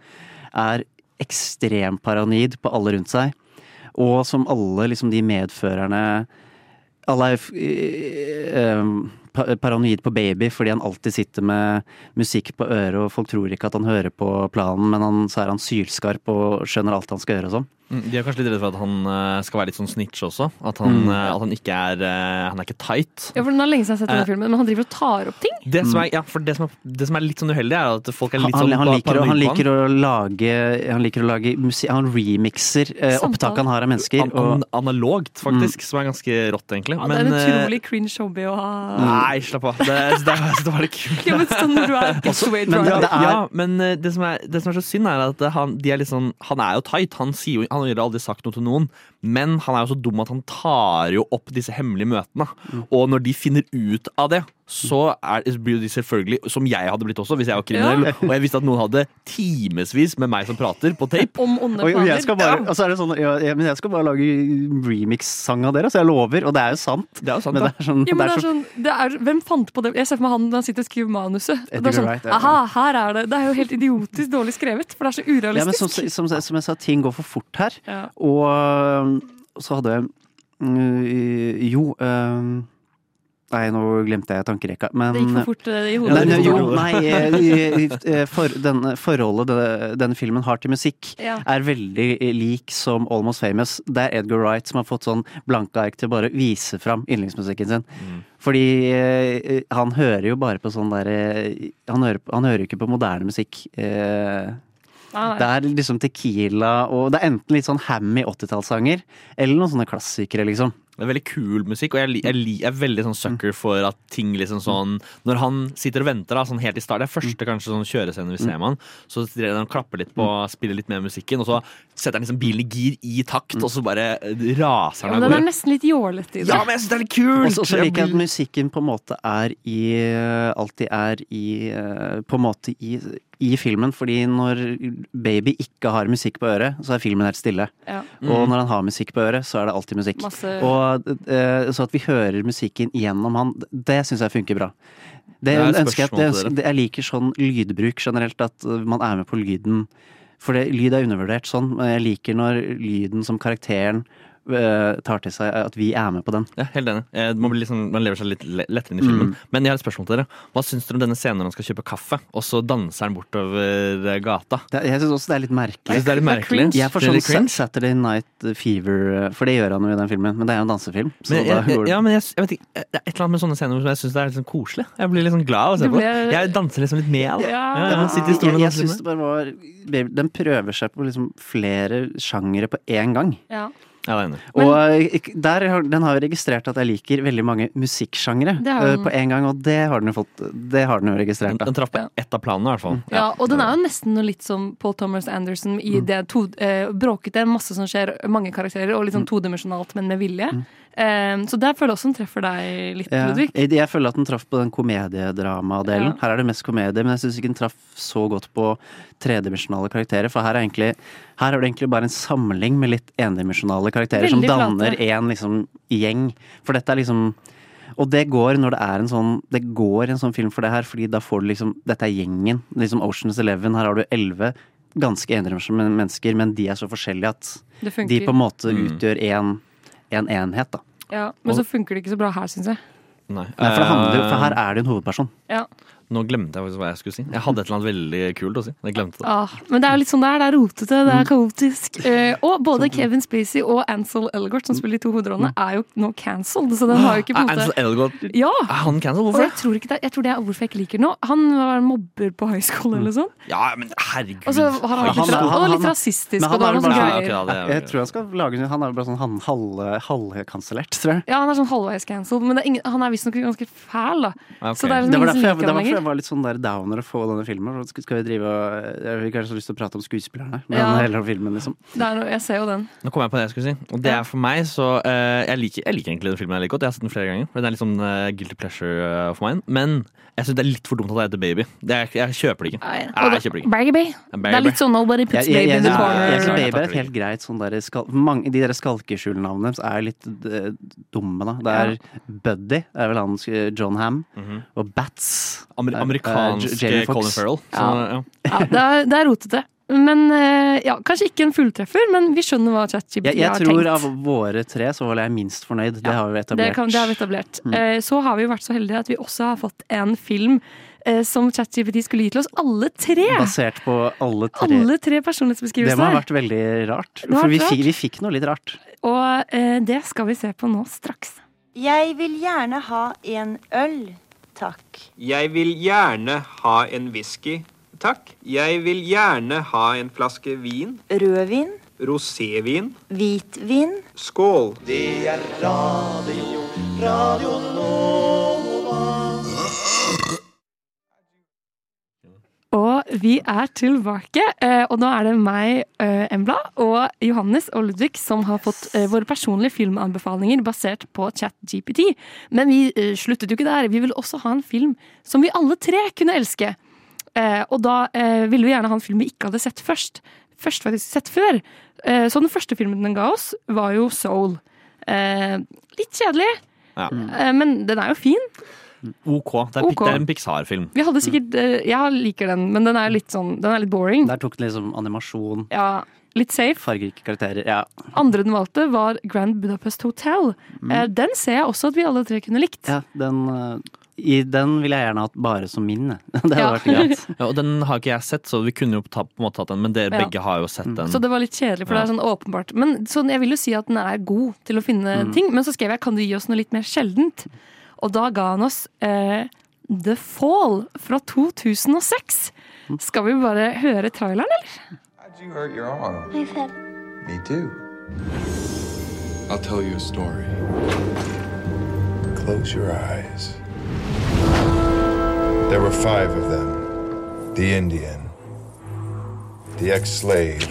S3: Er ekstrem paranoid på alle rundt seg. Og som alle liksom de medførerne Alle er f- eh, eh, pa- paranoid på baby fordi han alltid sitter med musikk på øret, og folk tror ikke at han hører på planen, men han, så er han sylskarp og skjønner alt han skal gjøre og sånn.
S5: Mm, De er kanskje litt redde for at han eh, skal være litt sånn snitch også. At han,
S3: Mm.
S5: eh, at han ikke er eh, Han er ikke tight.
S2: Ja, for Den er lenge siden jeg har sett denne
S5: Eh.
S2: filmen, men han driver og tar opp ting.
S5: Det som, er, ja, for det, som er, det som er litt sånn uheldig, er at folk er
S3: Mm. Han,
S5: litt sånn
S3: han, liker, å- han
S5: paranoid på
S3: liker å lage Han liker å lage musikk Han remixer eh,
S5: Samtale.
S3: opptak han har av mennesker.
S5: An- an- analogt,
S3: Mm.
S5: faktisk, som er ganske rått, egentlig.
S2: Ja, det er en
S5: eh,
S2: utrolig cringe hobby å ha.
S3: Mm.
S5: Nei, slapp av. Det, det, det var det kult.
S2: Ja, men sånn når du er
S5: Også-
S2: Pitway
S5: men,
S2: Driver.
S5: det er, ja, men eh, det som, er, det som er så synd, er at eh, han, de er litt sånn, han er jo tight. Han, sier jo, han har aldri sagt noe til noen, men han er jo så dum at han tar jo opp disse hemmelige møtene.
S3: Mm.
S5: Og når de finner ut av det, så er, blir jo de selvfølgelig, som jeg hadde blitt også hvis jeg var kriminell,
S3: Ja.
S5: og jeg visste at noen hadde timevis med meg som prater, på tape.
S2: Om onde
S3: Og, og jeg skal bare, og så er det sånn ja, ja, Men jeg skal bare lage remix-sang av dere, så jeg lover. Og det er jo sant.
S5: Det er jo sant,
S3: men det
S5: da.
S3: er sånn,
S2: Ja, men
S3: det er så,
S2: sånn, det er, hvem fant på det? Jeg ser for meg han når han sitter og skriver manuset. Og det
S3: Edgar
S2: er sånn,
S3: Wright, ja.
S2: aha, her er det. Det er jo helt idiotisk dårlig skrevet, for det er så
S3: ja, men sånn som,
S2: urealistisk.
S3: som, som jeg sa, ting går for fort her.
S2: Ja.
S3: Og øhm, så hadde jeg mm, Jo øhm, Nei, nå glemte jeg tankerekka. Men
S2: det gikk for fort eh, i
S3: Nei,
S2: hodet.
S3: nei, jo, nei eh, eh, for, denne forholdet denne, denne filmen har til musikk,
S2: Ja.
S3: er veldig eh, lik som Almost Famous. Det er Edgar Wright som har fått sånn blanke ark til å bare vise fram yndlingsmusikken sin. Fordi eh, han hører jo bare på sånn derre han, hører- han hører jo ikke på moderne musikk. Eh,
S2: Nei,
S3: det
S2: nei.
S3: er liksom Tequila og Det er enten litt sånn hammy 80-tallssanger eller noen sånne klassikere, liksom.
S5: Det er veldig kul musikk, og jeg, li- jeg, li- jeg er veldig sånn sucker
S3: Mm.
S5: for at ting liksom sånn Når han sitter og venter, da, sånn helt i start, det er
S3: Mm.
S5: første kanskje sånn kjørescene vi ser med han, så sitter han og klapper litt på, spiller litt mer musikken, og så setter han liksom bilen i gir i takt,
S3: Mm.
S5: og så bare eh, raser
S2: Ja, men
S5: han av
S2: den er
S5: gårde.
S2: nesten litt jålete i det.
S5: Ja, men jeg synes det er litt kult!
S3: Og så- så
S5: Jeg
S3: liker jeg at
S5: blir-
S3: musikken på en måte er i eh, Alltid er i eh, På en måte i, i filmen, fordi når baby ikke har musikk på øret, så er filmen helt stille.
S2: Ja. Mm.
S3: Og når han har musikk på øret, så er det alltid musikk.
S2: Masse-
S3: Og, eh, så at vi hører musikken gjennom han, det syns jeg funker bra. Det,
S5: Det er et
S3: ønsker jeg, at- det,
S5: spørsmål til
S3: ønsker- det, jeg liker sånn lydbruk generelt, at eh, man er med på lyden. For det, lyd er undervurdert sånn, men jeg liker når lyden som karakteren eh, tar til seg, at vi er med på den.
S5: Ja, helt enig. Eh, Man, blir liksom, man lever seg litt le- lettere inn i filmen.
S3: Mm.
S5: Men jeg har et spørsmål til dere. Hva syns dere om denne scenen når han skal kjøpe kaffe, og så danser han bortover eh, gata?
S3: Det, jeg syns også det er litt merkelig.
S5: Jeg synes det er litt merkelig.
S3: Jeg får
S5: Det er
S3: sånn
S5: litt cringe.
S3: Sa- Saturday Night Fever, for det gjør han jo i den filmen, men det er jo en dansefilm. Så
S5: Men
S3: da
S5: jeg,
S3: går det.
S5: ja, men jeg, jeg vet ikke, det er et eller annet med sånne scener som jeg syns er litt sånn koselig. Jeg blir litt sånn glad av å se
S3: Du
S5: på.
S3: ble-
S5: Jeg danser liksom litt med. Da. Ja, ja, sitter i
S3: jeg,
S5: stolen og
S3: jeg
S5: danser
S3: syns det
S5: med.
S3: bare var Baby, Den prøver seg på liksom flere sjangere på én gang.
S2: Ja.
S5: Ja, det er enig.
S3: Og eh, der, har- den har jo registrert at jeg liker veldig mange musikksjangere
S2: Det har
S3: eh,
S2: den.
S3: på en gang, og det har den jo fått Det har den jo registrert.
S5: Den traff på ett av planene, i hvert fall.
S2: Ja, og den er jo nesten noe litt som Paul Thomas Anderson i
S3: Mm.
S2: det to, eh, bråkete, masse som skjer, mange karakterer, og litt
S3: Mm.
S2: sånn todimensjonalt, men med vilje. Eh, så der føler jeg også den treffer deg litt,
S3: Ja.
S2: Ludvig.
S3: Jeg, jeg føler at den traff på den
S2: Ja.
S3: komediedramadelen. Her er det mest komedie, men jeg syns ikke den traff så godt på tredimensjonale karakterer. For her er, egentlig, her er det egentlig bare en samling med litt endimensjonale karakterer som
S16: Veldig flate.
S3: danner én liksom, gjeng. For dette er liksom og det går når det er en sånn Det går en sånn film for det her, fordi da får du liksom Dette er gjengen. Liksom Oceans Eleven. Her har du elleve ganske endimensjonale mennesker, men de er så forskjellige
S2: Det
S3: at
S2: funker.
S3: de på en måte
S2: Mm.
S3: utgjør én en enhet, da.
S2: Ja, men så funker det ikke så bra her, syns jeg.
S5: Nei.
S3: Nei, for, det handler,
S5: Eh,
S3: for her er det en hovedperson.
S2: Ja.
S5: Nå glemte jeg faktisk hva jeg skulle si. Jeg hadde et eller annet veldig kult å si. Jeg glemte det.
S2: Ah, men det er jo litt sånn det er. Det er rotete, det
S3: Mm.
S2: er kaotisk. Eh, og
S3: Sånn.
S2: både Kevin Spacey og Ansel Elgort,
S3: Mm.
S2: som spiller de to hovedrollene, er jo nå cancelled. Så den har jo
S3: Ah,
S2: ikke på en
S5: Er Ah, Ansel
S2: måte
S5: Elgort
S2: ja.
S5: Er han cancelled?
S2: Og
S5: Hvorfor
S2: jeg
S5: det?
S2: tror, ikke det, jeg tror det er hvorfor jeg ikke liker den nå. Han var mobber på high school eller noe sånt.
S5: Ja, men herregud.
S2: Og så har han
S3: Mm. Men
S2: vært litt,
S3: han-
S2: ra-
S3: han-
S2: og litt
S3: han-
S2: rasistisk.
S3: Men
S2: og
S3: han
S2: det
S3: er
S2: var
S3: jo
S2: noe
S3: bare
S2: sånn
S3: sånn-
S2: greier.
S3: Jeg- Jeg tror han skal lage en- Han er jo bare sånn han- halv- halvkansellert, tror jeg.
S2: Ja, han er sånn halvveis cancelled, men det er ingen, han er visstnok ganske fæl, da. Så det er
S3: Ah, det
S2: liksom ingen
S3: var derfor
S2: som
S3: jeg, det
S2: liker ham
S3: var derfor jeg
S2: lenger.
S3: var litt sånn der downer å få denne filmen. for Skal skal vi drive og Jeg har ikke så lyst til å prate om skuespillerne, men
S2: Ja.
S3: heller om filmen, liksom.
S2: Det er noe, jeg ser jo den.
S5: Nå kom jeg på det jeg skulle si. Og det er for meg, så eh, jeg, liker, jeg liker egentlig den filmen jeg liker godt. Jeg har sett den flere ganger. for Den er litt sånn eh, guilty pleasure eh, for meg. Men jeg syns det er litt for dumt at det heter Baby. Det er, jeg kjøper det ikke. Nei, jeg kjøper det ikke.
S2: Baggy Bay.
S5: Baggy
S2: Det er litt
S5: Bay.
S2: sånn Nobody puts
S3: Jeg- jeg-
S2: baby in the
S3: jeg-
S2: corner.
S3: jeg- jeg-
S5: Jeg
S3: Baby er
S5: takler
S3: et
S5: det
S3: helt greit sånn der skal, mange, De der skalkeskjulnavnene deres er jo litt eh, dumme, da. Det er Buddy, er vel han eh, John Ham, og Bats.
S5: Amer
S3: er- er
S5: amerikansk
S3: Jamie Foxx.
S5: eh, Colin Farrell. Så,
S2: Ja.
S5: ja.
S2: Ja, det er, det er rotete. Men eh, ja, kanskje ikke en fulltreffer, men vi skjønner hva ChatGPT
S3: Jeg, jeg
S2: har
S3: tror
S2: tenkt.
S3: av våre tre så var jeg minst fornøyd. Det har vi etablert.
S2: Det, kan, det har vi etablert.
S3: Mm.
S2: Eh, Så har vi jo vært så heldige at vi også har fått en film eh, som ChatGPT skulle gi til oss alle tre.
S3: Basert på alle tre.
S2: Alle tre
S3: det må ha
S2: personlighetsbeskrivelser.
S3: vært veldig rart.
S2: Det har
S3: For vi
S2: vært
S3: fikk,
S2: rart.
S3: vi fikk noe litt rart.
S2: Og eh, det skal vi se på nå straks.
S16: Jeg vil gjerne ha en øl, takk.
S17: Jeg vil gjerne ha en whisky, takk. Jeg vil gjerne ha en flaske vin.
S16: Rødvin,
S17: Rosévin.
S16: hvitvin.
S17: Skål.
S16: Det er radio.
S2: Og vi er tilbake, eh, og nå er det meg, eh, Embla, og Johannes og Ludvig som har fått eh, våre personlige filmanbefalinger basert på ChatGPT. Men vi eh, sluttet jo ikke der. Vi ville også ha en film som vi alle tre kunne elske. Eh, Og da eh, ville vi gjerne ha en film vi ikke hadde sett først. Først faktisk sett før. Eh, Så den første filmen den ga oss, var jo Soul. Eh, Litt kjedelig,
S5: Ja.
S2: eh, men den er jo fin.
S5: Mm. OK. Det er, pi-
S2: Ok.
S5: det er en Pixar-film.
S2: Vi hadde sikkert, eh, Jeg liker den, men den er litt, sånn, den er litt boring.
S3: Der tok den liksom animasjon.
S2: Ja, litt safe.
S3: Fargerike karakterer. Ja.
S2: Andre den valgte var Grand Budapest Hotel. Eh, Den ser jeg også at vi alle tre kunne likt.
S3: ja den, eh, I den ville jeg gjerne hatt bare som min. jeg. Det hadde vært
S5: Ja.
S3: greit.
S5: Ja, og den har ikke jeg sett, så vi kunne jo ta, på en måte tatt den, men dere
S2: Ja.
S5: begge har jo sett den.
S2: Så det var litt kjedelig, for det er sånn åpenbart. Men sånn, jeg vil jo si at den er god til å finne
S5: Mm.
S2: ting. Men så skrev jeg 'Kan du gi oss noe litt mer sjeldent?' Og da ga han oss eh, The Fall fra 2006. Skal vi bare høre traileren, eller?
S15: How'd you hurt your arm?
S18: I've had
S15: Me too.
S12: I'll tell you a story.
S19: Close your eyes. There were five of them the Indian, the ex slave,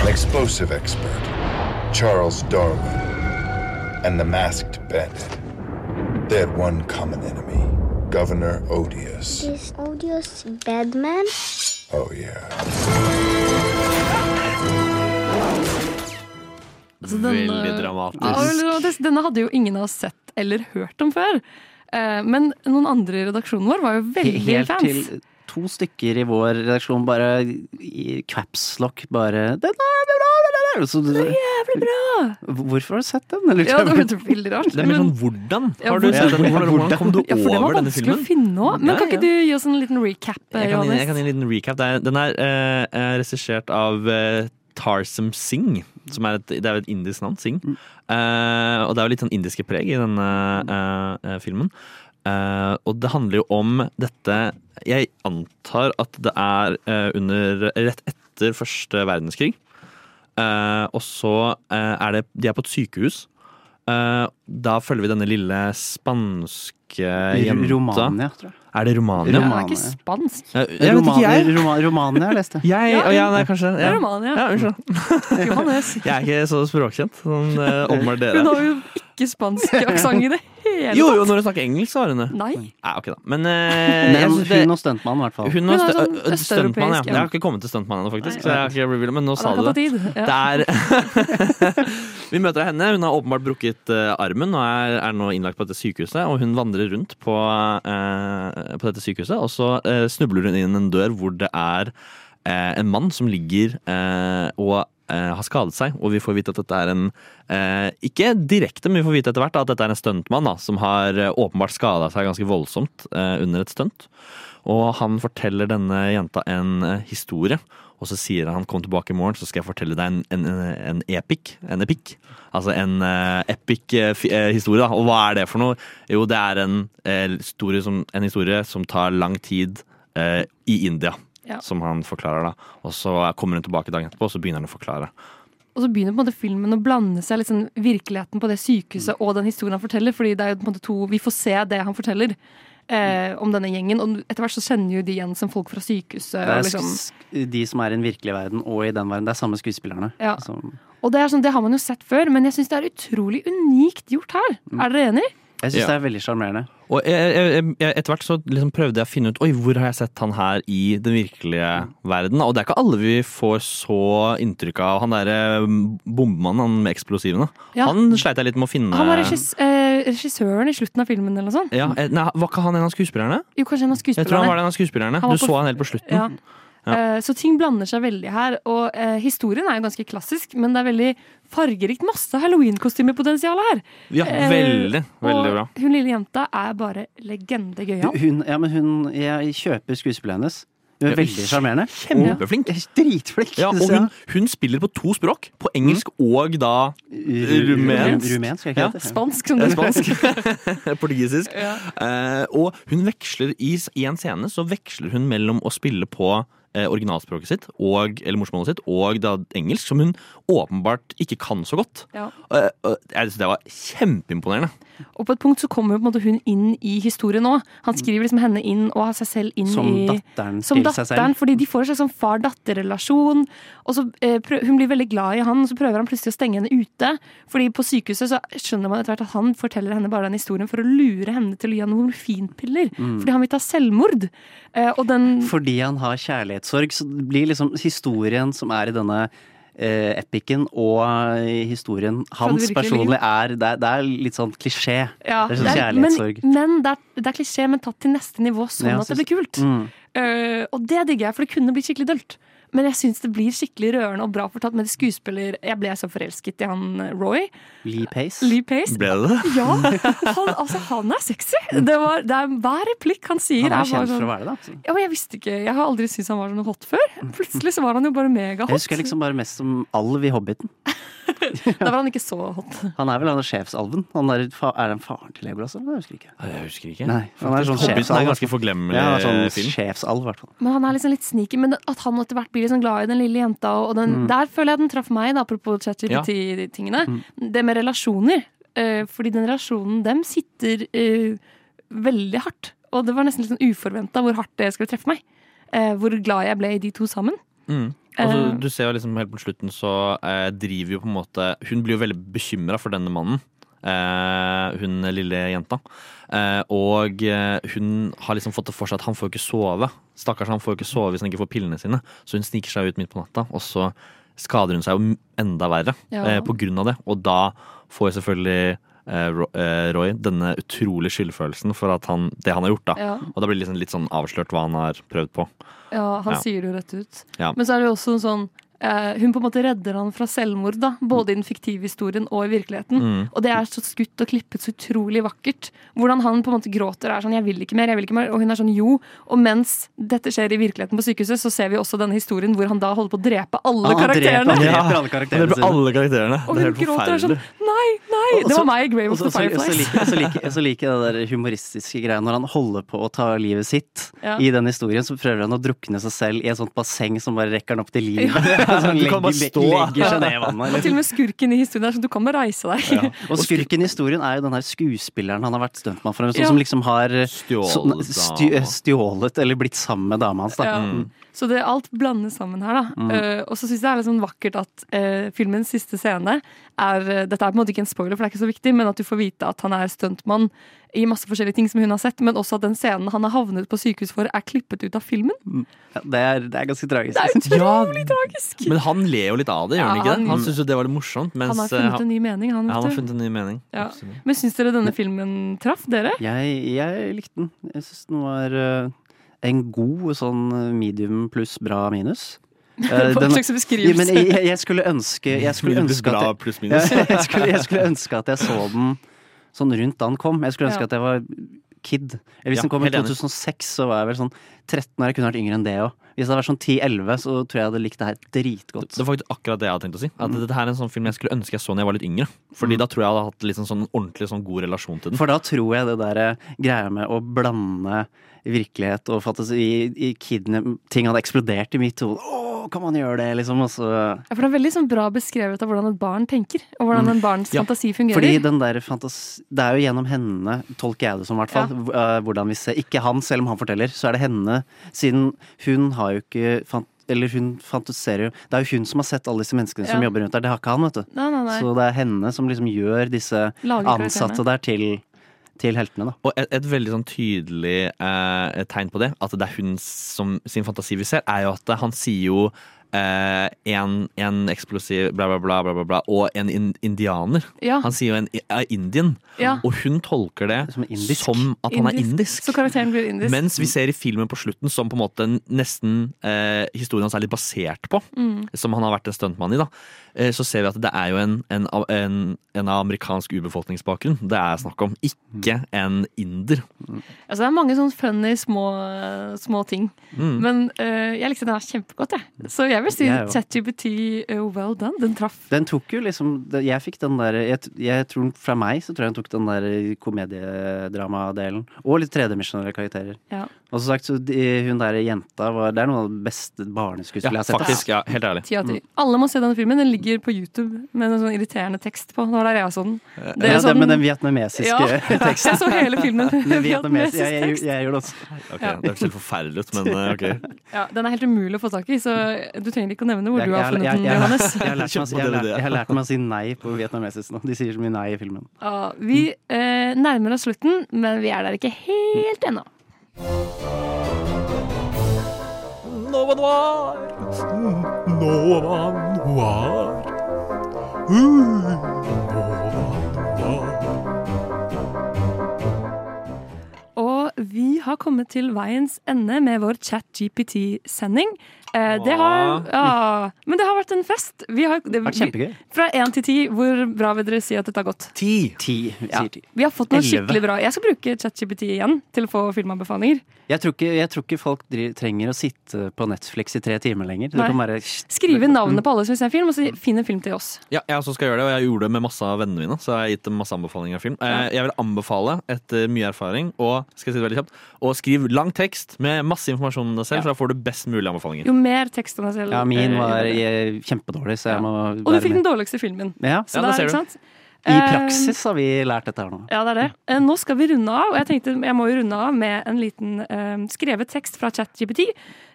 S19: an explosive expert, Charles Darwin, and the masked bandit. They had one common enemy Governor Odious.
S18: this odious bad man.
S19: Oh, yeah.
S5: Altså,
S2: Så den,
S5: Veldig
S2: eh,
S5: dramatisk.
S2: Ja, veldig dramatisk. Denne hadde jo ingen av oss sett eller hørt om før. Eh, Men noen andre i redaksjonen vår var jo veldig
S3: Helt
S2: fans.
S3: til to stykker i vår redaksjon bare i capslock bare Den er bra! Den er så,
S2: jævlig bra!
S3: Hvorfor har du sett den?
S2: Ja, det var veldig rart.
S5: Det er mer
S2: men-
S5: sånn hvordan
S2: Ja,
S5: har du
S2: hvordan-
S5: sett den? Hvordan, hvordan kom du
S2: Ja, for det var
S5: over denne
S2: vanskelig
S5: filmen?
S2: å finne òg. Men
S5: Ja,
S2: kan
S5: ja.
S2: ikke du gi oss en liten recap,
S5: Jeg kan, gi- jeg kan
S2: Johannes?
S5: gi en liten recap. Det er, den er eh, eh, regissert av eh, Tarsem Singh. Som er et, det er jo et indisk navn, Singh. Eh, og det er jo litt sånn indiske preg i denne eh, eh, filmen. Eh, og det handler jo om dette Jeg antar at det er eh, under rett etter første verdenskrig. Eh, og så eh, er det De er på et sykehus. Eh, da følger vi denne lille spanske jenta
S3: Romania, tror jeg.
S5: Er det Eh, Romania?
S2: Den er ikke spansk.
S5: Jeg- jeg vet ikke, jeg.
S3: Roma, Romania, leste jeg.
S5: Jeg, ja, ja, nei, kanskje
S2: Det
S5: ja.
S2: er Romania.
S5: Ja, unnskyld.
S2: Johannes.
S5: Jeg er ikke så språkkjent. Sånn, eh, Åpenbart dere.
S2: Hun har jo ikke spansk aksent i det hele
S5: Jo, jo, når hun snakker engelsk, så har hun det.
S2: Nei.
S5: ok da. Men,
S3: Men
S5: eh, jeg-
S3: hun og stuntmannen, i hvert fall.
S5: Hun og
S2: Hun er sånn
S5: stø- øh, stuntmann, ja.
S2: østeuropeisk, ja.
S5: Jeg har ikke kommet til stuntmann ennå, faktisk. Så jeg har ikke revealet, men nå
S2: Ja,
S5: sa
S2: det
S5: du
S2: kan ta
S5: det.
S2: tid,
S5: Det
S2: ja.
S5: er Vi møter henne. Hun har åpenbart brukket eh, armen og er, er nå innlagt på dette sykehuset. Og hun vandrer rundt på, eh, på dette sykehuset, og så eh, snubler hun inn en dør hvor det er eh, en mann som ligger eh, og eh, har skadet seg, og vi får vite at dette er en eh, Ikke direkte, men vi får vite etter hvert da, at dette er en stuntmann da, som har eh, åpenbart skada seg ganske voldsomt eh, under et stunt. Og han forteller denne jenta en eh, historie, og så sier han 'kom tilbake i morgen, så skal jeg fortelle deg en, en, en- en epic'. En epic. Altså en eh, epic eh, fi- eh, historie, da. Og hva er det for noe? Jo, det er en, eh, historie, som, en historie som tar lang tid eh, i India.
S2: Ja.
S5: Som han forklarer, da. Og så kommer hun tilbake dagen etterpå, og så begynner han å forklare.
S2: Og så begynner på en måte filmen å blande seg litt sånn virkeligheten på det sykehuset og den historien han forteller. Fordi det er jo på en måte to, vi får se det han forteller eh, om denne gjengen. Og etter hvert så kjenner jo de igjen som folk fra sykehuset.
S3: Det
S2: Og,
S3: er
S2: liksom.
S3: sk- de som er i den virkelige verden og i den verden. Det er samme skuespillerne.
S2: Ja.
S3: Som,
S2: og det, er sånn, det har man jo sett før, men jeg syns det er utrolig unikt gjort her.
S5: Mm.
S2: Er dere enig?
S3: jeg syns
S5: Ja.
S3: det er veldig sjarmerende.
S5: Og jeg, jeg, jeg, etter hvert så liksom prøvde jeg å finne ut Oi, hvor har jeg sett han her i den virkelige verden. Og det er ikke alle vi får så inntrykk av. Han derre mm, bombemannen han med eksplosivene.
S2: Ja.
S5: Han sleit jeg litt med å finne.
S2: Han var regis, eh, regissøren i slutten av filmen eller noe sånt.
S5: Ja, eh, nei, Var ikke han en av skuespillerne?
S2: Jo, kanskje en av
S5: Jeg tror han var
S2: skuespillerne.
S5: Mm. en av skuespillerne.
S2: Han var
S5: Du
S2: på-
S5: så han helt på slutten.
S2: Ja. Eh, Så ting blander seg veldig her. Og eh, historien er jo ganske klassisk, men det er veldig fargerikt. Masse halloween-kostymepotensial her.
S5: Ja,
S2: Eh,
S5: veldig, veldig
S2: og
S5: bra.
S2: Hun lille jenta er bare legende gøyal.
S3: Hun, ja, men hun, jeg kjøper skuespillet hennes. Hun
S5: Ja,
S3: er veldig sjarmerende.
S5: Kjempeflink.
S3: Dritflink.
S5: Ja, og hun, hun spiller på to språk. På engelsk
S2: Mm.
S5: og da rumensk.
S3: rumensk, er ikke det det heter? Spansk, som
S5: Eh,
S3: du-
S5: Spansk. Portugisisk.
S3: Ja.
S5: Eh, og hun veksler i, s- i en scene så veksler hun mellom å spille på eh, originalspråket sitt og, eller morsmålet sitt og da engelsk, som hun åpenbart ikke kan så godt.
S2: Ja.
S5: Eh, og jeg synes det var kjempeimponerende.
S2: Og på et punkt så kommer jo på en måte hun inn i historien nå. Han skriver liksom henne inn og har seg selv inn
S3: Mm. Som
S2: i
S3: datteren
S2: Som
S3: til seg selv.
S2: datteren, fordi de får en slags sånn far-datter-relasjon. Og så eh, prø- Hun blir veldig glad i han, og så prøver han plutselig å stenge henne ute. Fordi på sykehuset så skjønner man etter hvert at han forteller henne bare den historien for å lure henne til å gi henne morfinpiller.
S3: Mm.
S2: Fordi han vil ta selvmord. Eh, og den
S3: Fordi han har kjærlighetssorg, så det blir liksom historien som er i denne eh, epiken, og eh, historien
S2: Fra det
S3: hans
S2: virkelige
S3: personlig
S2: liv.
S3: er det, er- det er litt sånn klisjé.
S2: ja,
S3: det er sånn
S2: det er-
S3: kjærlighetssorg.
S2: Men, men det, er, det er klisjé, men tatt til neste nivå, sånn
S3: Ja,
S2: at det
S3: synes-
S2: blir kult.
S3: Mm.
S2: Eh, og det digger jeg, for det kunne blitt skikkelig dølt. Men jeg syns det blir skikkelig rørende og bra fortalt med skuespiller. Jeg ble så forelsket i han eh, Roy.
S3: Lee Pace.
S2: Lee Pace.
S5: Ble det det?
S2: Ja, han, altså, han er sexy! Det var, det er, hver replikk han sier
S3: Han er
S2: bare
S3: kjent for
S2: sånn-
S3: å være det, altså. da.
S2: Ja, men jeg visste ikke, jeg har aldri syntes han var sånn hot før. Plutselig så var han jo bare
S3: Jeg
S2: megahot.
S3: husker liksom bare mest som alv i Hobbiten.
S2: Da var han ikke så hot.
S3: Han er vel han er sjefsalven? Han er, fa- er han faren til Legolas, eller? Jeg husker ikke.
S5: Jeg husker ikke.
S3: Nei, han er sånn
S5: Hobbiten er
S3: sjefsalv.
S5: ganske forglemmelig
S3: ja, han er sånn
S5: film.
S3: Sjefsalv, i hvert fall.
S2: Men han er liksom litt sneaky. Men at han etter hvert blir liksom glad i den lille jenta, og den,
S3: Mm.
S2: der føler jeg den traff meg, da, apropos ChatGPT-tingene. Det med relasjoner. eh, fordi den relasjonen dem sitter eh, veldig hardt. Og det var nesten litt sånn uforventa hvor hardt det skulle treffe meg. Eh, hvor glad jeg ble i de to sammen.
S5: Mm. Altså,
S2: Eh.
S5: du ser jo liksom helt på slutten så eh, driver jo på en måte Hun blir jo veldig bekymra for denne mannen. Eh, hun lille jenta. Eh, og eh, hun har liksom fått det for seg at han får jo ikke sove. Stakkars, han får jo ikke sove hvis han ikke får pillene sine. Så hun sniker seg ut midt på natta, og så skader hun seg jo enda verre
S2: Ja.
S5: eh, på grunn av det. Og da får jo selvfølgelig eh, Ro- eh, Roy denne utrolig skyldfølelsen for at han, det han har gjort. da
S2: Ja.
S5: Og da blir det liksom litt sånn avslørt hva han har prøvd på.
S2: Ja, han
S5: Ja.
S2: sier det jo rett ut.
S5: Ja.
S2: Men så er det jo også en sånn eh, Hun på en måte redder han fra selvmord, da. Både i den fiktive historien og i virkeligheten.
S5: Mm.
S2: Og det er så skutt og klippet så utrolig vakkert. Hvordan han på en måte gråter og er sånn 'jeg vil ikke mer', jeg vil ikke mer. Og hun er sånn 'jo'. Og mens dette skjer i virkeligheten på sykehuset, så ser vi også denne historien hvor han da holder på å drepe alle
S3: Ah, han dreper-
S2: karakterene.
S3: han dreper
S5: Ja,
S3: alle karakterene
S5: han dreper
S3: sine.
S5: alle karakterene.
S2: Og
S5: Det er
S2: hun
S5: helt
S2: gråter og er sånn
S5: forferdelig.
S2: 'nei, nei'. Det
S3: Og så-
S2: var meg i Grave of
S3: og
S2: the
S3: så- så- Så
S2: Fireflies.
S3: liker, så, liker, så liker jeg det der humoristiske greia når han holder på å ta livet sitt
S2: Ja.
S3: i den historien, så prøver han å drukne seg selv i et sånt basseng som bare rekker han opp til livet.
S5: Ja.
S3: Så han
S5: Du kan bare
S3: legger,
S5: stå.
S3: legger seg ned i vannet.
S2: Og til og med skurken i historien er sånn 'du kan bare reise deg'.
S3: Ja. Og skurken i historien er jo den her skuespilleren han har vært stuntmann for, sånn
S2: Ja.
S3: som liksom har
S5: Stjålet
S3: stj-
S5: dama.
S3: stjålet eller blitt sammen med dama hans. Da.
S2: Ja.
S3: Mm.
S2: Så det, alt blandes sammen her, da.
S3: Mm.
S2: Eh, og så syns jeg det er litt sånn vakkert at eh, filmens siste scene er eh, Dette er på en måte ikke en spoiler, for det er ikke så viktig, men at du får vite at han er stuntmann i masse forskjellige ting som hun har sett, men også at den scenen han har havnet på sykehus for, er klippet ut av filmen.
S3: Ja, det, er, det er ganske tragisk.
S2: Det er utrolig tragisk!
S5: Men han ler jo litt av det, gjør
S2: Ja,
S5: han ikke det?
S2: han-
S5: Han syns jo det var litt morsomt. Mens,
S2: Han har funnet
S5: eh,
S2: en ny mening, han, vet
S5: ja, han har
S2: du.
S5: funnet en ny mening.
S2: Ja.
S5: Absolutt.
S2: Men syns dere denne filmen traff dere?
S3: Jeg, jeg likte den. Jeg syns den var eh, en god sånn medium pluss bra minus. Eh,
S2: Hva
S3: den-
S2: slags beskrivelse?
S3: Ja, men jeg, jeg- jeg skulle ønske Jeg skulle
S5: Medium pluss
S3: ønske at
S5: bra
S3: jeg,
S5: pluss minus.
S3: Ja, jeg, skulle, jeg skulle ønske at jeg så den sånn rundt da den kom. Jeg skulle ønske
S5: Ja.
S3: at jeg var kid. Eller hvis
S5: Ja,
S3: den kom i
S5: helt enig.
S3: 2006, så var jeg vel sånn 13 år. Jeg kunne vært yngre enn det òg. Hvis det hadde vært sånn 10-11, så tror jeg jeg hadde likt det her dritgodt.
S5: Det var faktisk akkurat det jeg hadde tenkt å si. At Dette her er en sånn film jeg skulle ønske jeg så da jeg var litt yngre. Fordi da tror jeg jeg hadde hatt liksom sånn ordentlig sånn god relasjon til den.
S3: For da tror jeg det der eh, greia med å blande virkelighet og fantasi i, i kidene Ting hadde eksplodert i mitt hode. Å, kan man gjøre det, liksom? Og så
S2: Ja, for det er veldig sånn bra beskrevet av hvordan et barn tenker, og
S5: Mm.
S2: hvordan en barns
S3: Ja,
S2: fantasi fungerer.
S3: Fordi den der fantasi Det er jo gjennom henne, tolker jeg det som, i hvert fall.
S2: Ja.
S3: hv- eh, Hvordan vi ser Ikke han, selv om han forteller, så er det henne. Siden hun har jo ikke fan- Eller hun fantaserer jo Det er jo hun som har sett alle disse menneskene som
S2: Ja.
S3: jobber rundt der. Det har ikke han, vet du.
S2: Nei, nei, nei.
S3: Så det er henne som liksom gjør disse
S2: Lager karakterene.
S3: ansatte der til, til heltene, da.
S5: Og et, et veldig sånn tydelig eh, tegn på det, at det er hun som sin fantasi vi ser, er jo at han sier jo eh, en, en eksplosiv bla, bla, bla, bla, bla, bla og en in indianer.
S2: Ja.
S5: Han sier jo en i- er indian,
S2: Ja.
S5: og hun tolker det som, at han er indisk.
S2: Så karakteren blir indisk.
S5: Mens vi ser i filmen på slutten, som på en måte nesten eh, historien hans er litt basert på,
S2: Mm.
S5: som han har vært en stuntmann i, da, eh, så ser vi at det er jo en, en, av- en, en av amerikansk urbefolkningsbakgrunn det er snakk om, ikke
S3: Mm.
S5: en inder.
S2: Altså, det er mange sånne funny små, små ting.
S5: Mm.
S2: Men eh, jeg likte den her kjempegodt, jeg. Så jeg vil si
S3: Jeg òg.
S2: ChatGPT eh, well done. Den traff.
S3: Den tok jo liksom det- Jeg fikk den der jeg, t- jeg tror den- Fra meg så tror jeg den tok den der komediedramadelen. Og litt tredimensjonale karakterer.
S2: Ja.
S3: Og som sagt, så de, hun der jenta var Det er noe av det beste barneskuespillet jeg har sett.
S5: faktisk, ja, helt ærlig.
S2: Ti av
S3: Mm.
S2: ti. Alle må se denne filmen. Den ligger på YouTube med en sånn irriterende tekst på. Nå er det jeg så den. Dere
S3: Ja,
S2: så
S3: den med den vietnamesiske
S2: Ja.
S3: teksten.
S2: Jeg så hele filmen
S3: Den
S2: med
S3: vietnamesiske.
S2: vietnamesisk
S3: Jeg, jeg,
S2: tekst.
S3: jeg gjorde det også.
S5: Ok,
S2: Ja.
S5: Det ser forferdelig ut, men eh, ok.
S2: Ja, den er helt umulig å få tak i, så du trenger ikke å nevne hvor
S3: Jeg-
S2: du har
S3: jeg-
S2: funnet
S3: jeg-
S2: den,
S3: jeg-
S2: Johannes.
S3: Jeg har lært meg- jeg har lært- jeg har lært meg å si nei på vietnamesisk nå. De sier så mye nei i filmen.
S2: Ja, vi eh, nærmer oss slutten, men vi er der ikke helt ennå.
S7: Nova Noir. Nova Noir.
S2: Uh, Og vi har kommet til veiens ende med vår ChatGPT-sending. Eh, det har ja, Men det har vært en fest. Vi har, det,
S3: har vært kjempegøy.
S2: vi- Fra én til ti, hvor bra vil dere si at dette har gått?
S5: Ti.
S3: Ti, vi
S2: Ja.
S3: sier ti.
S2: Vi har fått noe
S3: Elleve.
S2: skikkelig bra. Jeg skal bruke ChatGPT igjen til å få filmanbefalinger.
S3: Jeg tror ikke, jeg tror ikke folk dri- trenger å sitte på Netflix i tre timer lenger. Det
S2: Nei.
S3: kan være
S2: Skrive inn navnet på alle som vil se en film, og så finn en film til oss.
S5: Ja, jeg også skal gjøre det, og jeg gjorde det med masse av vennene mine. Så jeg har gitt dem masse anbefalinger av film. Eh, Jeg vil anbefale, etter mye erfaring, og skal jeg si det veldig kjapt, og skriv lang tekst med masse informasjon om deg selv, for da får du best mulig anbefalinger.
S2: Jo mer tekst om deg selv
S3: Ja, min
S2: eh,
S3: var
S2: jo bedre.
S3: eh, kjempedårlig, så jeg må
S2: Og du
S3: være
S2: fikk den
S3: med.
S2: dårligste filmen.
S3: Ja.
S2: Så der, ikke sant?
S3: I
S2: Eh,
S3: praksis har vi lært dette her nå.
S2: Ja, det er det. Eh, Nå skal vi runde av, og jeg tenkte jeg må jo runde av med en liten eh, skrevet tekst fra ChatGPT.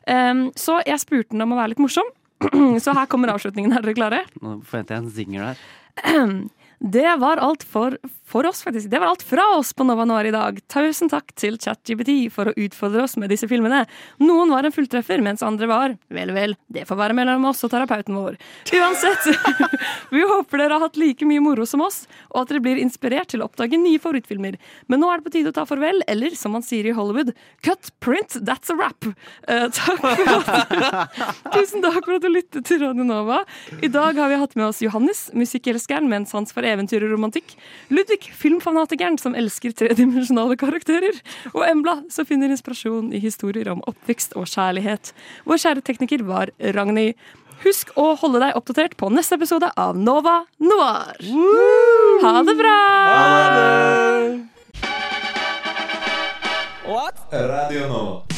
S2: Um, så jeg spurte den om å være litt morsom, så her kommer avslutningen. Er dere klare?
S3: Nå forventer jeg en zinger her.
S2: Det var alt for, for oss, faktisk. Det var alt fra oss på Nova Noir i dag. Tusen takk til ChatGPT for å utfordre oss med disse filmene. Noen var en fulltreffer, mens andre var Vel, vel, det får være mellom oss og terapeuten vår. Uansett, vi håper dere har hatt like mye moro som oss, og at dere blir inspirert til å oppdage nye favorittfilmer. Men nå er det på tide å ta farvel, eller som man sier i Hollywood, cut, print, that's a wrap. Eh, takk for at Tusen takk for at du lyttet til Radio Nova. I dag har vi hatt med oss Johannes, musikkelskeren med en sans for eventyr og romantikk. Ludvig, filmfanatikeren som elsker tredimensjonale karakterer. Og Embla, som finner inspirasjon i historier om oppvekst og kjærlighet. Vår kjære tekniker var Ragnhild. Husk å holde deg oppdatert på neste episode av Nova Noir. Ha det bra!
S4: What? Radio Nova.